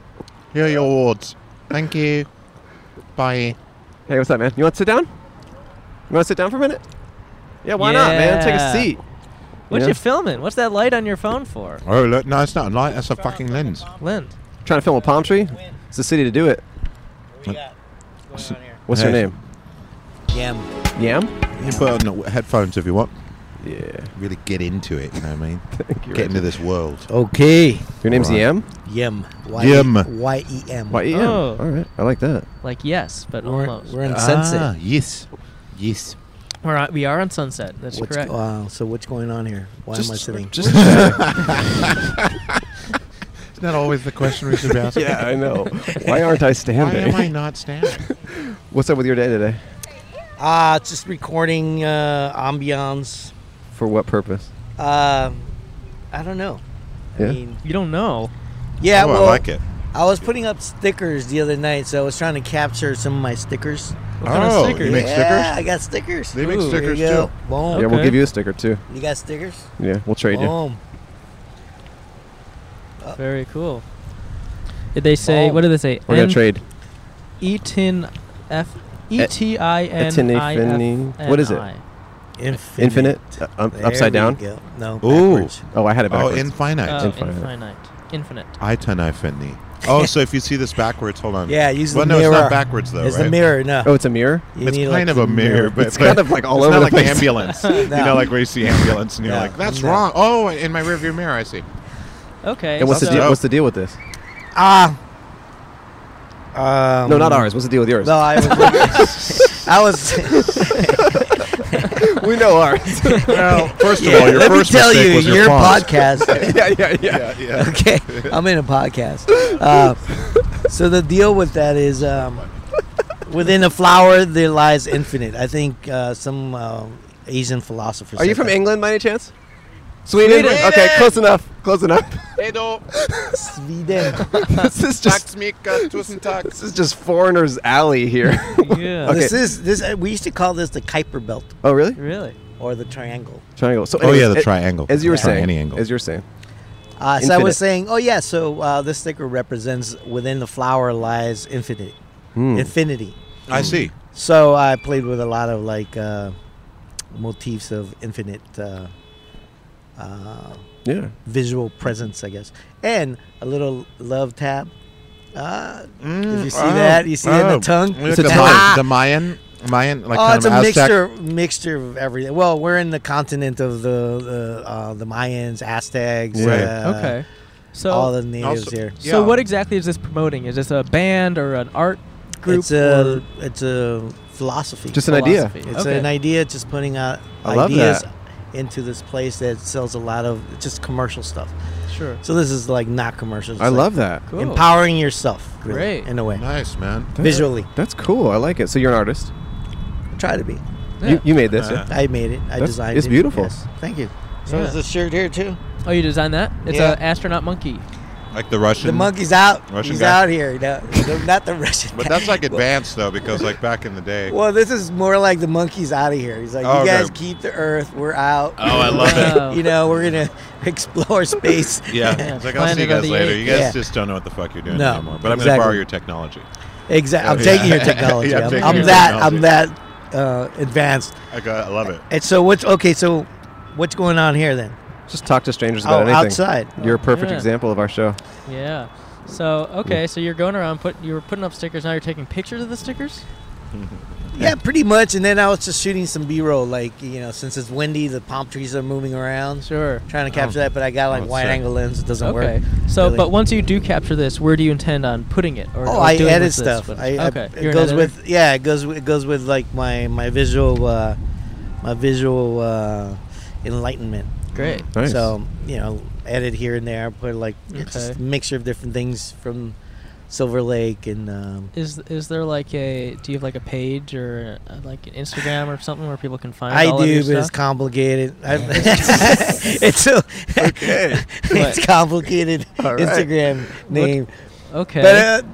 [SPEAKER 12] Here are your awards. Thank you. Bye.
[SPEAKER 2] Hey, what's up, man? You want to sit down? You want to sit down for a minute? Yeah, why not, man? Take
[SPEAKER 1] Yeah.
[SPEAKER 2] a seat.
[SPEAKER 1] What
[SPEAKER 2] Yeah.
[SPEAKER 1] you filming? What's that light on your phone for?
[SPEAKER 12] Oh, look. No, it's not a light. That's a fucking lens.
[SPEAKER 1] Lynn.
[SPEAKER 2] Trying to film a palm tree? It's the city to do it. What's her
[SPEAKER 12] Hey.
[SPEAKER 2] name? Yam. Yam?
[SPEAKER 12] You can put on the headphones if you want.
[SPEAKER 2] Yeah.
[SPEAKER 12] Really get into it, you know what I mean?
[SPEAKER 2] Thank you,
[SPEAKER 12] get into
[SPEAKER 2] Reggie.
[SPEAKER 12] this world.
[SPEAKER 14] Okay.
[SPEAKER 2] Your name's E
[SPEAKER 12] Right.
[SPEAKER 14] Yem.
[SPEAKER 2] Yam?
[SPEAKER 12] Yem.
[SPEAKER 14] Y E M.
[SPEAKER 2] Why Yam?
[SPEAKER 1] Oh.
[SPEAKER 2] All right. I like that.
[SPEAKER 1] Like yes, but
[SPEAKER 14] We're,
[SPEAKER 1] almost.
[SPEAKER 14] we're in Sunset.
[SPEAKER 12] Ah, yes. Yes.
[SPEAKER 1] We're on, we are on Sunset. That's
[SPEAKER 14] What's-
[SPEAKER 1] correct.
[SPEAKER 14] Wow. So what's going on here? Why am I sitting?
[SPEAKER 2] Just
[SPEAKER 12] Isn't that always the question we should be asking?
[SPEAKER 2] yeah, I know. Why aren't I
[SPEAKER 12] Why
[SPEAKER 2] standing?
[SPEAKER 12] am I not standing?
[SPEAKER 2] What's up with your day today?
[SPEAKER 14] Ah, it's just recording uh, ambiance.
[SPEAKER 2] For what purpose?
[SPEAKER 14] Uh, I don't know. I
[SPEAKER 2] Yeah.
[SPEAKER 14] mean,
[SPEAKER 1] You don't know.
[SPEAKER 14] yeah.
[SPEAKER 12] oh,
[SPEAKER 14] well,
[SPEAKER 12] I like it.
[SPEAKER 14] I was putting up stickers the other night, so I was trying to capture some of my stickers.
[SPEAKER 1] What kind of
[SPEAKER 12] Oh,
[SPEAKER 1] stickers?
[SPEAKER 12] you make
[SPEAKER 14] yeah, I
[SPEAKER 12] stickers?
[SPEAKER 14] got stickers.
[SPEAKER 12] They make
[SPEAKER 14] Ooh, here you
[SPEAKER 12] stickers
[SPEAKER 14] go.
[SPEAKER 12] too.
[SPEAKER 14] Boom.
[SPEAKER 2] Yeah, we'll
[SPEAKER 1] Okay.
[SPEAKER 2] give you a sticker too.
[SPEAKER 14] You got stickers?
[SPEAKER 2] Yeah, we'll trade you.
[SPEAKER 14] Boom. uh,
[SPEAKER 1] Very cool. Did they say?
[SPEAKER 14] Oh.
[SPEAKER 1] What did they say?
[SPEAKER 2] We're gonna trade.
[SPEAKER 1] Etin F E T I N I F N
[SPEAKER 2] Etinifini-
[SPEAKER 1] I.
[SPEAKER 2] what is it?
[SPEAKER 14] Infinite.
[SPEAKER 2] Infinite, uh, um,
[SPEAKER 14] There
[SPEAKER 2] upside
[SPEAKER 14] we
[SPEAKER 2] down.
[SPEAKER 14] go. No.
[SPEAKER 12] Ooh.
[SPEAKER 14] backwards.
[SPEAKER 2] Oh, I had it
[SPEAKER 12] Oh,
[SPEAKER 2] backwards.
[SPEAKER 12] infinite.
[SPEAKER 1] Oh,
[SPEAKER 2] Infinite.
[SPEAKER 1] infinite. Infinite.
[SPEAKER 12] I turn infinity. Oh, so if you see this backwards, hold on.
[SPEAKER 14] Yeah, use
[SPEAKER 12] well,
[SPEAKER 14] the
[SPEAKER 12] no,
[SPEAKER 14] mirror.
[SPEAKER 12] it's not backwards though,
[SPEAKER 14] It's
[SPEAKER 12] right?
[SPEAKER 14] the mirror. No.
[SPEAKER 2] oh, it's a mirror.
[SPEAKER 14] You
[SPEAKER 12] It's
[SPEAKER 14] need, like,
[SPEAKER 12] kind of a
[SPEAKER 14] the
[SPEAKER 12] mirror, but
[SPEAKER 2] It's kind of like all
[SPEAKER 12] it's
[SPEAKER 2] over
[SPEAKER 12] not
[SPEAKER 2] the
[SPEAKER 12] like
[SPEAKER 2] place.
[SPEAKER 12] ambulance. You know, like where you see ambulance and you're
[SPEAKER 14] No.
[SPEAKER 12] like, that's
[SPEAKER 14] No.
[SPEAKER 12] wrong. Oh, in my rearview mirror, I see.
[SPEAKER 1] Okay.
[SPEAKER 2] And what's the
[SPEAKER 1] so-
[SPEAKER 2] deal? What's the deal with this?
[SPEAKER 14] Ah. Um,
[SPEAKER 2] no, not ours. What's the deal with yours?
[SPEAKER 14] No, I was. I was.
[SPEAKER 2] we know ours.
[SPEAKER 12] Well, first
[SPEAKER 14] Yeah,
[SPEAKER 12] of all, your
[SPEAKER 14] let me
[SPEAKER 12] first
[SPEAKER 14] tell
[SPEAKER 12] mistake
[SPEAKER 14] you,
[SPEAKER 12] was your
[SPEAKER 14] your
[SPEAKER 12] font.
[SPEAKER 14] podcast.
[SPEAKER 2] yeah, yeah, yeah.
[SPEAKER 12] Yeah, yeah.
[SPEAKER 14] okay, I'm in a podcast. Uh, so the deal with that is, um, within a flower there lies infinite. I think uh, some uh, Asian philosopher.
[SPEAKER 2] Are you
[SPEAKER 14] said
[SPEAKER 2] from
[SPEAKER 14] that.
[SPEAKER 2] England, by any chance? Sweden. Okay, close enough. Close enough.
[SPEAKER 14] Sweden?
[SPEAKER 2] this is just this is just foreigners' alley here.
[SPEAKER 1] Yeah.
[SPEAKER 2] Okay.
[SPEAKER 14] This is this. Uh, we used to call this the Kuiper Belt
[SPEAKER 2] oh, really?
[SPEAKER 1] Really?
[SPEAKER 14] or the triangle.
[SPEAKER 2] Triangle. So,
[SPEAKER 12] Oh, yeah,
[SPEAKER 2] anyways,
[SPEAKER 12] the
[SPEAKER 2] a-
[SPEAKER 12] triangle.
[SPEAKER 2] As you were
[SPEAKER 12] Yeah.
[SPEAKER 2] saying,
[SPEAKER 12] Triangle.
[SPEAKER 2] as you were saying,
[SPEAKER 14] Uh, so I
[SPEAKER 2] Infinite.
[SPEAKER 14] was saying, oh yeah. So uh, this sticker represents within the flower lies infinite,
[SPEAKER 2] Hmm.
[SPEAKER 14] infinity. Hmm.
[SPEAKER 12] I see.
[SPEAKER 14] So I played with a lot of like uh, motifs of infinite uh, uh,
[SPEAKER 2] yeah.
[SPEAKER 14] visual presence, I guess, and a little love tab. Uh, if you see
[SPEAKER 12] oh,
[SPEAKER 14] that, you see it in the
[SPEAKER 12] oh.
[SPEAKER 14] tongue. Ah!
[SPEAKER 12] Look,
[SPEAKER 2] It's a
[SPEAKER 12] the,
[SPEAKER 2] tongue.
[SPEAKER 1] Ah.
[SPEAKER 12] Mayan, the Mayan, Mayan, like
[SPEAKER 14] oh,
[SPEAKER 12] kind
[SPEAKER 14] it's
[SPEAKER 12] of
[SPEAKER 14] a
[SPEAKER 12] Aztec.
[SPEAKER 14] mixture, mixture of everything. Well, we're in the continent of the the, uh, the Mayans, Aztecs,
[SPEAKER 12] Right.
[SPEAKER 14] uh,
[SPEAKER 1] okay. So
[SPEAKER 14] all the natives
[SPEAKER 12] Also-
[SPEAKER 14] here.
[SPEAKER 1] so
[SPEAKER 12] Yeah.
[SPEAKER 1] what exactly is this promoting? Is this a band or an art group?
[SPEAKER 14] It's a
[SPEAKER 1] or
[SPEAKER 14] it's a philosophy.
[SPEAKER 2] Just an idea.
[SPEAKER 1] philosophy?
[SPEAKER 14] It's
[SPEAKER 1] okay.
[SPEAKER 14] an idea, just putting out
[SPEAKER 2] I love
[SPEAKER 14] ideas
[SPEAKER 2] that.
[SPEAKER 14] into this place that sells a lot of just commercial stuff.
[SPEAKER 1] Sure.
[SPEAKER 14] So this is like not commercial. It's
[SPEAKER 2] I
[SPEAKER 14] like
[SPEAKER 2] love that.
[SPEAKER 1] Cool.
[SPEAKER 14] empowering yourself. really,
[SPEAKER 1] Great.
[SPEAKER 14] in a way,
[SPEAKER 12] Nice, man.
[SPEAKER 14] visually.
[SPEAKER 2] That's cool. I like it. So you're an artist.
[SPEAKER 14] Try to be.
[SPEAKER 1] Yeah.
[SPEAKER 2] You, you made this.
[SPEAKER 12] Uh,
[SPEAKER 2] yeah?
[SPEAKER 14] I made it. I
[SPEAKER 2] That's-
[SPEAKER 14] designed
[SPEAKER 2] it's
[SPEAKER 14] it.
[SPEAKER 2] beautiful.
[SPEAKER 14] Yes. Thank you. So
[SPEAKER 1] Yeah.
[SPEAKER 14] is this shirt here too.
[SPEAKER 1] oh, you designed that? It's
[SPEAKER 14] Yeah.
[SPEAKER 1] an astronaut monkey.
[SPEAKER 12] Like the Russian.
[SPEAKER 14] The monkey's out.
[SPEAKER 12] Russian
[SPEAKER 14] He's
[SPEAKER 12] guy.
[SPEAKER 14] out here. No, no, not the Russian.
[SPEAKER 12] But
[SPEAKER 14] guy.
[SPEAKER 12] that's like advanced though, because like back in the day.
[SPEAKER 14] Well, this is more like the monkey's out of here. He's like,
[SPEAKER 12] Oh,
[SPEAKER 14] you
[SPEAKER 12] okay.
[SPEAKER 14] guys keep the Earth. We're out.
[SPEAKER 12] Oh, I love
[SPEAKER 1] it. Wow.
[SPEAKER 14] you know, we're gonna explore space.
[SPEAKER 12] Yeah, it's like I'll
[SPEAKER 1] Planet
[SPEAKER 12] see you
[SPEAKER 1] of
[SPEAKER 12] guys
[SPEAKER 1] the
[SPEAKER 12] later.
[SPEAKER 1] Apes.
[SPEAKER 12] You guys
[SPEAKER 14] Yeah.
[SPEAKER 12] just don't know what the fuck you're doing
[SPEAKER 14] No,
[SPEAKER 12] anymore. But I'm gonna
[SPEAKER 14] exactly.
[SPEAKER 12] borrow your technology.
[SPEAKER 14] Exactly. I'm
[SPEAKER 12] Yeah.
[SPEAKER 14] taking your technology.
[SPEAKER 12] Yeah, I'm
[SPEAKER 14] I'm,
[SPEAKER 12] taking
[SPEAKER 14] I'm
[SPEAKER 12] your
[SPEAKER 14] that. I'm
[SPEAKER 12] technology.
[SPEAKER 14] that uh, advanced.
[SPEAKER 12] I got, I love it.
[SPEAKER 14] And so what's okay? So what's going on here then?
[SPEAKER 2] Just talk to strangers
[SPEAKER 14] Oh,
[SPEAKER 2] about anything.
[SPEAKER 14] outside.
[SPEAKER 2] You're a perfect
[SPEAKER 1] Yeah.
[SPEAKER 2] example of our show.
[SPEAKER 1] Yeah. So okay, so you're going around put you were putting up stickers. Now you're taking pictures of the stickers.
[SPEAKER 14] Yeah, pretty much. And then I was just shooting some B-roll, like you know, since it's windy, the palm trees are moving around,
[SPEAKER 1] Sure.
[SPEAKER 14] trying to capture that. But I got like
[SPEAKER 12] Oh,
[SPEAKER 14] wide
[SPEAKER 12] sick.
[SPEAKER 14] angle lens; it doesn't
[SPEAKER 1] okay.
[SPEAKER 14] work.
[SPEAKER 1] So,
[SPEAKER 14] really.
[SPEAKER 1] but once you do capture this, where do you intend on putting it? Or,
[SPEAKER 14] Oh,
[SPEAKER 1] or
[SPEAKER 14] I
[SPEAKER 1] doing
[SPEAKER 14] edit
[SPEAKER 1] with this
[SPEAKER 14] stuff.
[SPEAKER 1] footage?
[SPEAKER 14] I, I,
[SPEAKER 1] okay.
[SPEAKER 14] it goes with yeah, it goes with- it goes with like my my visual uh, my visual uh, enlightenment.
[SPEAKER 1] great.
[SPEAKER 2] Nice.
[SPEAKER 14] So you know, edit here and there. Put like it's just
[SPEAKER 1] Okay.
[SPEAKER 14] a mixture of different things from Silver Lake and um,
[SPEAKER 1] Is is there like a do you have like a page or uh like an Instagram or something where people can find?
[SPEAKER 14] I
[SPEAKER 1] all
[SPEAKER 14] do,
[SPEAKER 1] of your
[SPEAKER 14] but
[SPEAKER 1] stuff?
[SPEAKER 14] it's complicated. I've- it's a, it's
[SPEAKER 1] What?
[SPEAKER 14] complicated
[SPEAKER 2] All right.
[SPEAKER 14] Instagram name.
[SPEAKER 1] Okay.
[SPEAKER 14] But uh,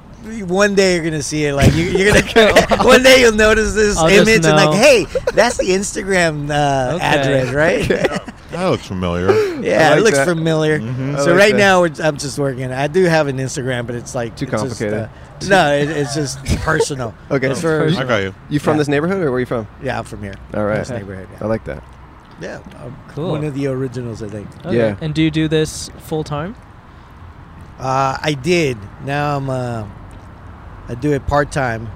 [SPEAKER 14] one day you're gonna see it. Like you, you're gonna one day you'll notice this
[SPEAKER 12] I'll just
[SPEAKER 14] image and like,
[SPEAKER 12] know.
[SPEAKER 14] hey, that's the Instagram uh,
[SPEAKER 12] Okay.
[SPEAKER 14] address, right?
[SPEAKER 12] That looks familiar.
[SPEAKER 14] Yeah, it looks familiar.
[SPEAKER 2] Mm-hmm.
[SPEAKER 12] Mhm. I
[SPEAKER 14] So
[SPEAKER 12] like
[SPEAKER 14] right
[SPEAKER 12] that.
[SPEAKER 14] now we're, I'm just working. on it. I do have an Instagram, but it's like too
[SPEAKER 2] complicated.
[SPEAKER 14] no, it, it's just personal.
[SPEAKER 2] okay.
[SPEAKER 14] It's for-
[SPEAKER 2] You from
[SPEAKER 14] Yeah.
[SPEAKER 2] this neighborhood or where are you from?
[SPEAKER 14] Yeah, I'm from here.
[SPEAKER 2] All right.
[SPEAKER 14] This neighborhood, yeah.
[SPEAKER 2] I like that.
[SPEAKER 14] Yeah, I'm
[SPEAKER 1] Oh, Cool.
[SPEAKER 14] One of the originals, I think.
[SPEAKER 1] Okay.
[SPEAKER 2] Yeah.
[SPEAKER 1] And do you do this full time?
[SPEAKER 14] Uh, I did. Now I'm. Uh, I do it part time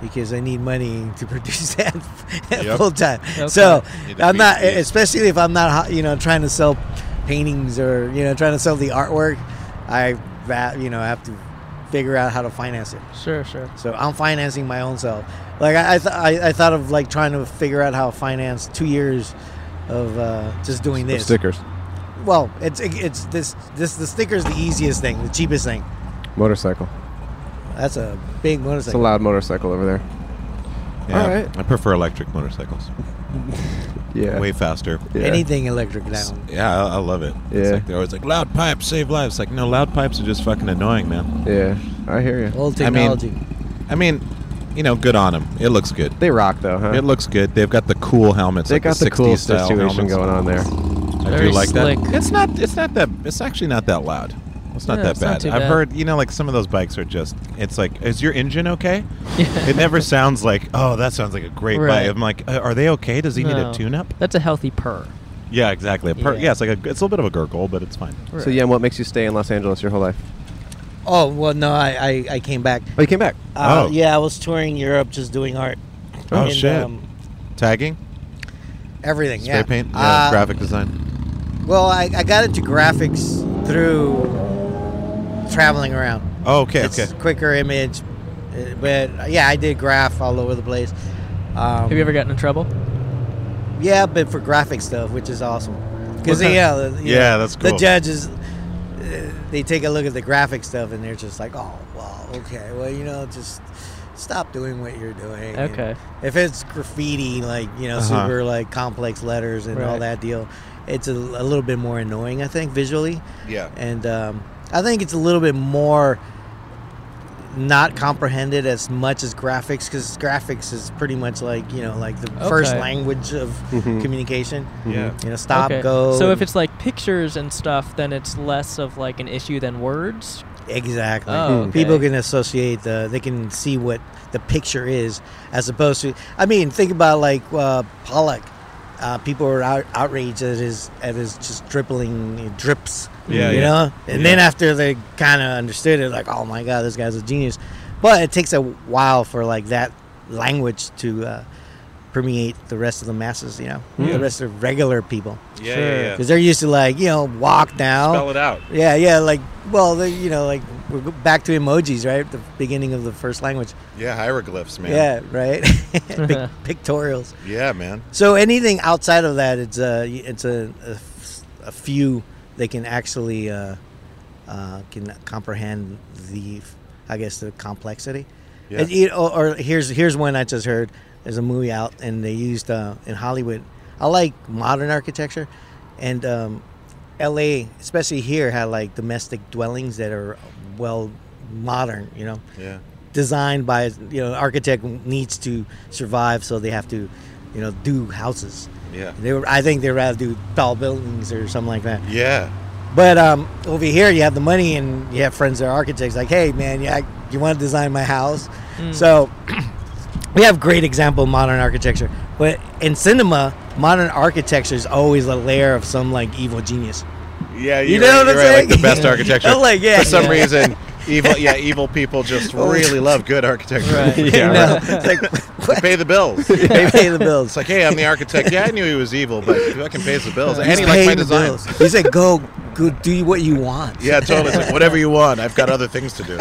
[SPEAKER 14] because I need money to produce that
[SPEAKER 1] Yep.
[SPEAKER 14] full time.
[SPEAKER 1] Okay.
[SPEAKER 14] So
[SPEAKER 1] Need to
[SPEAKER 14] I'm
[SPEAKER 1] be
[SPEAKER 14] not,
[SPEAKER 1] paid.
[SPEAKER 14] especially if I'm not, ho- you know, trying to sell paintings or you know trying to sell the artwork. I that you know I have to figure out how to finance it.
[SPEAKER 1] Sure, sure.
[SPEAKER 14] So I'm financing my own self. Like I, I, th- I, I thought of like trying to figure out how to finance two years of uh, just doing
[SPEAKER 2] Of
[SPEAKER 14] this
[SPEAKER 2] stickers.
[SPEAKER 14] well, it's it's this this the sticker's the easiest thing, the cheapest thing.
[SPEAKER 2] Motorcycle.
[SPEAKER 14] That's a big
[SPEAKER 2] It's a
[SPEAKER 14] motorcycle.
[SPEAKER 2] loud motorcycle over there.
[SPEAKER 12] Yeah,
[SPEAKER 2] All right.
[SPEAKER 12] I prefer electric motorcycles.
[SPEAKER 2] Yeah.
[SPEAKER 12] Way faster.
[SPEAKER 2] Yeah.
[SPEAKER 14] Anything electric now.
[SPEAKER 12] S- Yeah, I, I love it. It's
[SPEAKER 2] Yeah.
[SPEAKER 12] like they're always like loud pipes save lives. Like no, loud pipes are just fucking annoying, man.
[SPEAKER 2] Yeah, I hear you.
[SPEAKER 14] Old
[SPEAKER 12] I
[SPEAKER 14] technology.
[SPEAKER 12] mean, I mean, you know, good on them. It looks good.
[SPEAKER 2] They rock though, huh?
[SPEAKER 12] It looks good. They've got the cool helmets.
[SPEAKER 2] They
[SPEAKER 12] like
[SPEAKER 2] got
[SPEAKER 12] the,
[SPEAKER 2] the cool
[SPEAKER 12] 60s style
[SPEAKER 2] situation
[SPEAKER 12] helmets.
[SPEAKER 2] going on there.
[SPEAKER 12] I
[SPEAKER 2] Very
[SPEAKER 12] do like
[SPEAKER 2] slick.
[SPEAKER 12] that. It's not. It's not that. It's actually not that loud. It's not
[SPEAKER 2] Yeah,
[SPEAKER 12] that
[SPEAKER 2] it's not
[SPEAKER 12] bad.
[SPEAKER 2] too
[SPEAKER 12] I've
[SPEAKER 2] bad.
[SPEAKER 12] heard. You know, like some of those bikes are just. It's like, is your engine okay? it never sounds like. Oh, that sounds like a great
[SPEAKER 1] Right.
[SPEAKER 12] bike. I'm like, uh, are they okay? Does he need a
[SPEAKER 1] No.
[SPEAKER 12] tune-up?
[SPEAKER 1] That's a healthy purr.
[SPEAKER 12] Yeah, exactly. A per-
[SPEAKER 1] Yeah.
[SPEAKER 12] yeah. it's like a. It's a little bit of a gurgle, but it's fine.
[SPEAKER 2] So yeah, and what makes you stay in Los Angeles your whole life?
[SPEAKER 14] Oh well, no, I I, I came back.
[SPEAKER 2] Oh, you came back.
[SPEAKER 14] Uh,
[SPEAKER 2] Oh.
[SPEAKER 14] yeah, I was touring Europe just doing art.
[SPEAKER 12] Oh
[SPEAKER 14] And,
[SPEAKER 12] shit.
[SPEAKER 14] um,
[SPEAKER 12] Tagging,
[SPEAKER 14] everything.
[SPEAKER 12] spray
[SPEAKER 14] yeah.
[SPEAKER 12] paint, yeah,
[SPEAKER 14] Uh,
[SPEAKER 12] graphic design.
[SPEAKER 14] Well, I, I got into graphics through traveling around.
[SPEAKER 12] Oh, okay,
[SPEAKER 14] It's
[SPEAKER 12] okay.
[SPEAKER 14] Quicker image, uh, but uh, yeah, I did graph all over the place. Um,
[SPEAKER 1] Have you ever gotten in trouble?
[SPEAKER 14] Yeah, but for graphic stuff, which is awesome. Because
[SPEAKER 1] Okay.
[SPEAKER 14] yeah, the- you
[SPEAKER 12] Yeah,
[SPEAKER 14] know,
[SPEAKER 12] that's
[SPEAKER 14] The
[SPEAKER 12] cool.
[SPEAKER 14] judges, uh, they take a look at the graphic stuff and they're just like, oh, well, okay, well, you know, just stop doing what you're doing. And
[SPEAKER 1] Okay.
[SPEAKER 14] if it's graffiti, like you know,
[SPEAKER 1] Uh-huh.
[SPEAKER 14] super like complex letters and all
[SPEAKER 1] Right.
[SPEAKER 14] that deal, it's a, a little bit more annoying, I think, visually.
[SPEAKER 12] Yeah.
[SPEAKER 14] And um, I think it's a little bit more not comprehended as much as graphics because graphics is pretty much like you know like the first
[SPEAKER 1] Okay.
[SPEAKER 14] language of
[SPEAKER 12] Mm-hmm.
[SPEAKER 1] Mm-hmm.
[SPEAKER 2] Mhm.
[SPEAKER 14] communication
[SPEAKER 2] Yeah.
[SPEAKER 14] you know stop
[SPEAKER 1] Okay.
[SPEAKER 14] go
[SPEAKER 1] So if
[SPEAKER 14] and-
[SPEAKER 1] it's like pictures and stuff, then it's less of like an issue than words.
[SPEAKER 14] exactly
[SPEAKER 12] Hmm.
[SPEAKER 1] Oh, okay.
[SPEAKER 14] people can associate the they can see what the picture is as opposed to i mean think about like uh, pollock uh, people were out, outraged at his at his just dribbling drips
[SPEAKER 12] Yeah,
[SPEAKER 14] you
[SPEAKER 12] yeah.
[SPEAKER 14] know and then
[SPEAKER 12] Yeah.
[SPEAKER 14] after they kind of understood it like oh my god this guy's a genius but it takes a while for like that language to uh, permeate the rest of the masses you know
[SPEAKER 12] Yeah.
[SPEAKER 14] the rest of regular people
[SPEAKER 12] Hmm. Yeah, yeah, Sure. yeah.
[SPEAKER 14] because they're used to like you know walk now
[SPEAKER 12] Spell it out.
[SPEAKER 14] yeah yeah like well they, you know like we're go- back to emojis right at the beginning of the first language
[SPEAKER 12] Yeah, hieroglyphs, man.
[SPEAKER 14] yeah right Pic- pictorials
[SPEAKER 12] Yeah, man.
[SPEAKER 14] so anything outside of that, it's a it's a, a f- a few they can actually uh, uh, can comprehend the I guess the complexity.
[SPEAKER 15] Yeah.
[SPEAKER 14] And, you know, or, here's here's one I just heard. There's a movie out, and they used uh, in Hollywood. I like modern architecture, and um, L.A. especially here had like domestic dwellings that are well modern. You know
[SPEAKER 12] Yeah.
[SPEAKER 14] designed by you know architect needs to survive so they have to you know do houses
[SPEAKER 12] Yeah.
[SPEAKER 14] they were i think they'd rather do tall buildings or something like that
[SPEAKER 12] Yeah.
[SPEAKER 14] but um, over here you have the money and you have friends that are architects like hey man yeah you want to design my house
[SPEAKER 15] Mm.
[SPEAKER 14] so we have great example of modern architecture but in cinema modern architecture is always a layer of some like evil genius
[SPEAKER 12] Yeah,
[SPEAKER 14] You
[SPEAKER 12] you're
[SPEAKER 14] know
[SPEAKER 12] right,
[SPEAKER 14] what I'm
[SPEAKER 12] you're right, Like
[SPEAKER 14] saying?
[SPEAKER 12] the best architecture.
[SPEAKER 14] I'm like, yeah,
[SPEAKER 12] For some
[SPEAKER 14] yeah.
[SPEAKER 12] reason, evil. Yeah, evil people just really love good architecture.
[SPEAKER 14] Right.
[SPEAKER 12] Yeah,
[SPEAKER 14] You know,
[SPEAKER 12] right.
[SPEAKER 14] it's like,
[SPEAKER 12] They pay the bills.
[SPEAKER 14] They pay the bills.
[SPEAKER 12] It's like, hey, I'm the architect. Yeah, I knew he was evil, but he fucking pays the bills. and
[SPEAKER 14] He's
[SPEAKER 12] he likes my
[SPEAKER 14] paying the
[SPEAKER 12] design.
[SPEAKER 14] bills. He said, "Go, go, do what you want."
[SPEAKER 12] Yeah, totally. It's like, whatever you want. I've got other things to do.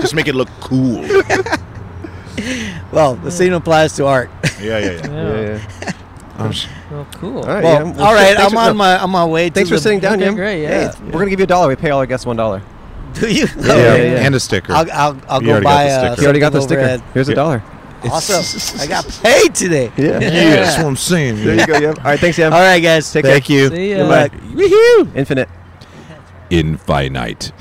[SPEAKER 12] Just make it look cool.
[SPEAKER 14] Well, the same applies to art.
[SPEAKER 12] Yeah, yeah, yeah.
[SPEAKER 2] Yeah.
[SPEAKER 12] Oh, sh-
[SPEAKER 1] Well, cool.
[SPEAKER 2] Um, All right,
[SPEAKER 14] Well,
[SPEAKER 2] yeah.
[SPEAKER 14] all right,
[SPEAKER 2] thanks
[SPEAKER 14] I'm
[SPEAKER 2] for-
[SPEAKER 14] on my- I'm on my way to
[SPEAKER 2] Thanks for
[SPEAKER 14] the-
[SPEAKER 2] sitting down,
[SPEAKER 14] Okay,
[SPEAKER 2] Yam.
[SPEAKER 14] great,
[SPEAKER 2] Hey,
[SPEAKER 14] yeah.
[SPEAKER 2] we're gonna give you a dollar. We pay all our guests one dollar.
[SPEAKER 14] Do you? Oh,
[SPEAKER 2] Yeah, yeah, yeah.
[SPEAKER 12] and a sticker.
[SPEAKER 14] I'll, I'll, I'll
[SPEAKER 2] You
[SPEAKER 14] go
[SPEAKER 2] already got
[SPEAKER 14] buy
[SPEAKER 2] the
[SPEAKER 14] a.
[SPEAKER 2] sticker. You already got the sticker. Here's a dollar.
[SPEAKER 14] Awesome! I got paid today.
[SPEAKER 2] Yeah.
[SPEAKER 12] that's what I'm saying.
[SPEAKER 2] There you go, Yam. All right, thanks, Yam.
[SPEAKER 14] All right, guys.
[SPEAKER 2] Take
[SPEAKER 14] Thank
[SPEAKER 2] care.
[SPEAKER 14] you. See ya.
[SPEAKER 2] Goodbye.
[SPEAKER 14] Woohoo!
[SPEAKER 2] Infinite.
[SPEAKER 12] Infinite.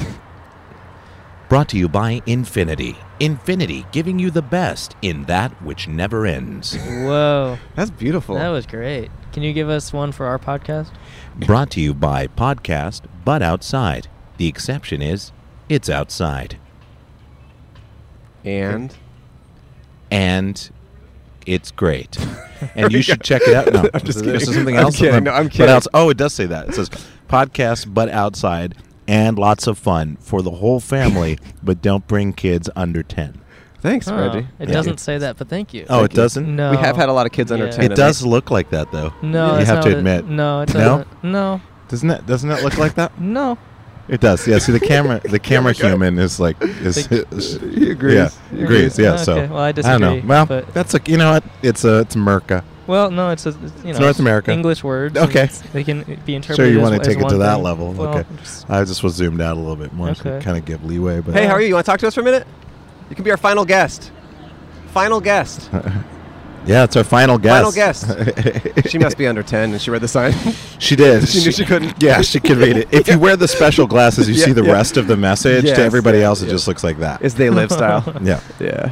[SPEAKER 15] Brought to you by Infinity. Infinity giving you the best in that which never ends.
[SPEAKER 16] Whoa.
[SPEAKER 2] That's beautiful.
[SPEAKER 16] That was great. Can you give us one for our podcast?
[SPEAKER 15] Brought to you by Podcast But Outside. The exception is it's outside.
[SPEAKER 2] And?
[SPEAKER 15] And it's great. and you should check it out. No,
[SPEAKER 2] I'm just
[SPEAKER 15] this
[SPEAKER 2] kidding.
[SPEAKER 15] is something
[SPEAKER 2] I'm
[SPEAKER 15] else.
[SPEAKER 2] kidding.
[SPEAKER 15] But
[SPEAKER 2] No, I'm
[SPEAKER 15] but
[SPEAKER 2] kidding.
[SPEAKER 15] outs- oh, it does say that. It says podcast, but outside, and lots of fun for the whole family. but don't bring kids under ten.
[SPEAKER 2] Thanks,
[SPEAKER 16] Oh,
[SPEAKER 2] Reggie.
[SPEAKER 16] It doesn't say that, but thank you.
[SPEAKER 15] Oh, it doesn't.
[SPEAKER 16] No.
[SPEAKER 2] We have had a lot of kids under
[SPEAKER 16] Yeah.
[SPEAKER 2] 10.
[SPEAKER 15] It does look like that though.
[SPEAKER 16] No,
[SPEAKER 15] you
[SPEAKER 16] that's
[SPEAKER 15] have
[SPEAKER 16] not
[SPEAKER 15] to
[SPEAKER 16] what it-
[SPEAKER 15] admit.
[SPEAKER 16] no, it doesn't. No.
[SPEAKER 12] Doesn't it? Doesn't it look like that?
[SPEAKER 16] no.
[SPEAKER 12] It does. Yeah. See the camera. The camera human is like is. is-
[SPEAKER 2] He agrees.
[SPEAKER 12] Yeah.
[SPEAKER 2] He
[SPEAKER 12] Agrees.
[SPEAKER 2] agrees.
[SPEAKER 12] Yeah.
[SPEAKER 16] Okay,
[SPEAKER 12] So.
[SPEAKER 16] well, I
[SPEAKER 12] don't
[SPEAKER 16] disagree,
[SPEAKER 12] know. Well,
[SPEAKER 16] but-
[SPEAKER 12] that's like you know what? It's a it's America.
[SPEAKER 16] Well, no, it's a it's, you know
[SPEAKER 12] It's North America.
[SPEAKER 16] English words. and
[SPEAKER 12] Okay.
[SPEAKER 16] it's- They can be interpreted.
[SPEAKER 12] Sure, you
[SPEAKER 16] want to
[SPEAKER 12] take it to that
[SPEAKER 16] thing.
[SPEAKER 12] level.
[SPEAKER 16] Well,
[SPEAKER 12] okay. I just was zoomed out a little bit more to
[SPEAKER 2] Okay.
[SPEAKER 12] kind of give leeway. But
[SPEAKER 2] Hey, how are you? You want to talk to us for a minute? You can be our final guest. Final guest.
[SPEAKER 12] Yeah, it's our final
[SPEAKER 2] Final
[SPEAKER 12] guest.
[SPEAKER 2] guest. she must be under 10 and she read the sign.
[SPEAKER 12] She did.
[SPEAKER 2] She knew she couldn't.
[SPEAKER 12] Yeah, she could read it. If you wear the special glasses, you
[SPEAKER 2] Yeah,
[SPEAKER 12] see the
[SPEAKER 2] yeah.
[SPEAKER 12] rest of the message.
[SPEAKER 2] Yes,
[SPEAKER 12] to everybody
[SPEAKER 2] yeah,
[SPEAKER 12] else, it
[SPEAKER 2] yeah.
[SPEAKER 12] just looks like that.
[SPEAKER 2] It's they live style.
[SPEAKER 12] Yeah.
[SPEAKER 2] Yeah.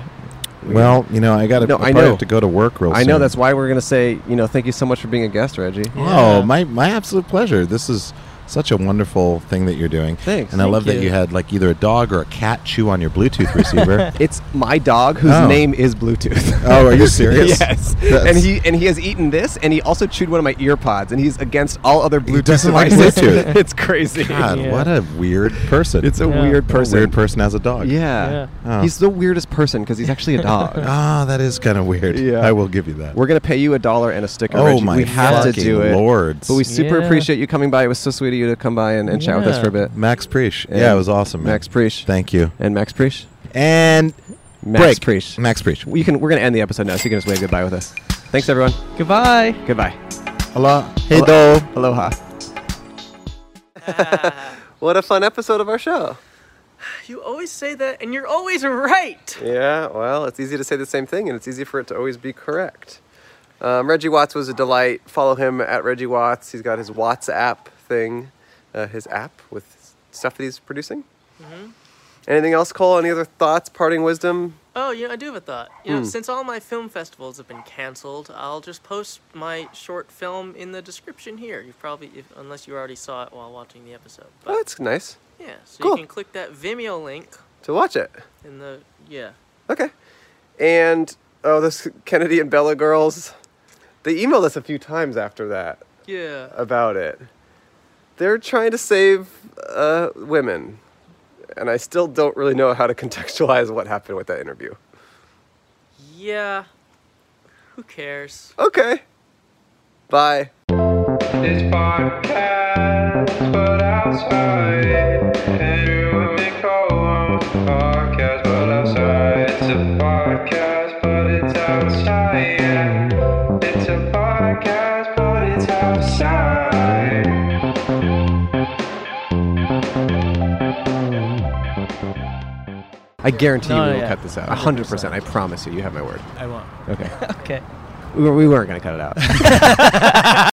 [SPEAKER 12] Well, you know, I got to.
[SPEAKER 2] No,
[SPEAKER 12] I
[SPEAKER 2] I
[SPEAKER 12] probably
[SPEAKER 2] know.
[SPEAKER 12] have to go to work real
[SPEAKER 2] I
[SPEAKER 12] soon.
[SPEAKER 2] know. That's why we're going to say, you know, thank you so much for being a guest, Reggie.
[SPEAKER 12] Oh, my my absolute pleasure. This is such a wonderful thing that you're doing.
[SPEAKER 2] Thanks.
[SPEAKER 12] And I
[SPEAKER 2] Thank
[SPEAKER 12] love that
[SPEAKER 2] you.
[SPEAKER 12] you had like either a dog or a cat chew on your Bluetooth receiver.
[SPEAKER 2] It's my dog whose
[SPEAKER 12] Oh.
[SPEAKER 2] name is Bluetooth.
[SPEAKER 12] Oh, are you serious?
[SPEAKER 2] yes.
[SPEAKER 12] That's-
[SPEAKER 2] And he and he has eaten this, and he also chewed one of my ear pods, and he's against all other Bluetooth
[SPEAKER 12] doesn't like
[SPEAKER 2] devices.
[SPEAKER 12] Bluetooth.
[SPEAKER 2] it's crazy.
[SPEAKER 12] God, what a weird person.
[SPEAKER 2] It's a Yeah. weird person.
[SPEAKER 12] weird person has a dog.
[SPEAKER 2] Yeah.
[SPEAKER 12] Oh.
[SPEAKER 2] He's the weirdest person because he's actually a dog.
[SPEAKER 12] Ah, that is kind of weird.
[SPEAKER 2] Yeah.
[SPEAKER 12] I will give you that.
[SPEAKER 2] We're gonna pay you a dollar and a sticker.
[SPEAKER 12] Oh
[SPEAKER 2] Reggie.
[SPEAKER 12] my
[SPEAKER 2] we have to
[SPEAKER 12] fucking
[SPEAKER 2] do it,
[SPEAKER 12] lords.
[SPEAKER 2] But we super
[SPEAKER 12] Yeah.
[SPEAKER 2] appreciate you coming by. It was so sweet of you to come by and, and chat with us
[SPEAKER 12] Yeah.
[SPEAKER 2] for a bit.
[SPEAKER 12] Max Preach.
[SPEAKER 2] And
[SPEAKER 12] Yeah, it was awesome, man.
[SPEAKER 2] Max Preach.
[SPEAKER 12] Thank you.
[SPEAKER 2] And Max Preach.
[SPEAKER 12] And
[SPEAKER 2] Max
[SPEAKER 12] break.
[SPEAKER 2] Preach.
[SPEAKER 12] Max Preach.
[SPEAKER 2] You can. We're gonna end the episode now, so you can just wave goodbye with us. Thanks, everyone.
[SPEAKER 16] Goodbye.
[SPEAKER 2] Goodbye.
[SPEAKER 12] Hello. Hey,
[SPEAKER 2] Hello. Aloha. what a fun episode of our show.
[SPEAKER 17] You always say that, and you're always right.
[SPEAKER 2] Yeah, well, it's easy to say the same thing, and it's easy for it to always be correct. Um, Reggie Watts was a delight. Follow him at Reggie Watts. He's got his Watts app thing, uh, his app with stuff that he's producing.
[SPEAKER 16] Mm-hmm.
[SPEAKER 2] Anything else, Cole? Any other thoughts, parting wisdom?
[SPEAKER 17] Oh, yeah, I do have a thought. You know,
[SPEAKER 2] Hmm.
[SPEAKER 17] since all my film festivals have been canceled, I'll just post my short film in the description here. You probably, if, unless you already saw it while watching the episode.
[SPEAKER 2] Oh, that's nice.
[SPEAKER 17] Yeah, so
[SPEAKER 2] Cool.
[SPEAKER 17] you can click that Vimeo link
[SPEAKER 2] To watch it.
[SPEAKER 17] in the yeah.
[SPEAKER 2] Okay. And, oh, this Kennedy and Bella girls, they emailed us a few times after that
[SPEAKER 17] Yeah.
[SPEAKER 2] about it. They're trying to save uh, women. And I still don't really know how to contextualize what happened with that interview.
[SPEAKER 17] Yeah. Who cares?
[SPEAKER 2] Okay. Bye.
[SPEAKER 3] This podcast, but outside. And you and me go on podcast, but outside. It's a podcast, but it's outside. It's a podcast, but it's outside.
[SPEAKER 2] I guarantee
[SPEAKER 4] No, no,
[SPEAKER 2] you we will
[SPEAKER 4] Oh, yeah.
[SPEAKER 2] cut this out. 100%. I promise you. You have my word.
[SPEAKER 4] I won't.
[SPEAKER 2] Okay.
[SPEAKER 16] Okay.
[SPEAKER 2] We, were, we weren't going to cut it out.